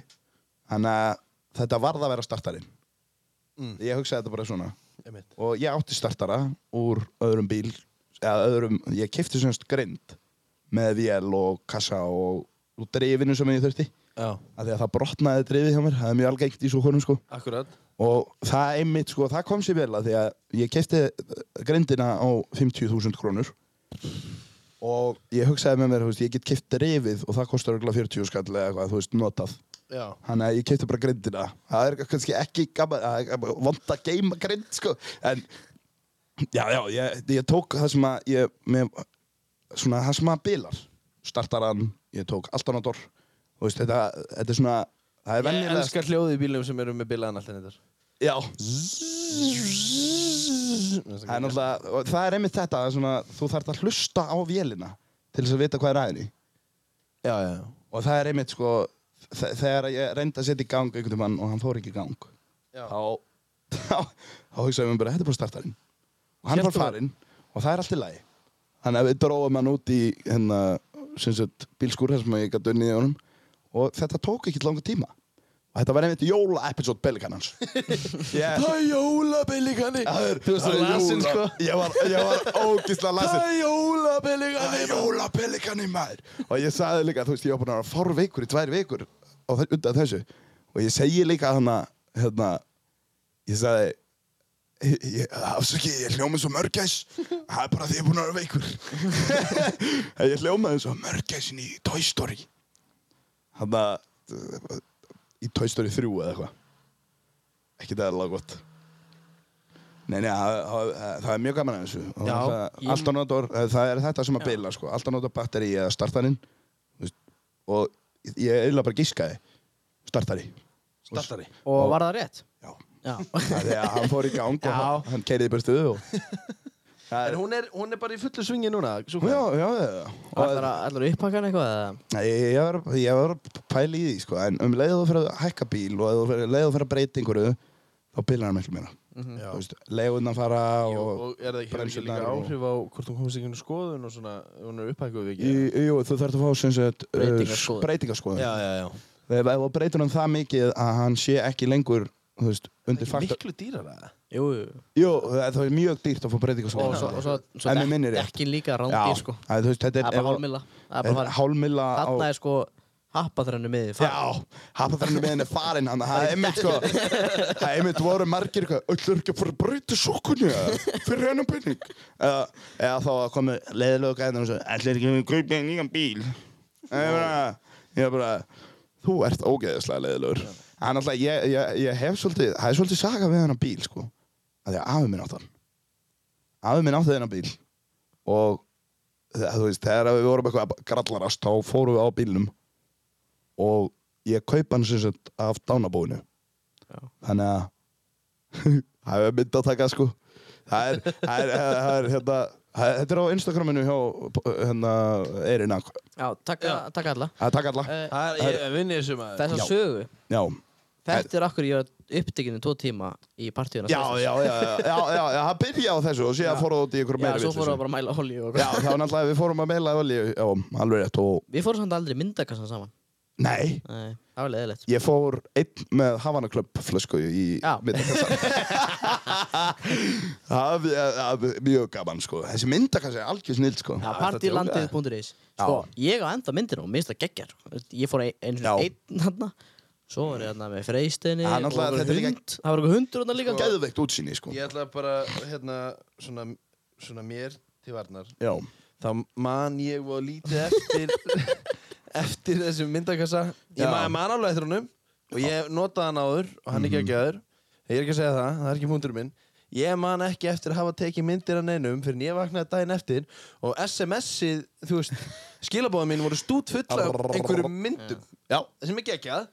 Speaker 3: þannig að þetta varð að vera startarinn
Speaker 1: Mm.
Speaker 3: ég hugsaði þetta bara svona
Speaker 1: einmitt.
Speaker 3: og ég átti startara úr öðrum bíl eða öðrum, ég kefti semst grind með vél og kassa og, og drifinu sem ég þurfti
Speaker 1: Já,
Speaker 3: af því að það brotnaði drifið hjá mér það er mjög algengt í svo konum sko
Speaker 1: akkurat.
Speaker 3: og það einmitt sko, það kom sér vel að því að ég kefti grindina á 50.000 krónur og ég hugsaði með mér, þú veist, ég get keft drifið og það kostar örugglega 40 skall eða eitthvað, þú veist, notað
Speaker 1: Já.
Speaker 3: Þannig að ég kefti bara grindina Það er kannski ekki gaman, það er gaman- vont að geima grind sko En, já, já, ég, ég tók það sem að ég, með, svona það sem að bilar Startaran, ég tók Altanador Þú veist, þetta, þetta er svona, það er
Speaker 1: Ég
Speaker 3: venjulegast
Speaker 1: elskar hljóði í bílum sem eru með bilaðan alltaf nýttar.
Speaker 3: Já Það er náttúrulega, og það er einmitt þetta það er svona, þú þarft að hlusta á vélina til þess að vita hvað er aðinni
Speaker 1: Já, já, já.
Speaker 3: og það er einmitt sko þe- þegar ég reyndi að setja í gang einhvern mann og hann fór ekki í gang
Speaker 1: Já.
Speaker 3: þá þá, þá hugsaðum við bara, þetta er bara startarinn og hann
Speaker 1: Hélt
Speaker 3: fór
Speaker 1: þú-
Speaker 3: farinn og það er allt í lagi þannig að við dróðum hann út í hérna, sem sagt, bílskúr þar sem ég gæti unnið í honum og þetta tók ekki langa tíma og þetta var einmitt jóla-episode [LAUGHS] Bellikanans yeah.
Speaker 1: Það er jólabelíkani Þú veist þú lasin sko
Speaker 3: Ég var, ég var ógislega lasin
Speaker 1: er jólabelíkani
Speaker 3: Það er jólapellikani maður Og ég sagði líka, þú veist, ég var búin að vera fár veikur í tvær vikur á þe- undan þessu Og ég segi líka hana, hérna Ég sagði ég- ég- Afsaki, ég hljóma eins og mörgæs Það er bara því ég er búin að vera veikur En [LAUGHS] Ég hljóma eins og mörgæsin í Toy Story Hanna eh, Í Toy Story 3 eða eitthvað Ekki það er alveg gott Nei, nei, það, það- það er mjög gaman að þessu Og
Speaker 1: Já,
Speaker 3: það-
Speaker 1: ég-
Speaker 3: Alltaf notur, eh, það er þetta sem að beila sko. Alltaf notur batteri eða startarinn þú veist, Og ég- ég eiginlega bara gískaði Startari
Speaker 1: Startari
Speaker 2: Og var það rétt?
Speaker 3: Já.
Speaker 2: Já
Speaker 3: [LAUGHS] Þegar hann fór í gang og
Speaker 2: Já.
Speaker 3: hann, hann keiriði í burtu og... Það
Speaker 1: En
Speaker 3: er-
Speaker 1: hún er, hún er bara í fullu svingi núna
Speaker 3: Já,
Speaker 1: súkkan.
Speaker 3: já, já, já. Og-
Speaker 2: Ætlar að uppakka hann eitthvað eða?
Speaker 3: Nei, Ég var, ég var að pæla í því sko, en um leiðu þú fyrir að hækka bíl og ef þú fyrir- leiðu þú fyrir að breyta einhverju þá bilar hann miklu meira
Speaker 1: Já.
Speaker 3: Þú veist, legunan fara
Speaker 1: Mhm. Jú,
Speaker 3: og...
Speaker 1: og er það ekki, hefur ekki líka
Speaker 3: bremsurnar og-
Speaker 1: áhrif á hvort hún komist ekki inn í skoðun og svona, ef hún er upphækkuð við
Speaker 3: Í,
Speaker 1: ekki?
Speaker 3: jú, þú þarf að fá sem sagt uh,
Speaker 2: Breytingarskoðun.
Speaker 3: breytingarskoðun.
Speaker 1: Já, já, já.
Speaker 3: Þegar þú breytir hann það mikið að hann sé ekki lengur, þú veist,
Speaker 1: Það
Speaker 3: undir
Speaker 1: er
Speaker 3: faktor.
Speaker 1: miklu dýrar að það.
Speaker 2: Jú, jú.
Speaker 3: Jú, það það er mjög dýrt að fá breytingarskoðun.
Speaker 2: Og svo, og svo, svo
Speaker 3: En mig minnir rétt.
Speaker 2: dekkin líka rándýr, sko.
Speaker 3: að, þú veist, þetta
Speaker 2: Það
Speaker 3: er...
Speaker 2: er bara hálmilla. Það er bara farið.
Speaker 3: Hálmilla á...
Speaker 2: Þarna er sko happatrennu miðið. farið.
Speaker 3: Já, hapatrennu meðin er farin hann, það er einmitt sko, það er einmitt voru margir eitthvað, öll er ekki að fara að breyta sokkunni eða, fyrir hennan penning. Eða, eða þá að komi leiðilegu gæðin og svo, ætlir ekki að kaupa þér nýjan bíl. Ég bara, ég bara, þú ert ógeðislega leiðilegur. En alltaf, ég, ég, ég hef svolítið, það er svolítið saga við hennan bíl sko, að því að afi minn átt hann. Afi minn átti þennan bíl og það, þú veist, þegar við vorum eitthvað að grallarast, þá fórum við á bílnum og ég kaup hann sem sagt af dánabóinu
Speaker 2: Já.
Speaker 3: þannig að [LAUGHS] það er mynd að taka sko það er, það er, það er hérna það- þetta er á Instagraminu hjá hérna, Eirina
Speaker 2: Já, takk, takk alla.
Speaker 3: að taka alla
Speaker 2: Uh,
Speaker 1: Það er, ég vinn ég sem að...
Speaker 2: Þessa sögu,
Speaker 3: já
Speaker 2: þetta er okkur ég var upptekinu tvo tíma í partíuna.
Speaker 3: já, já, já, já, já, já, já, það byrja á þessu og síðan fór það út í ykkur
Speaker 2: Já,
Speaker 3: meira
Speaker 2: svo
Speaker 3: vitleysu.
Speaker 2: fórum við bara að mæla olíu og
Speaker 3: já, þá náttúrulega við fórum að meila olíu, já, alveg rétt og
Speaker 2: Við fórum samt aldrei myndakassan saman.
Speaker 3: nei,
Speaker 2: Nei, það var leðilegt.
Speaker 3: ég fór einn með Havanaklöpp flösku í
Speaker 2: Já.
Speaker 3: [LAUGHS] myndakassan það er- það er mjög gaman sko þessi myndakassa er algjör snill sko
Speaker 2: Já,
Speaker 3: djóka.
Speaker 2: partylandið.is Sko, ég á enda myndina og minnst það geggjar Ég fór ein- einu
Speaker 3: Já.
Speaker 2: sinni einn hann Svo var ég hann með freysteini
Speaker 3: Já,
Speaker 2: og
Speaker 3: náttúrulega,
Speaker 2: einhver
Speaker 3: þetta er líka-
Speaker 2: hund Það var eitthvað hundur hann líka
Speaker 3: geðveikt útsýni sko
Speaker 1: Ég ætla bara, hérna, svona, svona mér til varnar.
Speaker 3: já
Speaker 1: Þá man ég og lítið eftir, [LAUGHS] eftir þessum myndakassa. Ég
Speaker 3: Já.
Speaker 1: man, man alveg eftir honum og ég notaði hann áður og
Speaker 3: Mhm.
Speaker 1: hann er ekki ekki aður. Ég er ekki að segja það, það er ekki punktur minn. Ég man ekki eftir að hafa tekið myndir að neinum fyrir en ég vaknaði daginn eftir og SMS-ið, þú
Speaker 3: [LAUGHS]
Speaker 1: veist, skilabóða mín voru stút fulla af einhverjum myndum.
Speaker 3: já
Speaker 1: sem er geggjað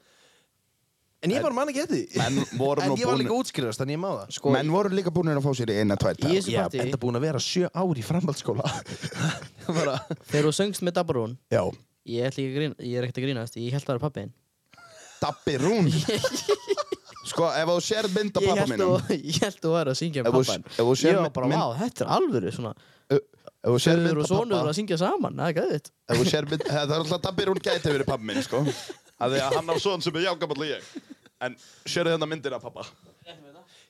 Speaker 1: en ég bara man ekki eftir því.
Speaker 3: menn voru
Speaker 1: en
Speaker 3: nú
Speaker 1: ég var líka
Speaker 3: búin
Speaker 1: útskriðast þannig ég má það
Speaker 2: Sko,
Speaker 3: menn voru líka búin að fá sér í eina tvær
Speaker 2: Ég
Speaker 3: dagar.
Speaker 2: sé partí
Speaker 1: enda búin að vera sjö ár í framhaldsskóla [LAUGHS] bara,
Speaker 2: Þegar þú söngst með Dabbarún
Speaker 3: [LAUGHS] já
Speaker 2: Ég, ætla ekki að grín- ég er ekkert að grínast, ég held að það var pappiðin
Speaker 3: Dabbi [LAUGHS] Rún sko ef þú sér mynd af
Speaker 2: Ég
Speaker 3: pappa
Speaker 2: held
Speaker 3: mínum
Speaker 2: að- [LAUGHS] ég held þú var að syngja
Speaker 3: Ef
Speaker 2: með
Speaker 3: þú- ef þú
Speaker 2: pappan
Speaker 3: sér
Speaker 2: Ég var
Speaker 3: mynd-
Speaker 2: bara,
Speaker 3: mynd-
Speaker 2: vá, þetta er alvöru svona
Speaker 3: ef þú sér
Speaker 2: Söður
Speaker 3: mynd
Speaker 2: og
Speaker 3: af
Speaker 2: sonur
Speaker 3: pappa
Speaker 2: að syngja saman, það er gæðið
Speaker 3: ef þú sér mynd það er alltaf Dabbi Rún gæti verið pappa mín [LAUGHS] sko að því að hann á son sem er jágamall í ég en sérðu þennan myndir af pappa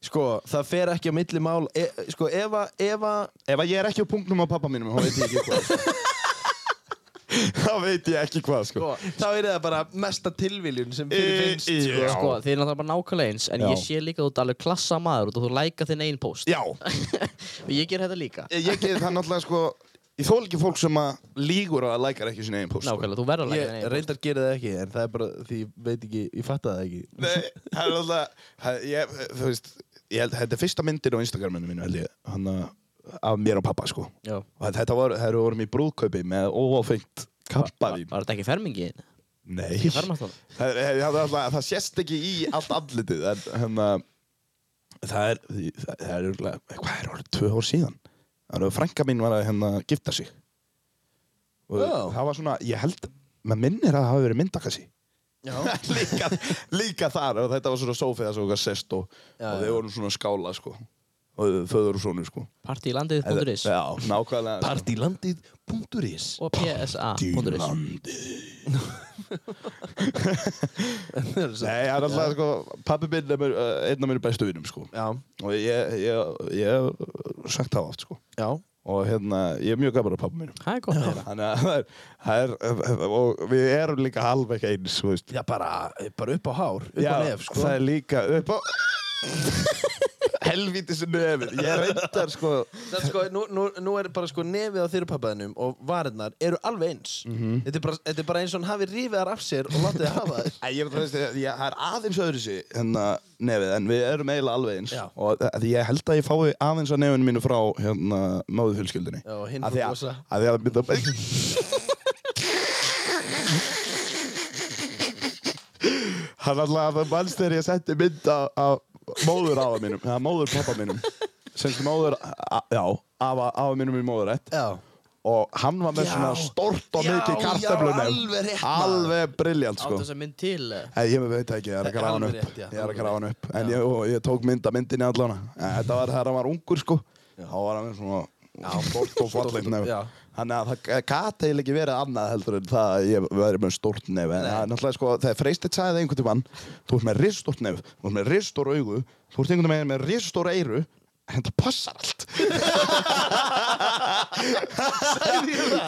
Speaker 1: sko, það fer ekki á milli mál e, sko, ef að ef að-
Speaker 3: ef að ég er ekki á punktum af pappa mínum þá veit ég ekki hvað sko. [LAUGHS] þá veit ég ekki hvað sko
Speaker 1: þá er það bara mesta tilviljun sem fyrir
Speaker 3: Í-
Speaker 1: finnst
Speaker 3: í- já.
Speaker 2: Sko, þið er náttúrulega bara nákvæmlega eins En
Speaker 3: Já.
Speaker 2: ég sé líka að þú ert alveg klassa maður og þú læka þinn einn post
Speaker 3: já
Speaker 2: Og ég ger þetta líka
Speaker 3: ég ég get það náttúrulega sko ég þól ekki fólk sem að lígur að lækar ekki sinni eigin post sko.
Speaker 2: Nákvæmlega, þú verður að læka
Speaker 1: ég
Speaker 2: þinn einn post
Speaker 1: reyndar gera það ekki en það er bara því ég veit ekki ég fatta það ekki
Speaker 3: Nei, það er alltaf það- ég, Þú veist, ég held, þetta er fyrsta myndir á Instagraminu mínu held ég hann að af mér og pappa sko
Speaker 2: Já.
Speaker 3: og þetta voru, þeir eru vorum í brúðkaupi með óáfengt kappavín
Speaker 2: Var þetta ekki fermingi?
Speaker 3: Nei,
Speaker 2: fermast hann?
Speaker 3: það, er- ég hafði alltaf, það sést ekki í allt andlitið en hann að það er, það, það er örugglega- hvað er orðið, tvö ár síðan þannig að frænka mín var að hérna gifta sig og
Speaker 1: Já.
Speaker 3: það var svona, ég held maður minnir að það hafi verið myndakassi
Speaker 1: já,
Speaker 3: [LAUGHS] líka, líka þar og þetta var svona sófið þess að okkar sest og,
Speaker 1: Já,
Speaker 3: og
Speaker 1: já.
Speaker 3: við vorum svona að skála sko og föður og sonu sko
Speaker 2: Partílandið.is
Speaker 3: já, nákvæmlega sko.
Speaker 1: partilandið.is [LAUGHS]
Speaker 2: og psa.is
Speaker 1: já,
Speaker 3: Nei, það er alltaf sko, pappi minn er mér, uh, einn af mér bestu vinum sko
Speaker 1: já,
Speaker 3: og ég, ég, ég hef sagt það oft sko og hérna, ég er mjög gaman af pappi mínum
Speaker 2: Það er gott að heyra
Speaker 3: þannig að það er, það er og við erum líka alveg ekki eins þú veist.
Speaker 1: já bara, bara upp á hár upp á nef sko
Speaker 3: það er líka upp á helvítis nefið ég reyndar sko
Speaker 1: Það sko, nú, nú, nú er bara sko nefið á þeirra pappaðinum og varirnar eru alveg eins þetta, er bara, þetta er bara eins og hann hafi rífið þar af sér og látið þið hafa þér
Speaker 3: Æ, ég, veit, þú veist, ég, ég, það er aðeins öðru sig hérna, nefið, en við erum eiginlega alveg eins
Speaker 1: Já.
Speaker 3: og þa- því ég held að ég fái aðeins að nefinu mínu frá hérna, móðu fjölskyldinni
Speaker 1: [LAUGHS] Já, og hinn
Speaker 3: Af því
Speaker 1: frá
Speaker 3: að-
Speaker 1: Gosa.
Speaker 3: af því að mynda hann alltaf að mannst þegar ég setti mynd af- af móður afa mínum eða móður pappa mínum sem sem móður, a- já, afa, afa mínum í móðurætt
Speaker 1: Já,
Speaker 3: og hann var með
Speaker 1: Já.
Speaker 3: svona stórt og
Speaker 1: Já,
Speaker 3: mikið
Speaker 1: já,
Speaker 3: kartöflunum
Speaker 1: alveg rétt, maður.
Speaker 3: alveg briljant
Speaker 2: Átt
Speaker 3: sko
Speaker 2: þess að mynd til eh?
Speaker 3: Nei, ég veit ekki, ég er að
Speaker 1: Nei,
Speaker 3: grafa hann
Speaker 1: alveg
Speaker 3: upp
Speaker 1: rétt, já,
Speaker 3: Ég er að
Speaker 1: alveg
Speaker 3: grafa hann
Speaker 1: rétt.
Speaker 3: upp En ég, og ég tók mynd af myndinni allan Þetta var þegar hann var ungur sko Þá var hann með svona Stort og fallegt nef
Speaker 1: já.
Speaker 3: Þannig að það eh, gat eiginlega ekki verið annað heldur en það að ég verið með stórt nef En það er náttúrulega sko, þegar Freystedt sagði það einhvern tímann Þú ert með risstort nef, þú ert með rissstór augu Þú ert einhvern veginn með rissstór eyru En það
Speaker 1: [LAUGHS]
Speaker 3: passar allt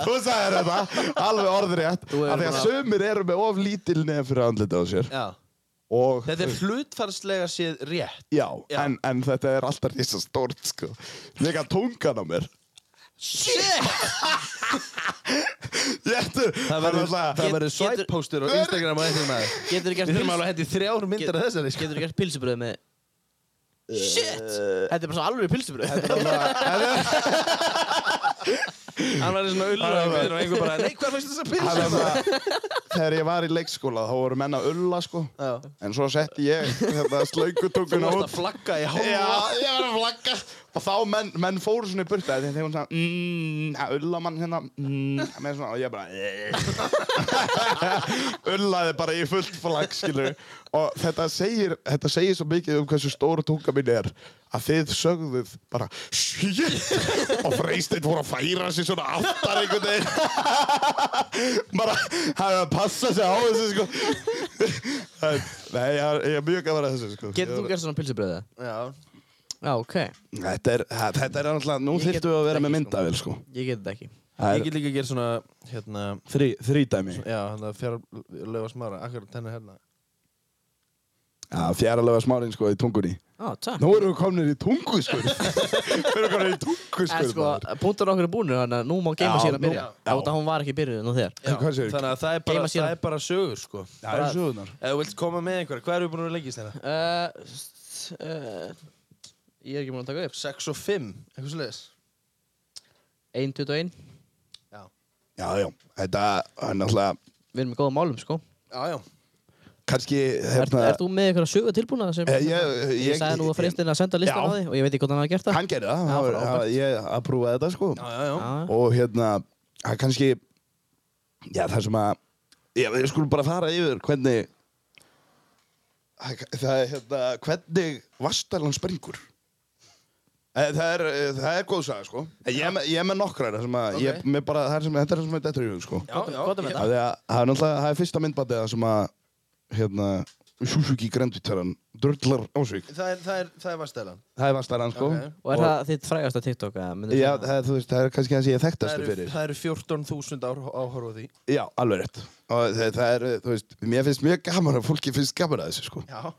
Speaker 3: Þú sagðir þetta, alveg orðrétt
Speaker 2: Þú hefur
Speaker 3: Af því að
Speaker 2: bara-
Speaker 3: sumir eru með of lítil nef fyrir andlita á sér
Speaker 1: Já.
Speaker 3: Og
Speaker 1: Þetta er hlutfarslega séð rétt.
Speaker 3: Já,
Speaker 1: Já.
Speaker 3: En, en þetta er alltaf risa stórt sko. Líka tungan á mér [LAUGHS] Shit Jéttur
Speaker 1: Það verður
Speaker 2: Get-
Speaker 1: verður
Speaker 2: getur-
Speaker 1: swipe-póstur á Instagram og eitthvað með það.
Speaker 2: Getur
Speaker 1: Við
Speaker 2: gert
Speaker 1: þurfum alveg
Speaker 2: pils-
Speaker 1: að hendi þrjár myndir af þessari. sko.
Speaker 2: Getur gert pilsubröð með
Speaker 3: Eh,
Speaker 2: Shit! Þetta er bara svo alveg pilsubröð
Speaker 1: Hann verður svona ullur
Speaker 3: Hann
Speaker 1: og
Speaker 3: var-
Speaker 1: einhver bara, nei, hvað fannst þess að pilsa?
Speaker 3: Þegar ég var í leikskóla þá voru menn að ulla sko.
Speaker 1: Já.
Speaker 3: En svo setti ég hérna,
Speaker 1: Þú
Speaker 3: slöngutunguna
Speaker 1: varst
Speaker 3: út
Speaker 1: að flagga í hálfa.
Speaker 3: Já, ég var að flagga Og þá menn, menn fóru svona í burta Þegar þegar hún sagði mm, að Ulla mann hérna mm, með svona, Og ég bara eh. [LAUGHS] Ullaði bara í fullt flagg skilur Og þetta segir, þetta segir svo mikið um hversu stóru tunga mín er Að þið sögðuð bara Shit Og freystið voru að færa sig svona aftar einhvern veginn [LAUGHS] Bara Það er að passa sig á þessu sko [LAUGHS] Nei, ég er, ég er mjög gaman að þessu
Speaker 2: [LAUGHS]
Speaker 3: sko
Speaker 2: Getur
Speaker 3: Ég
Speaker 2: þú
Speaker 3: var-
Speaker 2: gert svona pilsubröð það?
Speaker 1: Já.
Speaker 2: Já, ok
Speaker 3: Þetta er, þa- þetta er náttúrulega, nú
Speaker 2: Ég get
Speaker 3: þyrftu að vera
Speaker 2: þetta
Speaker 3: með
Speaker 2: ekki,
Speaker 3: myndavél sko
Speaker 2: Ég get þetta ekki
Speaker 1: Ég get líka að gera svona, hérna,
Speaker 3: þrý, þrý dæmi
Speaker 1: já, hérna, hann að fjarlöfa smára, akkurat henni hérna.
Speaker 3: Já, fjæralöfa smárin sko í tungunni
Speaker 2: Á, takk
Speaker 3: Nú erum við komin í tungu sko [LAUGHS] Við erum komin í
Speaker 2: En
Speaker 3: tungu
Speaker 2: sko,
Speaker 3: sko
Speaker 2: punktar okkur er búinir þannig að nú má geima
Speaker 3: Já,
Speaker 2: síðan að
Speaker 3: nú-
Speaker 2: byrja
Speaker 3: já.
Speaker 2: Þá að hún var ekki byrjuð nú þegar
Speaker 1: Já,
Speaker 3: Hvað segirðu?
Speaker 1: Þannig að það er bara,
Speaker 2: Geyma síðan.
Speaker 1: það er bara sögur, sko.
Speaker 3: Það eru sögurnar
Speaker 1: Ef þú vilt koma með einhverja, hvað erum við búin að vera lengi í stæna?
Speaker 2: uh, s- uh, Ég er ekki múin að taka upp
Speaker 1: 6 og 5, eitthvað svo leiðis.
Speaker 2: 1.21
Speaker 1: Já.
Speaker 3: Já, já, þetta er náttúrulega
Speaker 2: Við erum í góða málum sko
Speaker 1: Já, já.
Speaker 3: kannski
Speaker 2: Er,
Speaker 3: hérna,
Speaker 2: er þú með eitthvað sögu tilbúna sem
Speaker 3: Eh, ég-
Speaker 2: ég,
Speaker 3: ég-
Speaker 2: sagði nú að freystin að senda listan
Speaker 3: Já.
Speaker 2: á því og ég veit ekki hvort hann hafa gert það
Speaker 3: Hann gerði það,
Speaker 2: Já,
Speaker 3: það var-
Speaker 2: frábært.
Speaker 3: það var- ég að prúfa þetta sko
Speaker 1: Já, já, já.
Speaker 2: Já,
Speaker 3: Og hérna, það er kannski Já, það sem að Ég, ég skulle bara fara yfir hvernig Það er hérna Hvernig vastalann springur Eh, Það er, eh, það er góð saga, sko. En Ég er með, ég er með nokkrar, það sem að,
Speaker 1: Ok.
Speaker 3: ég, mér bara, það er sem, þetta er það sem er dettur í hug, sko.
Speaker 1: Já, já.
Speaker 2: Gott að
Speaker 1: ég-
Speaker 2: vita.
Speaker 3: Það er, það er náttúrulega, það er fyrsta myndbandið það sem að, hérna, Suzuki Grandvitaran, drullar ásvík.
Speaker 1: Það er, það er, það er vastælan.
Speaker 3: Það er vastarann, sko.
Speaker 1: Ok.
Speaker 2: Og er það þitt frægasta TikTok? eða myndir
Speaker 3: Já,
Speaker 2: þú segja?
Speaker 3: það, er, þú veist, það er kannski það sem ég er
Speaker 1: Það
Speaker 3: þekktastu
Speaker 1: eru
Speaker 3: fyrir.
Speaker 1: það eru 14.000 ár áhorfa því.
Speaker 3: Já, alveg rétt. Og það, það er, þú veist, mér finnst mjög gaman að fólki finnst gaman að þessu, sko.
Speaker 1: Já.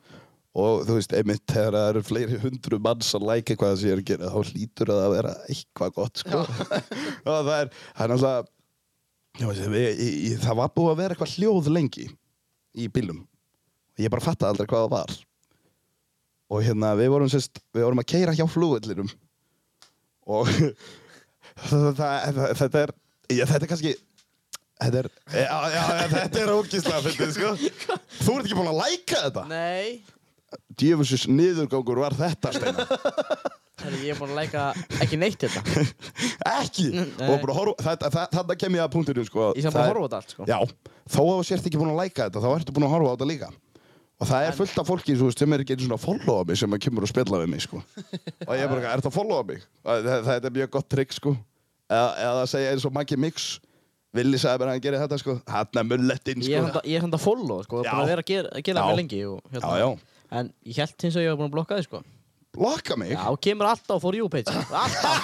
Speaker 3: Og þú veist, einmitt þegar það eru fleiri hundru manns að læka eitthvað sem ég er að gera, þá hlýtur það að vera eitthvað gott, sko. [LAUGHS] og það er, það er náttúrulega, já, veist, ég, ég, ég, það var búið að vera eitthvað hljóð lengi í bílum. Ég bara fattaði aldrei hvað það var. Og hérna, við vorum, sérst, við vorum að keira hjá flugullinum. Og [LAUGHS] það, það, það, þetta er, já, þetta er kannski, þetta er, já, já, já, þetta er ógislega, fyndið, sko. Þú ert ekki búin að læka þetta?
Speaker 2: Nei
Speaker 3: djöfusins niðurgangur var þetta
Speaker 2: [LAUGHS]
Speaker 3: Steinar
Speaker 2: Herri, ég er búin að læka ekki neitt hérna. þetta
Speaker 3: ekki
Speaker 2: Nei.
Speaker 3: og bara horfa þetta, þetta, þetta kem ég að punktinu sko
Speaker 2: Ég sem bara að horfa á þetta allt sko
Speaker 3: já þó að þú sért ekki búin að læka þetta þá ertu búin að horfa á þetta líka og það er fullt af fólki þú veist, sem er ekki einu svona að followa mig sem að kemur og spilla við mig sko og ég er bara er það að followa mig það, það, það er mjög gott trikk sko eða, eða að segja eins og Maggi Mix Vili sagði bara að hann gerir þetta sko hann er mullettinn
Speaker 2: Ég er
Speaker 3: sko
Speaker 2: handa- ég er hann að follow sko,
Speaker 3: Já.
Speaker 2: bara að vera að gera, að gera
Speaker 3: Já.
Speaker 2: það lengi og, hérna.
Speaker 3: Já, já.
Speaker 2: En ég held hins að ég var búin að blokka þig sko
Speaker 3: blokka mig
Speaker 2: Já, kemur alltaf for you page Alltaf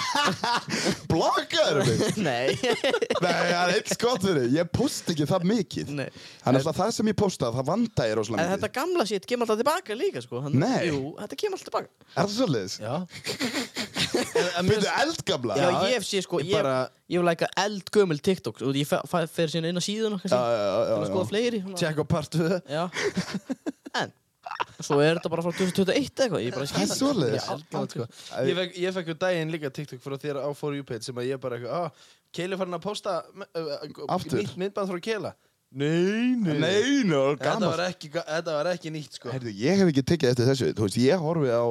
Speaker 3: blokkaður mig
Speaker 2: [LAUGHS] Nei
Speaker 3: Nei, það er eitt skott fyrir, ég post ekki það mikið
Speaker 2: [LAUGHS] Nei.
Speaker 3: Þannig að það sem ég posta, það vanda ég
Speaker 2: En
Speaker 3: rosalega
Speaker 2: þetta
Speaker 3: mikið
Speaker 2: gamla shit kemur alltaf tilbaka líka sko Hann,
Speaker 3: Nei.
Speaker 2: Jú, þetta kemur alltaf tilbaka
Speaker 3: Er það svolítið?
Speaker 1: Já.
Speaker 3: Byrðu eldgamla?
Speaker 2: Já, ég hef sé sko,
Speaker 1: ég
Speaker 2: ég, ég,
Speaker 1: bara-
Speaker 2: hef læka eldgömmul TikTok og ég fer- fer fer síðan inn á síðun okkar
Speaker 3: Já, já, já,
Speaker 2: til að
Speaker 3: já.
Speaker 2: skoða fleiri svona.
Speaker 1: Tjekk á part 2.
Speaker 2: Já En Svo er þetta bara frá 2021 eitthvað Ég bara
Speaker 3: Það er svoleiðis.
Speaker 2: Já,
Speaker 1: Allt, sko. Ég fekk, ég fekk um daginn líka TikTok frá þér á For You page sem að ég bara eitthvað, ah, Keili farin að posta uh,
Speaker 3: Aftur.
Speaker 1: nýtt myndband frá Keila. Nei,
Speaker 3: Nei, nei, það var
Speaker 1: Þetta
Speaker 3: gaman
Speaker 1: var ekki, þetta var ekki nýtt sko
Speaker 3: Herðu, ég hef ekki tekið eftir þessu, þú veist, ég horfi á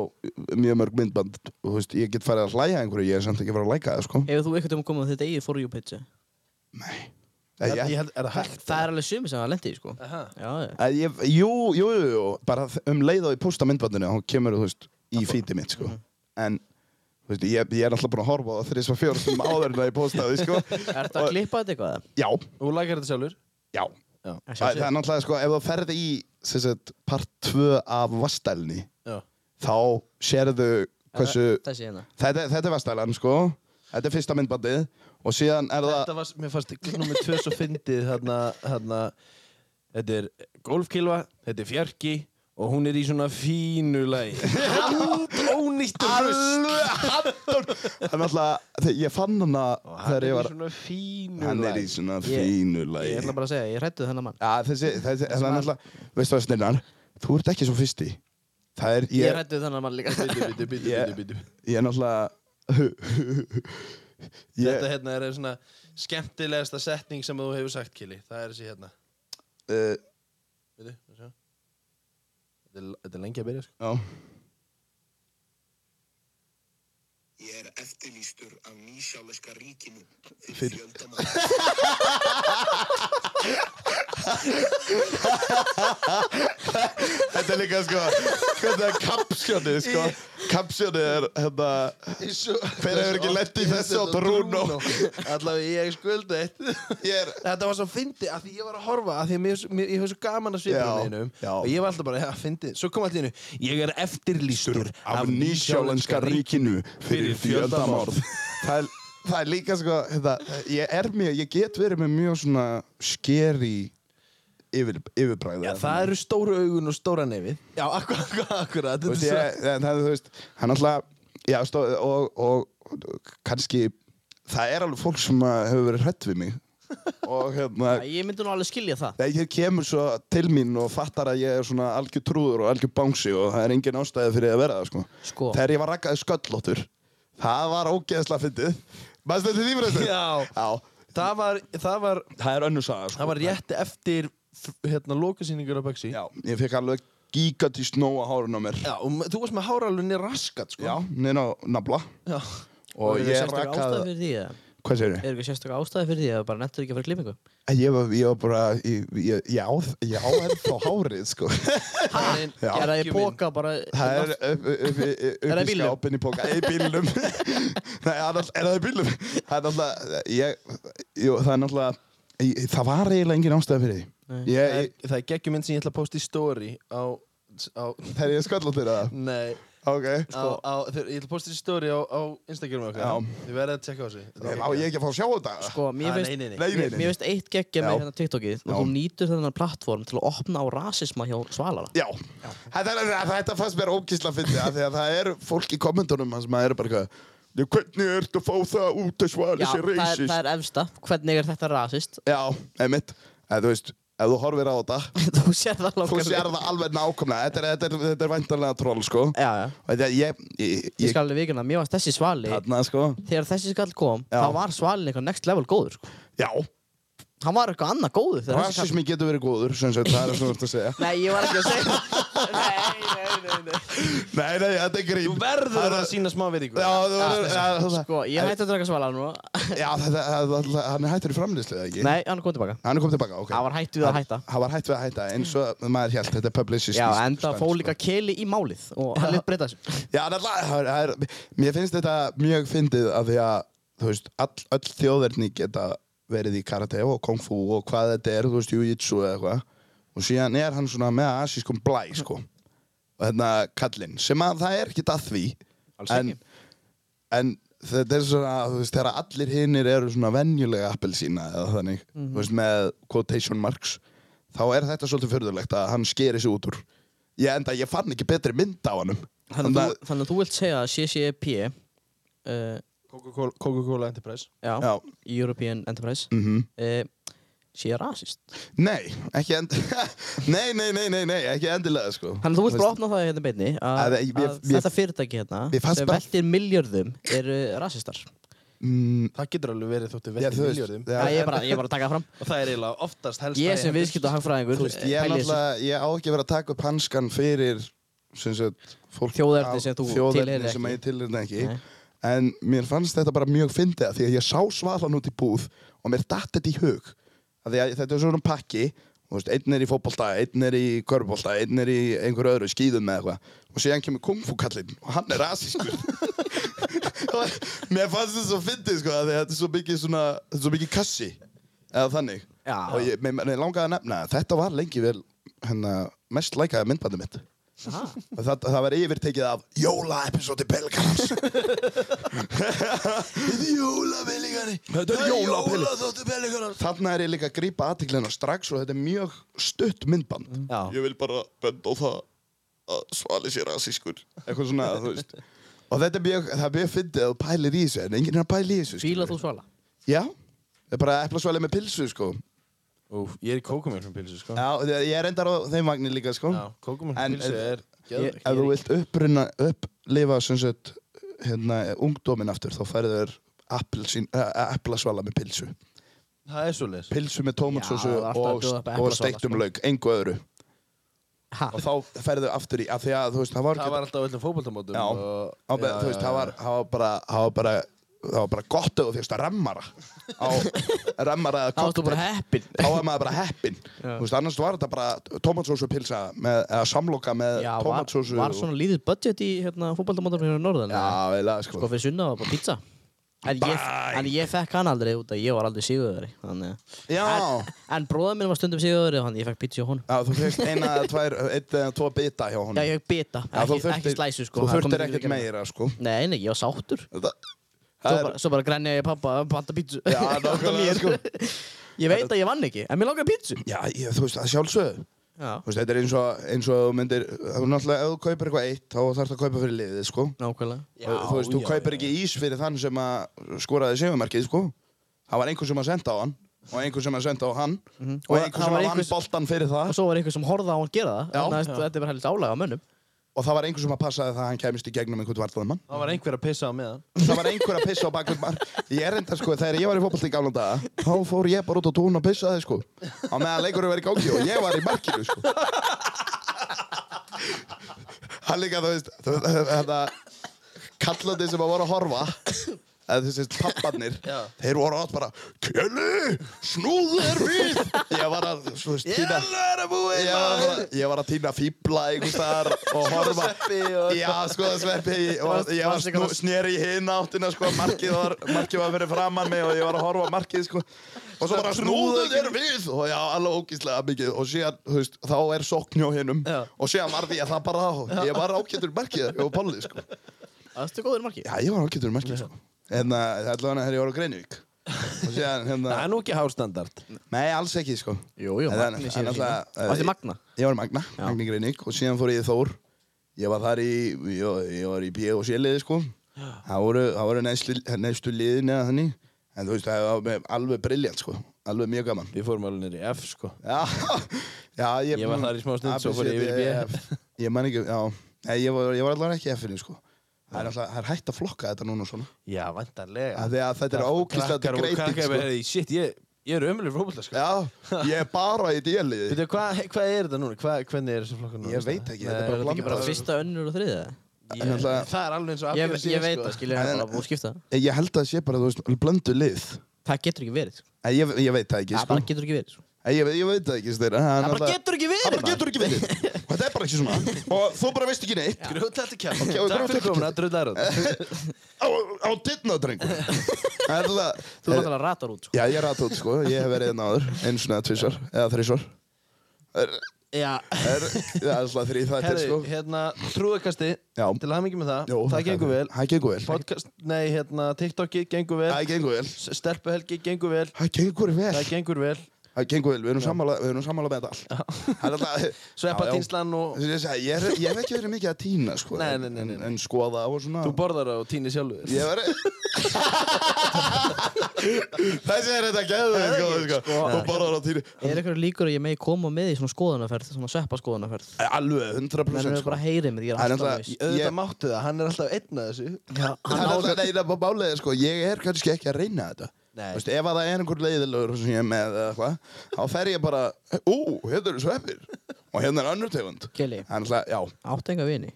Speaker 3: mjög mörg myndband, þú veist, ég get farið að hlæja að einhverju, ég er samt ekki að fara að læka það, sko.
Speaker 2: Ef þú eitthvað um að koma á þetta eigið for you page
Speaker 3: Ég, ég,
Speaker 1: held, er það hægt?
Speaker 2: Það er alveg sumi sem það lendi í sko
Speaker 1: Aha.
Speaker 2: Já, já.
Speaker 3: Að ég, jú, jú, jú, jú, bara um leið og ég posta myndbandinu, hún kemur, þú veist, í fítið mitt, sko. En, þú veist, ég, ég er alltaf búin að horfa á það þrjus og fjórum áður en að ég posta því, sko.
Speaker 2: Ertu að
Speaker 3: Og-
Speaker 2: klippa þetta eitthvað? eða?
Speaker 3: Já,
Speaker 1: Þú lækar þetta sjálfur?
Speaker 3: já.
Speaker 1: Já.
Speaker 2: Að
Speaker 3: Það, það
Speaker 2: sjálfsögðu.
Speaker 3: er náttúrulega, sko, ef þú ferði í, sem sagt, part 2 af Vastælni,
Speaker 1: Já
Speaker 3: þá sérðu hversu...
Speaker 2: Þessi hérna
Speaker 3: Þetta, þetta er Vastælan, sko. Þetta er fyrsta myndbandið. Og síðan er það...
Speaker 1: Þetta var, mér fannst nummið tvö svo fyndið þarna, þarna Þetta er golfkilva, þetta er fjarki og hún er í svona fínu
Speaker 3: [LAUGHS]
Speaker 1: læg Ónýtt rusl
Speaker 3: Það er náttúrulega... þegar Ég fann hana
Speaker 1: Og hann
Speaker 3: þegar
Speaker 1: er
Speaker 3: ég
Speaker 1: í
Speaker 3: var...
Speaker 1: svona fínu
Speaker 3: Hann er
Speaker 1: læg
Speaker 3: í svona
Speaker 2: Ég-
Speaker 3: fínu
Speaker 2: Ég
Speaker 3: lagi.
Speaker 2: ætla bara að segja, ég hrættu þennan mann
Speaker 3: Já, þessi... þessi það er náttúrulega... Veistu það, Snirnar? Þú ert ekki svo fyrsti. Það er...
Speaker 2: Ég
Speaker 3: Ég,
Speaker 2: hrættu þennan mann líka
Speaker 1: Bitu, bitu, bitu,
Speaker 3: Ég-
Speaker 1: bitu
Speaker 3: ég er náttúrulega...
Speaker 1: Þetta
Speaker 3: [LAUGHS] ég...
Speaker 1: hérna er svona skemmtilegasta setning sem þú hefur sagt, Kili Það er þessi hérna
Speaker 3: Uh,
Speaker 1: Bitu, við sjá. Þetta er- Þetta er lengi að byrja sko
Speaker 3: já.
Speaker 5: Ég er eftirlýstur af nýsjáleska ríkinu
Speaker 3: Fyrir-
Speaker 5: fyrir fjöldamann.
Speaker 3: Þetta er líka, sko... Hvernig er kapsjónið, sko? Kapsjónið er, hérna... Hver hefur ekki lent í þessu á Bruno?
Speaker 1: Allavega ég skulda eitt
Speaker 3: Ég er...
Speaker 1: Þetta var svo fyndi að því ég var að horfa að því að mér, mér, ég var svo gaman að svipra
Speaker 3: Já,
Speaker 1: neinum
Speaker 3: já.
Speaker 1: og ég var alltaf bara, já, fyndi Svo kom allir innu, ég er eftirlýstur
Speaker 3: af nýsjálenska ríkinu fyrir fjöldamorð það, er- það er líka sko þetta, ég er mjög, ég get verið með mjög svona skeri yfir, yfirbræði
Speaker 1: Já, það eru stóru augun og stóra nefið Já, akkurat, akkurat, akkurat
Speaker 3: þú
Speaker 1: þetta er svo-
Speaker 3: veist, ég, en það, þú veist, hann alltaf já, stó, og, og, og kannski það er alveg fólk sem að hefur verið hrætt [LAUGHS] við mig og hérna
Speaker 2: Æ, Ég myndi nú alveg skilja það
Speaker 3: Þegar ég kemur svo til mín og fattar að ég er svona algjör trúður og algjör bánsi og það er engin ástæði fyrir að vera það sko.
Speaker 2: Sko.
Speaker 3: Þegar ég var rakkaði sköllóttur, það var ógeðslega fyndið. Mæstu þetta því fyrir þessu?
Speaker 1: Já.
Speaker 3: Já.
Speaker 1: það, var, það, var,
Speaker 3: Það er önnur saga sko.
Speaker 1: það var rétt eftir f- hérna, lokasýningur á Böksi
Speaker 3: Já, ég fekk alveg gígat í snóa hárun á mér.
Speaker 1: Já, og m- þú varst með háralunni raskat, sko
Speaker 3: Já, neina á nafla.
Speaker 1: Já.
Speaker 3: Og
Speaker 2: Er
Speaker 3: ég
Speaker 2: eitthvað sérstök ástæða
Speaker 3: rakkaði...
Speaker 2: fyrir því eða?
Speaker 3: Hvað segir
Speaker 1: Eh.
Speaker 2: Er eitthvað sérstök ástæði fyrir því að bara nettur ekki að fara í klippingu?
Speaker 3: Ég var, ég var bara, ég, ég, ég, á, ég á ennþá hárið, sko.
Speaker 1: Hæ,
Speaker 3: Já.
Speaker 2: Er það í póka bara hérna,
Speaker 3: Það er upp, upp, upp,
Speaker 2: það í
Speaker 3: upp, upp í
Speaker 2: bílnum?
Speaker 3: skápinn í póka Í bílnum [LAUGHS] Nei, annars, er það í bílnum? Það er náttúrulega ég, jú, Það er náttúrulega ég, Það var eiginlega engin ástæða fyrir
Speaker 2: Nei.
Speaker 3: því ég,
Speaker 1: Það er,
Speaker 3: ég,
Speaker 1: það er geggjumynd sem ég ætla að posta í story á, á
Speaker 3: Þegar ég sköll á þeirra
Speaker 1: Nei,
Speaker 3: Ok
Speaker 1: á,
Speaker 2: Sko,
Speaker 1: á, þeir, ég ætla að posta í story á, á Instagram okkar
Speaker 3: Sko. Já.
Speaker 1: Þið verðið að tjekka á þessu Þetta er
Speaker 3: Á ég ekki að fá að sjá þetta?
Speaker 2: Sko, mér
Speaker 1: Ah,
Speaker 2: finnst
Speaker 1: nei, nei, nei.
Speaker 3: Nei, nei,
Speaker 2: Mér
Speaker 3: nei.
Speaker 2: mér finnst eitt geggja
Speaker 3: Já.
Speaker 2: með hérna TikTokið og
Speaker 3: Já.
Speaker 2: þú nýtur þennan plattform til að opna á rasisma hjá svalara
Speaker 3: Já, Þetta, er- þetta fannst mér ókísla fyndið af því að það er fólk í kommentunum sem er bara eitthvað "Já, Hvernig ertu að fá það út að svara
Speaker 2: Já,
Speaker 3: þessi
Speaker 2: það er,
Speaker 3: reisist?
Speaker 2: það er efsta, hvernig er þetta rasist? [LAUGHS]
Speaker 3: Já, einmitt En Þú veist, ef þú horfir á þetta
Speaker 2: þú sér það
Speaker 3: Þú
Speaker 2: langar
Speaker 3: sér það alveg nákvæmlega Þetta er, þetta er, þetta er væntanlega troll, sko
Speaker 2: Já, já,
Speaker 3: Og Þetta, ég, ég,
Speaker 2: ég
Speaker 3: ég,
Speaker 2: skal alveg vikuna, mér varst þessi svali
Speaker 3: þarna, sko
Speaker 2: Þegar þessi skall kom,
Speaker 3: Já.
Speaker 2: þá var svalin eitthvað next level góður sko.
Speaker 3: Já,
Speaker 2: Hann var eitthvað annað góður þegar þessi skall
Speaker 3: rasismi getur verið góður, sem sagt, það er svona þetta að
Speaker 2: [LAUGHS]
Speaker 3: segja
Speaker 2: Nei, ég var ekki
Speaker 3: [LAUGHS]
Speaker 2: að segja Nei, nei, nei, nei
Speaker 3: Nei, nei, þetta er grín
Speaker 1: Þú verður
Speaker 3: Það
Speaker 1: að
Speaker 3: er-
Speaker 1: sína smá virðingu
Speaker 3: Já, þú verður, já, það-
Speaker 2: Sko, ég hætti að draka svala nú
Speaker 3: já, þetta, það- það- hann er hættur í framlýslu, eða ekki?
Speaker 2: Nei, hann kom tilbaka
Speaker 3: Hann er komið tilbaka, ok
Speaker 2: Hann var hættur við að hætta
Speaker 3: Hann var hætt við að hætta, eins og maður hjælt, þetta er publicist
Speaker 2: Já, enda fóð líka keli í málið og hann létt breyta þessu
Speaker 3: Já, það er- það er, það er, mér finnst þetta mjög fyndið af því að, þú veist, all, öll þjóðverðni geta verið í karate og kung fu og hvað þetta er, þú veist, jiu-jitsu eða eitthvað og síðan er hann svona með asískum blæ, sko og hérna kallinn, sem að það er ekkit að því
Speaker 2: Alls ekki.
Speaker 3: En, en þetta er svona, þú veist, þegar allir hinnir eru svona venjulega appelsína eða þannig,
Speaker 2: Mhm.
Speaker 3: þú veist, með quotation marks þá er þetta svolítið förðulegt að hann skeri sig út úr Ég enda, ég fann ekki betri mynd á hannum
Speaker 2: Þannig að þú- þannig að þú vilt segja að CCP uh,
Speaker 1: Coca-Cola, Coca-Cola Enterprise
Speaker 2: Já,
Speaker 3: Já.
Speaker 2: European Enterprise mm sé rasist
Speaker 3: Nei, ekki endilega [LAUGHS] Nei, nei, nei, nei, nei, ekki endilega sko
Speaker 2: Þannig að þú vilt bara opna það hérna í beinni að,
Speaker 3: Að ég-
Speaker 2: að
Speaker 3: ég-
Speaker 2: þetta fyrirtæki hérna
Speaker 3: Mér fannst
Speaker 2: sem
Speaker 3: bara-
Speaker 2: veldir miljörðum eru rasistar
Speaker 3: mm,
Speaker 1: Það getur alveg verið þóttu
Speaker 3: já,
Speaker 1: vestið
Speaker 3: þú
Speaker 1: miljörðum
Speaker 3: veist já,
Speaker 2: ég, er bara, ég er bara að taka það fram
Speaker 1: og það er eiginlega oftast helst
Speaker 2: Ég sem viðskipt og hagfræðingur
Speaker 3: Þú veist, ég, er
Speaker 2: pæli í þessu.
Speaker 3: náttúrulega, ég á ekki að vera að taka upp hanskan fyrir sem sagt, fólk
Speaker 2: Þjóðerni
Speaker 3: á-
Speaker 2: sem þú
Speaker 3: þjóðerni
Speaker 2: tilheyrir
Speaker 3: sem
Speaker 2: ekki.
Speaker 3: ég tilheyrir ekki
Speaker 2: Nei.
Speaker 3: en mér fannst þetta bara mjög fyndið af því að ég sá svalan út í búð og mér datt þetta í hug af því að þetta er svona pakki þú veist, einn er í fótbolta, einn er í körbólta einn er í einhverju öðru skýðum eða eitthvað og síðan kemur kungfúkallinn og hann er rasískur [LAUGHS] mér fannst þetta svo fyndið sko af því að þetta er svo mikið svona þetta er svo mikið kassi eða þannig
Speaker 2: Já.
Speaker 3: og ég, mér, mér langaði að nefna að þetta var lengi vel hérna, mest lækaði myndbandi mitt Og það, það var yfirtekið af jóla-episódi
Speaker 2: [LAUGHS]
Speaker 3: Belgrams Jóla-belingari Þetta er jóla-belingari Þarna er ég líka að grípa aðtiklina strax og þetta er mjög stutt myndband
Speaker 2: Já.
Speaker 3: Ég vil bara benda á það að svali sér rasískur Eitthvað svona, þú veist Og þetta er mjög, það er mjög fyndið að þú pælir í þessu en enginn er að pæla í þessu skilurðu.
Speaker 2: Fíla þú svala
Speaker 3: Já, það er bara eplasvæli með pilsu, sko
Speaker 1: Úf, ég er kókumjörn frá pilsu sko
Speaker 3: Já, ég er endar á þeim vagnir líka, sko
Speaker 1: Já, kókumjörn frá
Speaker 3: En-
Speaker 1: pilsu
Speaker 3: en-
Speaker 1: er geðveikt.
Speaker 3: Ef þú vilt uppruna, upplifa sem sagt, hérna, ungdómin aftur þá færðu þér appelsín- eh, eh, eplasvala með pilsu
Speaker 1: Það er svo leis
Speaker 3: pilsu með tómatsósu
Speaker 2: Já, það er alltaf að
Speaker 3: og,
Speaker 2: bjóða upp
Speaker 3: og
Speaker 2: eplasvala,
Speaker 3: steiktum
Speaker 2: sko.
Speaker 3: lauk, engu öðru
Speaker 2: Ha,
Speaker 3: og þá færðu aftur í, af því að þú veist, það var
Speaker 1: Það
Speaker 3: ekki
Speaker 1: var alltaf á öllum fótboltamótum
Speaker 3: Já,
Speaker 1: og-
Speaker 3: á, já,
Speaker 1: Já,
Speaker 3: þú veist,
Speaker 1: já,
Speaker 3: það var, það var bara, það var bara það var bara gott ef þú fyrst að remmara á
Speaker 2: [LAUGHS]
Speaker 3: remmara eða
Speaker 2: Þá varstu bara
Speaker 3: cocktail.
Speaker 2: heppinn.
Speaker 3: þá var maður bara heppin þú veist, annars var þetta bara tomatsósu pilsa með, eða samloka með
Speaker 2: Já, var,
Speaker 3: tomatsósu
Speaker 2: var svona lítið budget í hérna, fótbaldamótarnir hérna norðan
Speaker 3: já,
Speaker 2: eða?
Speaker 3: eiginlega, sko,
Speaker 2: Sko fyrir sunna var bara pizza En ég, en ég fekk hann aldrei út að ég var aldrei sigurveri Þannig
Speaker 3: já,
Speaker 2: En, en bróðar minn var stundum sigurveri Þannig ég fekk pizza hjá honum
Speaker 3: já, þú fyrst eina, eða tvær, einn eða tvo bita hjá honum
Speaker 2: Já, ég fekk bita,
Speaker 3: Já, þú
Speaker 2: ekki, ekki
Speaker 3: þurftir-
Speaker 2: slæsu sko
Speaker 3: þú
Speaker 2: það kom
Speaker 3: þurftir
Speaker 2: ekki
Speaker 3: ekkert
Speaker 2: mikið með.
Speaker 3: meira, sko
Speaker 2: Nei, nei, ég var sáttur
Speaker 3: það,
Speaker 2: Svo
Speaker 3: það er,
Speaker 2: bara, svo bara grænja ég pappa að [LAUGHS] panta pítsu
Speaker 3: Já, nákvæmlega, sko.
Speaker 2: Ég veit að ég vann ekki, en mér langar pítsu
Speaker 3: já, ég, þú veist, það sjálfsögðu
Speaker 2: Já,
Speaker 3: Þú veist, þetta er eins og, eins og þú myndir, þú náttúrulega, ef þú kaupir eitthvað eitt, þá þarf það að kaupa fyrir liðið, sko.
Speaker 2: nákvæmlega
Speaker 3: Já, þú veist, þú kaupir ekki ís fyrir þann sem að skoraði sigumarkið, sko. Það var einhver sem að senda á hann, og einhver sem að senda á hann, og
Speaker 2: Mhm. Og
Speaker 3: einhver
Speaker 2: það
Speaker 3: sem
Speaker 2: var
Speaker 3: að
Speaker 2: einhver
Speaker 3: vann
Speaker 2: sem-
Speaker 3: boltan fyrir
Speaker 2: Og
Speaker 3: það,
Speaker 2: svo var einhver sem horfði á hann gera það
Speaker 3: Já.
Speaker 2: Þannig að þetta er bara helst álega á mönnum
Speaker 3: og það var einhver sem að passaði það að hann kemist í gegnum einhvern vartaðamann.
Speaker 1: Það var einhver að pissa á meðan
Speaker 3: Það var einhver að pissa á bakvið mann. Ég er enda, sko, þegar ég var í fótbolti í gamla daga, þá fór ég bara út á tún og pissaði, sko. Á meðan leikurinn var í gangi og ég var í markinu, sko. Hann líka, þú veist, þú- þetta kallandi sem að voru að horfa, eða þú veist, papparnir, þeir voru átt bara, Kjölu, snúðu þér við! Ég var að, þú veist, týna...
Speaker 1: er að búið
Speaker 3: Ég var, bara, ég var að týna fíbla einhvers staðar og horfa
Speaker 1: Sveppi og-
Speaker 3: Já, sko, sveppi og Ég var snú, sneri í hinn áttina, sko Markið var, markið var fyrir framann mig og ég var að horfa á markið, sko Og svo bara snúðu þér við Og já, alveg ógíslega mikið Og síðan, þú veist, þá er sókn hjá hinnum
Speaker 2: Já.
Speaker 3: Og síðan var því að það bara á Ég var ákjöndur markið, ég var pálið, sko
Speaker 2: Aðstu góður marki
Speaker 3: Já, ég var ákjöndur markið, sko En það er allavega þegar ég var á Greinvík Og síðan,
Speaker 1: [LAUGHS]
Speaker 3: hérna
Speaker 1: Það er nú ekki hástandard
Speaker 3: Nei, alls ekki, sko.
Speaker 2: Jú, jú,
Speaker 3: En það-
Speaker 2: Magni
Speaker 3: en eh,
Speaker 2: síðan
Speaker 1: hérna.
Speaker 3: náttúrulega,
Speaker 2: líka. Varstu í Magna?
Speaker 3: Ég var í Magna, Magni Greiník og síðan fór ég í Þór. Ég var þar í, ég, var- ég var í B og C-liði, sko. Það voru, það voru næstu, næstu liðin eða þannig. En þú veist, það var með- alveg briljant, sko. Alveg mjög gaman. [LAUGHS]
Speaker 1: Við fórum alveg niður í F sko
Speaker 3: Já, já ég,
Speaker 1: Ég var þar í smá stund, svo fór ég yfir í B. [LAUGHS]
Speaker 3: Ég, E ég man ekki, já. Nei, ég var, ég var allavega ekki í F-inu, sko. Það er, alltaf, það er hægt að flokka þetta núna svona.
Speaker 1: Já, vantarlega
Speaker 3: Af því að þetta er ógeðslega greiting, sko.
Speaker 1: Shit, ég, ég er ömulegur fótbolta sko
Speaker 3: Já, ég er bara í D-liði.
Speaker 1: Veitu, hvað hva er þetta núna? Hva, hvernig er þessi flokkur núna?
Speaker 3: Ég veit ekki, þetta
Speaker 1: Nei,
Speaker 3: er bara
Speaker 1: þetta
Speaker 2: Ekki bara fyrsta, önnur og þriðja
Speaker 1: Ég,
Speaker 3: En náttúrulega-
Speaker 1: það er alveg eins og sko.
Speaker 2: Ég,
Speaker 1: Abbi að segja,
Speaker 2: ég veit það, skilja, það
Speaker 3: sko. En-
Speaker 2: er bara búið að skipta
Speaker 3: Ég ég held að það sé bara, þú veist, blöndu lið.
Speaker 2: Það getur ekki verið sko.
Speaker 3: En ég, ég veit það ekki,
Speaker 2: Það
Speaker 3: sko.
Speaker 2: bara getur ekki verið sko.
Speaker 3: En Ég, ég veit það ekki, Steina.
Speaker 2: Það bara getur ekki verið
Speaker 3: Það bara
Speaker 2: maður.
Speaker 3: getur ekki verið. Og þetta er
Speaker 2: [LAUGHS]
Speaker 3: bara ekki svona. Og þú bara veist ekki neitt.
Speaker 1: Grjótlættu kjátt
Speaker 3: Ok, og
Speaker 1: Takk
Speaker 3: grjótlættu
Speaker 1: fyrir komin að drullar
Speaker 3: Á, á dittna,
Speaker 2: [LAUGHS]
Speaker 3: drengur. Það er það.
Speaker 2: Þú er náttúrulega ratar út sko.
Speaker 3: Já, ég er aðtótt, sko. Ég hef verið hérna áður. Einu svona, tvisvar. Eða þrísvar. Er,
Speaker 2: Já,
Speaker 3: er, það er svona þrý þættir,
Speaker 1: Herri,
Speaker 3: sko.
Speaker 1: hérna, trúakasti
Speaker 3: Já.
Speaker 1: Til hamingi með það
Speaker 3: Jó,
Speaker 1: Það gengur vel
Speaker 3: Það gengur vel.
Speaker 1: Podcast, nei, hérna, TikTokki gengur vel
Speaker 3: Það gengur vel.
Speaker 1: Stelpuhelgi gengur vel
Speaker 3: Það gengur vel.
Speaker 1: Það gengur vel
Speaker 3: það gengur vel, við erum sammála, við erum sammála með þetta allt Það er alltaf- Já, já.
Speaker 1: Sveppatínslan og
Speaker 3: Ég, segi, ég, er- ég hef ekki verið mikið að týna sko,
Speaker 1: Nei, nei, nei, nei,
Speaker 3: en,
Speaker 1: nei.
Speaker 3: en skoða á og svona
Speaker 1: þú borðar það og týnir sjálfur
Speaker 3: Ég var [LAUGHS] Þessi er þetta geðu sko, sko. Þú borðar á týni
Speaker 2: Er eitthvað líkur að ég megi koma með í svona skoðanaferð, svona sveppa skoðanaferð?
Speaker 3: Alveg, 100%
Speaker 2: Menn
Speaker 3: sko.
Speaker 2: eru bara heyrið mér, ég er
Speaker 3: Það er
Speaker 2: alltaf
Speaker 3: náttúrulega-
Speaker 2: laus.
Speaker 1: auðvitað
Speaker 3: Ég-
Speaker 1: máttu það, hann er alltaf einn að þessu
Speaker 2: Já,
Speaker 3: Það er
Speaker 2: hann á
Speaker 3: alltaf neina bara málega, sko, ég er kannski ekki að reyna þetta.
Speaker 1: Nei.
Speaker 3: Þú veist, ef að það er einhver leiðilegur sem ég er með eða eitthvað, þá fer ég bara, ú, hérna eru sveppir og hérna er önnur tegund.
Speaker 2: Kelly.
Speaker 3: Þannig að, já,
Speaker 2: átt enga vini.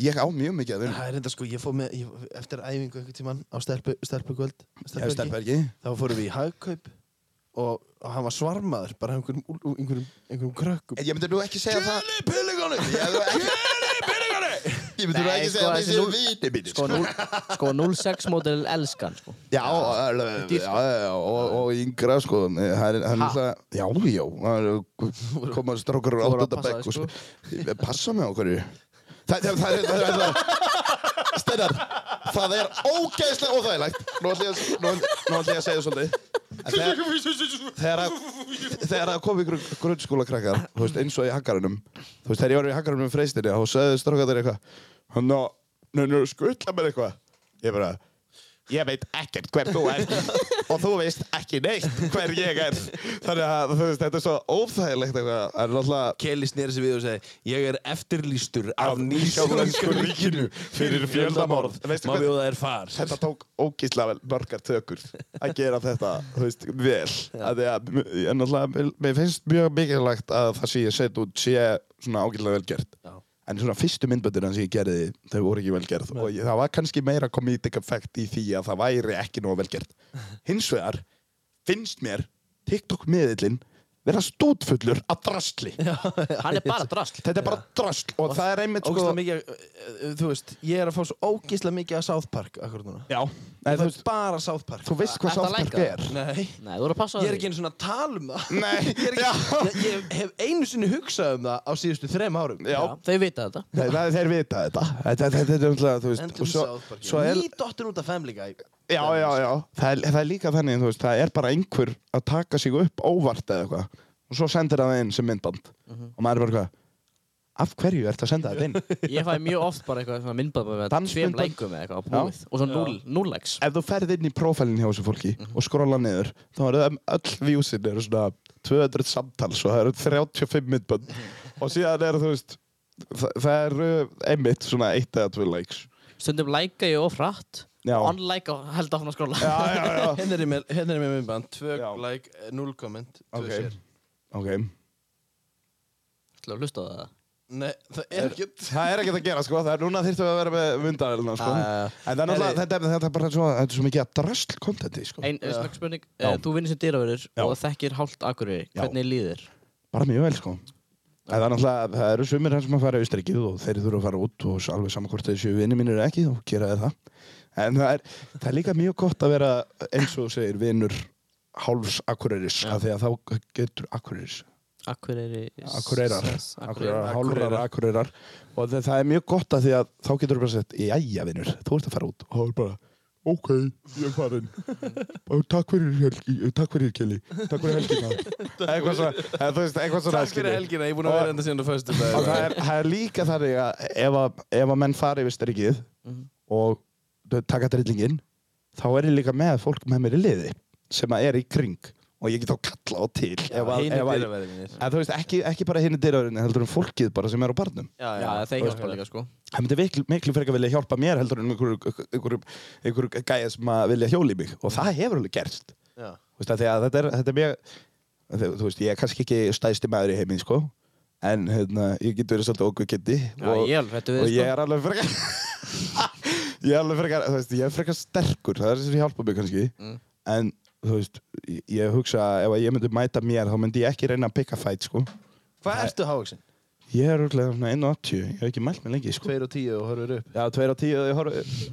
Speaker 3: ég á mjög mikið að vinna.
Speaker 1: Það er enda sko, ég fór með, ég, eftir æfingu einhvern tímann á stelpu, stelpukvöld
Speaker 3: Ég hef stelpergi.
Speaker 1: Þá fórum við í hagkaup og, og hann var svarmaður, bara einhverjum, úl- úl- einhverjum, einhverjum krökkum
Speaker 3: Ég myndi nú ekki segja það. Kjöli pillugónu! Kjöli pillugónu! Ég myndi nú
Speaker 2: Nei,
Speaker 3: ekki
Speaker 2: sko,
Speaker 3: segja það
Speaker 2: þessi
Speaker 3: þessi
Speaker 2: núll-
Speaker 3: vini mínu,
Speaker 2: Sko,
Speaker 3: sko.
Speaker 2: 0, [LAUGHS] sko 06 mótil elskan, sko.
Speaker 3: Já, alveg, já, já, og, og yngra, sko, það er hann alltaf, já, já, það er- koma strókur á
Speaker 2: Þú voru að
Speaker 3: áttunda
Speaker 2: passa
Speaker 3: bekk
Speaker 2: þig,
Speaker 3: og sko, passa mig á hverju. Það það- það- það- það- það- Steinar, það er ógeðslega óþægilegt. Nú ætlum ég, að- nú, nú ætlum ég að segja svolítið. En Þegar, þegar, að- þegar það kom ykkur grunnskóla krakkar, þú veist, eins og í haggarunum, þú veist, þegar ég var í haggarunum um freystinni, þá sögðu strókar þeir eitthvað, hann á, nú skutla mér eitthvað. Ég bara, ég veit ekkert hver þú er og þú veist ekki neitt hver ég er þannig að þú veist þetta er svo óþægilegt eitthvað en náttúrulega
Speaker 1: Kelly sneri sig við og segi, ég er eftirlýstur af
Speaker 3: Af nýsjálensku
Speaker 1: nýsjálensku
Speaker 3: ríkinu fyrir fjöldamorð Veistu
Speaker 1: Má
Speaker 3: hvað-
Speaker 1: bjóða þær far
Speaker 3: þetta tók ógísla vel mörgar tökur að gera þetta þú veist vel að því að en náttúrulega mér- mér finnst mjög mikilvægt að það sé ég sett út sé svona ágísla vel gert
Speaker 1: Já.
Speaker 3: En svona fyrstu myndböndina sem ég gerði, þau voru ekki velgerð og ég, það var kannski meira comedic effect í því að það væri ekki nóg velgerð. Hins vegar finnst mér TikTok-miðillin vera stútfullur af drastli.
Speaker 2: Hann er bara drasl.
Speaker 3: Þetta er bara drastl og, það er einmitt sko...
Speaker 1: Ógislega mikið, uh, uh, þú veist, ég er að fá svo ógislega mikið að South Park akkur núna
Speaker 3: Já,
Speaker 1: Ég
Speaker 3: en, þú,
Speaker 1: fæ
Speaker 3: veist,
Speaker 1: bara South Park
Speaker 3: þú veist
Speaker 2: Ertu
Speaker 3: hvað
Speaker 2: að
Speaker 3: sáttverk
Speaker 2: læka?
Speaker 3: er.
Speaker 1: Nei
Speaker 2: Nei, þú eru að passa
Speaker 1: Ég er ekki einu svona að tala um það [LAUGHS]
Speaker 3: Nei,
Speaker 1: Ég, er
Speaker 3: já.
Speaker 1: ekki, ég, ég hef einu sinni hugsað um það á síðustu þrem árum
Speaker 3: Já.
Speaker 2: Þau vita þetta.
Speaker 3: Nei, það er þeir vita þetta. Þetta, þetta, þetta er umtlað, þú veist...
Speaker 1: Endum
Speaker 3: og svo-
Speaker 1: South Park
Speaker 3: svo er-
Speaker 1: Ný dottin út af Family Guy
Speaker 3: Já, já, já. Það er, það er líka þannig, þú veist, það er bara einhver að taka sig upp óvart eða eitthvað og svo sendir það inn sem myndband
Speaker 1: Mhm.
Speaker 3: og maður er bara eitthvað, af hverju ertu að senda þetta inn?
Speaker 1: [LAUGHS]
Speaker 2: Ég fæ mjög oft bara eitthvað svona myndbæð með tveim
Speaker 3: Dansmyndband.
Speaker 2: lækum eða eitthvað á búið. Og svo 0, 0 x.
Speaker 3: Ef þú ferð inn í prófælinn hjá þessu fólki
Speaker 1: Mhm.
Speaker 3: og skrolla niður, þá eru það um öll viewsin eru svona 200 samtals og það eru
Speaker 1: [LAUGHS]
Speaker 3: 35 myndband og síðan er þú veist, það, það eru einmitt svona eitt eða tvö likes.
Speaker 2: Stundum læka ég of rætt.
Speaker 3: Já.
Speaker 2: Unlike og held áfram að skrolla.
Speaker 3: Já, já, já.
Speaker 1: Hérna er ég með, hérna er ég með myndband, tvö
Speaker 3: Já.
Speaker 1: like, eh, null comment, [LAUGHS] tvö
Speaker 3: ok,
Speaker 1: share.
Speaker 3: ok.
Speaker 2: Ætlaðu að hlusta á það.
Speaker 1: Nei, það er ekkert.
Speaker 3: Það er ekkert að gera sko, það er núna þyrftum við að vera með myndavélina sko.
Speaker 2: Já, já,
Speaker 1: Ah.
Speaker 2: já.
Speaker 3: En það er náttúrulega,
Speaker 1: Herri.
Speaker 3: þetta, er- þetta er bara svo, þetta er svo mikið að drasl kontenti sko.
Speaker 2: Einn ja. spurning, uh, þú vinnir sem dýraverður
Speaker 3: Já.
Speaker 2: og þekkir hálft akureyri,
Speaker 3: Já.
Speaker 2: hvernig líður?
Speaker 3: Bara mjög vel sko. En það er náttúrulega, það eru sumir hans sem að fara í austrikið og þeir þurfa að fara út og alveg saman hvort þeir séu vinni mínir eða ekki, þá gera þeir það. En það er, það er líka mjög gott að vera eins og þú segir vinnur hálfs akureyris, af því að þá getur akureyris
Speaker 2: Akureyri...
Speaker 3: akureyrar,
Speaker 2: Akureyrar.
Speaker 3: akureyrar, hálfrar akureyrar og það, það er mjög gott að því að þá getur þú bara sett, jæja vinnur, þú ert að fara út og þá er bara, ok, ég er farin [LAUGHS] og takk fyrir helgi eh, takk fyrir Kelly, takk fyrir helgina [LAUGHS] eitthvað svona, eða þú veist, eitthvað svona
Speaker 1: Takk fyrir
Speaker 3: skilur.
Speaker 1: helgina, ég er búin að vera enda síðan á föstu dag.
Speaker 3: og það er, það er líka þannig að ef að, ef að menn fari yfir strikið
Speaker 2: Mhm.
Speaker 3: og þau taka drillingin þá er ég líka með fólk með mér í liði sem að er í kring og ég get þá kalla á til ef að-
Speaker 1: hinir
Speaker 3: ef að-
Speaker 1: dyraverðirnir.
Speaker 3: En þú veist, ekki, ekki bara hinni dyraverðinni, heldur um fólkið bara sem er á barnum.
Speaker 2: Já, já, þeir hjálpa líka sko.
Speaker 3: Það myndi miklu, miklu frekar vilja hjálpa mér heldur en einhverju einhverju- einhverju gæja sem að vilja hjóli mig. Og það hefur alveg gerst.
Speaker 1: Já.
Speaker 3: Þú veist, af því að þetta er, þetta er mjög, þú þú veist, ég er kannski ekki stæðsti maður í heiminn, sko. En hérna, ég get verið svolítið okkur
Speaker 2: Já, ég er alveg hræddur við
Speaker 3: Og
Speaker 2: þig,
Speaker 3: ég
Speaker 2: sko.
Speaker 3: er alveg frekar, [LAUGHS] ég er alveg frekar, þú veist, ég er frekar sterkur. Það er þess að hjálpa mig kannski.
Speaker 2: Mm.
Speaker 3: En, þú veist, ég, ég hugsa að ef að ég myndi mæta mér, þá myndi ég ekki reyna að picka fight, sko.
Speaker 1: Hvað ertu hávaksin?
Speaker 3: Ég er úrlega svona 1.80, ég hef ekki mælt mig lengi sko.
Speaker 1: 2 og 10 og horfur upp.
Speaker 3: Já, 2 og 10 þegar ég horf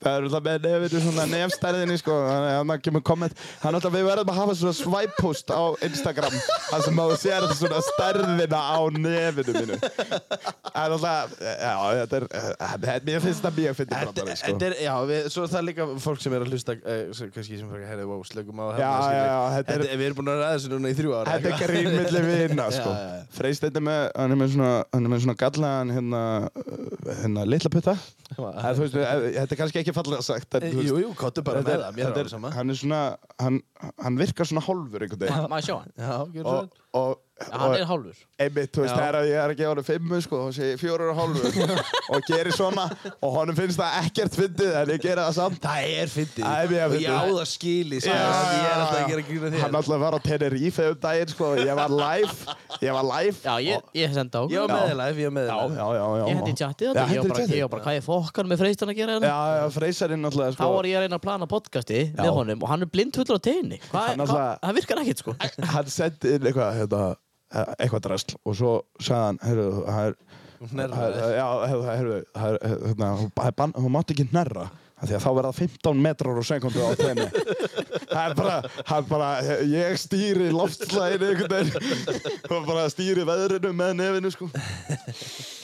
Speaker 3: Það eru það með nefnir svona nefnstærðinni sko, þannig að maður kemur komment. Þannig að við verðum að hafa svona svæppost á Instagram, þar sem maður sér svona stærðina á nefninu mínu. Það er alltaf, já, þetta er, eh, þetta- mér finnst það mjög fyndið brandari sko.
Speaker 1: Þetta er, já, við, svo það er líka fólk sem er að hlusta, uh, kannski sem fyrir að herra, wow, slökum á hérna,
Speaker 3: Já,
Speaker 1: skilur.
Speaker 3: já, já, þetta er-
Speaker 1: Við erum búin að ræða þessu núna í þrjú ára.
Speaker 3: Þetta er grín milli vina,
Speaker 1: Já,
Speaker 3: sko.
Speaker 1: já, já.
Speaker 3: Freyst þetta með, hann er með svona, hann er með svona gallaðan, hérna, uh, hérna, litla putta.
Speaker 1: Ah.
Speaker 3: Það, þú veist, eh, þetta er kannski ekki fallega sagt. en, þú veist,
Speaker 1: Jú, jú, kottu bara
Speaker 3: þetta
Speaker 1: með
Speaker 3: er-
Speaker 1: það, mér er
Speaker 3: þetta er-
Speaker 1: alveg sama.
Speaker 3: Hann er svona, hann, hann virkar svona hálfur einhvern veginn.
Speaker 2: Má ég sjá hann?
Speaker 1: Já, gjörðu svo
Speaker 3: Og,
Speaker 1: vel.
Speaker 3: og,
Speaker 2: Já, Hann er
Speaker 3: og
Speaker 2: hálfur.
Speaker 3: einmitt, þú veist,
Speaker 1: Já.
Speaker 3: það er að ég er að gefa hann fimmu, sko, þá sé ég fjórar og hálfur og gerir svona og honum finnst það ekkert fyndið en ég gera það samt.
Speaker 1: Það er fyndið.
Speaker 3: Það er mjög
Speaker 1: Og Ég á
Speaker 3: fyndið.
Speaker 1: það skili, sko. Ég
Speaker 3: Já,
Speaker 1: er alltaf
Speaker 3: já, já.
Speaker 1: að gera grína þér.
Speaker 3: Hann alltaf var á Tenerife um daginn, sko, og ég var live, ég var live.
Speaker 2: Já, ég, ég senda á.
Speaker 1: Ég var meðlæf, ég var
Speaker 3: Já,
Speaker 1: meðlæf.
Speaker 3: já, já, já.
Speaker 2: Ég hendi í tjatti þetta.
Speaker 3: Já,
Speaker 2: Ég var
Speaker 3: hentu í
Speaker 2: bara,
Speaker 3: chattið.
Speaker 2: ég var bara, hvað er fokkan með freystan að gera hérna?
Speaker 3: Já, já, freysarinn náttúrulega
Speaker 2: Þá
Speaker 3: sko
Speaker 2: var ég að reyna að plana podcasti með honum og hann er blindfullur á teginni. Hvað,
Speaker 3: Hann
Speaker 2: hvað,
Speaker 3: alltaf-
Speaker 2: það virkar ekkert sko.
Speaker 3: [LAUGHS] Hann sendi inn eitthvað hérna, eh, eitthvað drasl og svo sagði hann heyrðu, það er
Speaker 1: Hnerraði.
Speaker 3: það er- Já, heyrðu, það heyrðu, það er, hérna, hún- það er bann- hún mátt ekki nærra því að þá verða 15 metrar og sekundu á
Speaker 1: [LAUGHS]
Speaker 3: tenni það er bara, hann bara ég stýri loftslæðinu einhvern
Speaker 1: [LAUGHS]
Speaker 3: veginn og bara stýri veðrinu með nefinu sko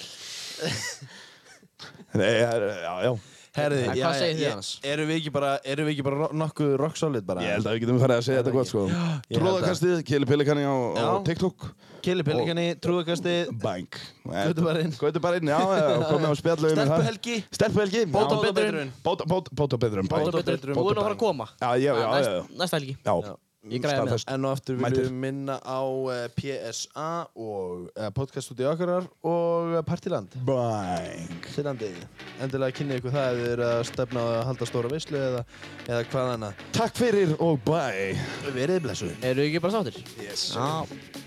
Speaker 3: Nei, það er- já, já
Speaker 1: Herði,
Speaker 2: En hvað
Speaker 1: já, já,
Speaker 2: segið þið
Speaker 1: ég-
Speaker 2: annars?
Speaker 1: Erum við ekki bara, erum við ekki bara ro- nokkuð rock solid bara?
Speaker 3: Ég held að við getum farið að segja þetta gott sko
Speaker 1: [GASPS] ég held að-
Speaker 3: Tróðakastið, Kili Pelikani á, á
Speaker 1: Já.
Speaker 3: TikTok
Speaker 1: Kili Pellikani, Trúakastið,
Speaker 3: Bank
Speaker 1: Gautubarinn.
Speaker 3: Gautabarinn, já, já, komið á um spjallu
Speaker 1: Stelpuhelgi.
Speaker 3: Stelpuhelgi já.
Speaker 1: Bótabótabeiturinn.
Speaker 3: Bóta- bóta- Bótabeiturinn bæ.
Speaker 1: Bótabeiturinn.
Speaker 2: Þú er nú að fara að koma.
Speaker 3: Já, já, já, já, já.
Speaker 2: Ah, Næst- Næsta helgi.
Speaker 3: Já,
Speaker 2: Ég græði með
Speaker 3: Staðfest.
Speaker 1: En og aftur viljum
Speaker 3: Mætir.
Speaker 1: við minna á eh, PSA og eh, podcaststúdíu okkarar og eh, Partiland
Speaker 3: Bank
Speaker 1: til landið. Endilega kynnið ykkur það ef þið eru að stefna á að halda stóra veislu eða, eða hvað annað.
Speaker 3: Takk fyrir og bye
Speaker 1: Verið blessuð.
Speaker 2: Eru ekki bara sáttir?
Speaker 3: Yes
Speaker 2: Já.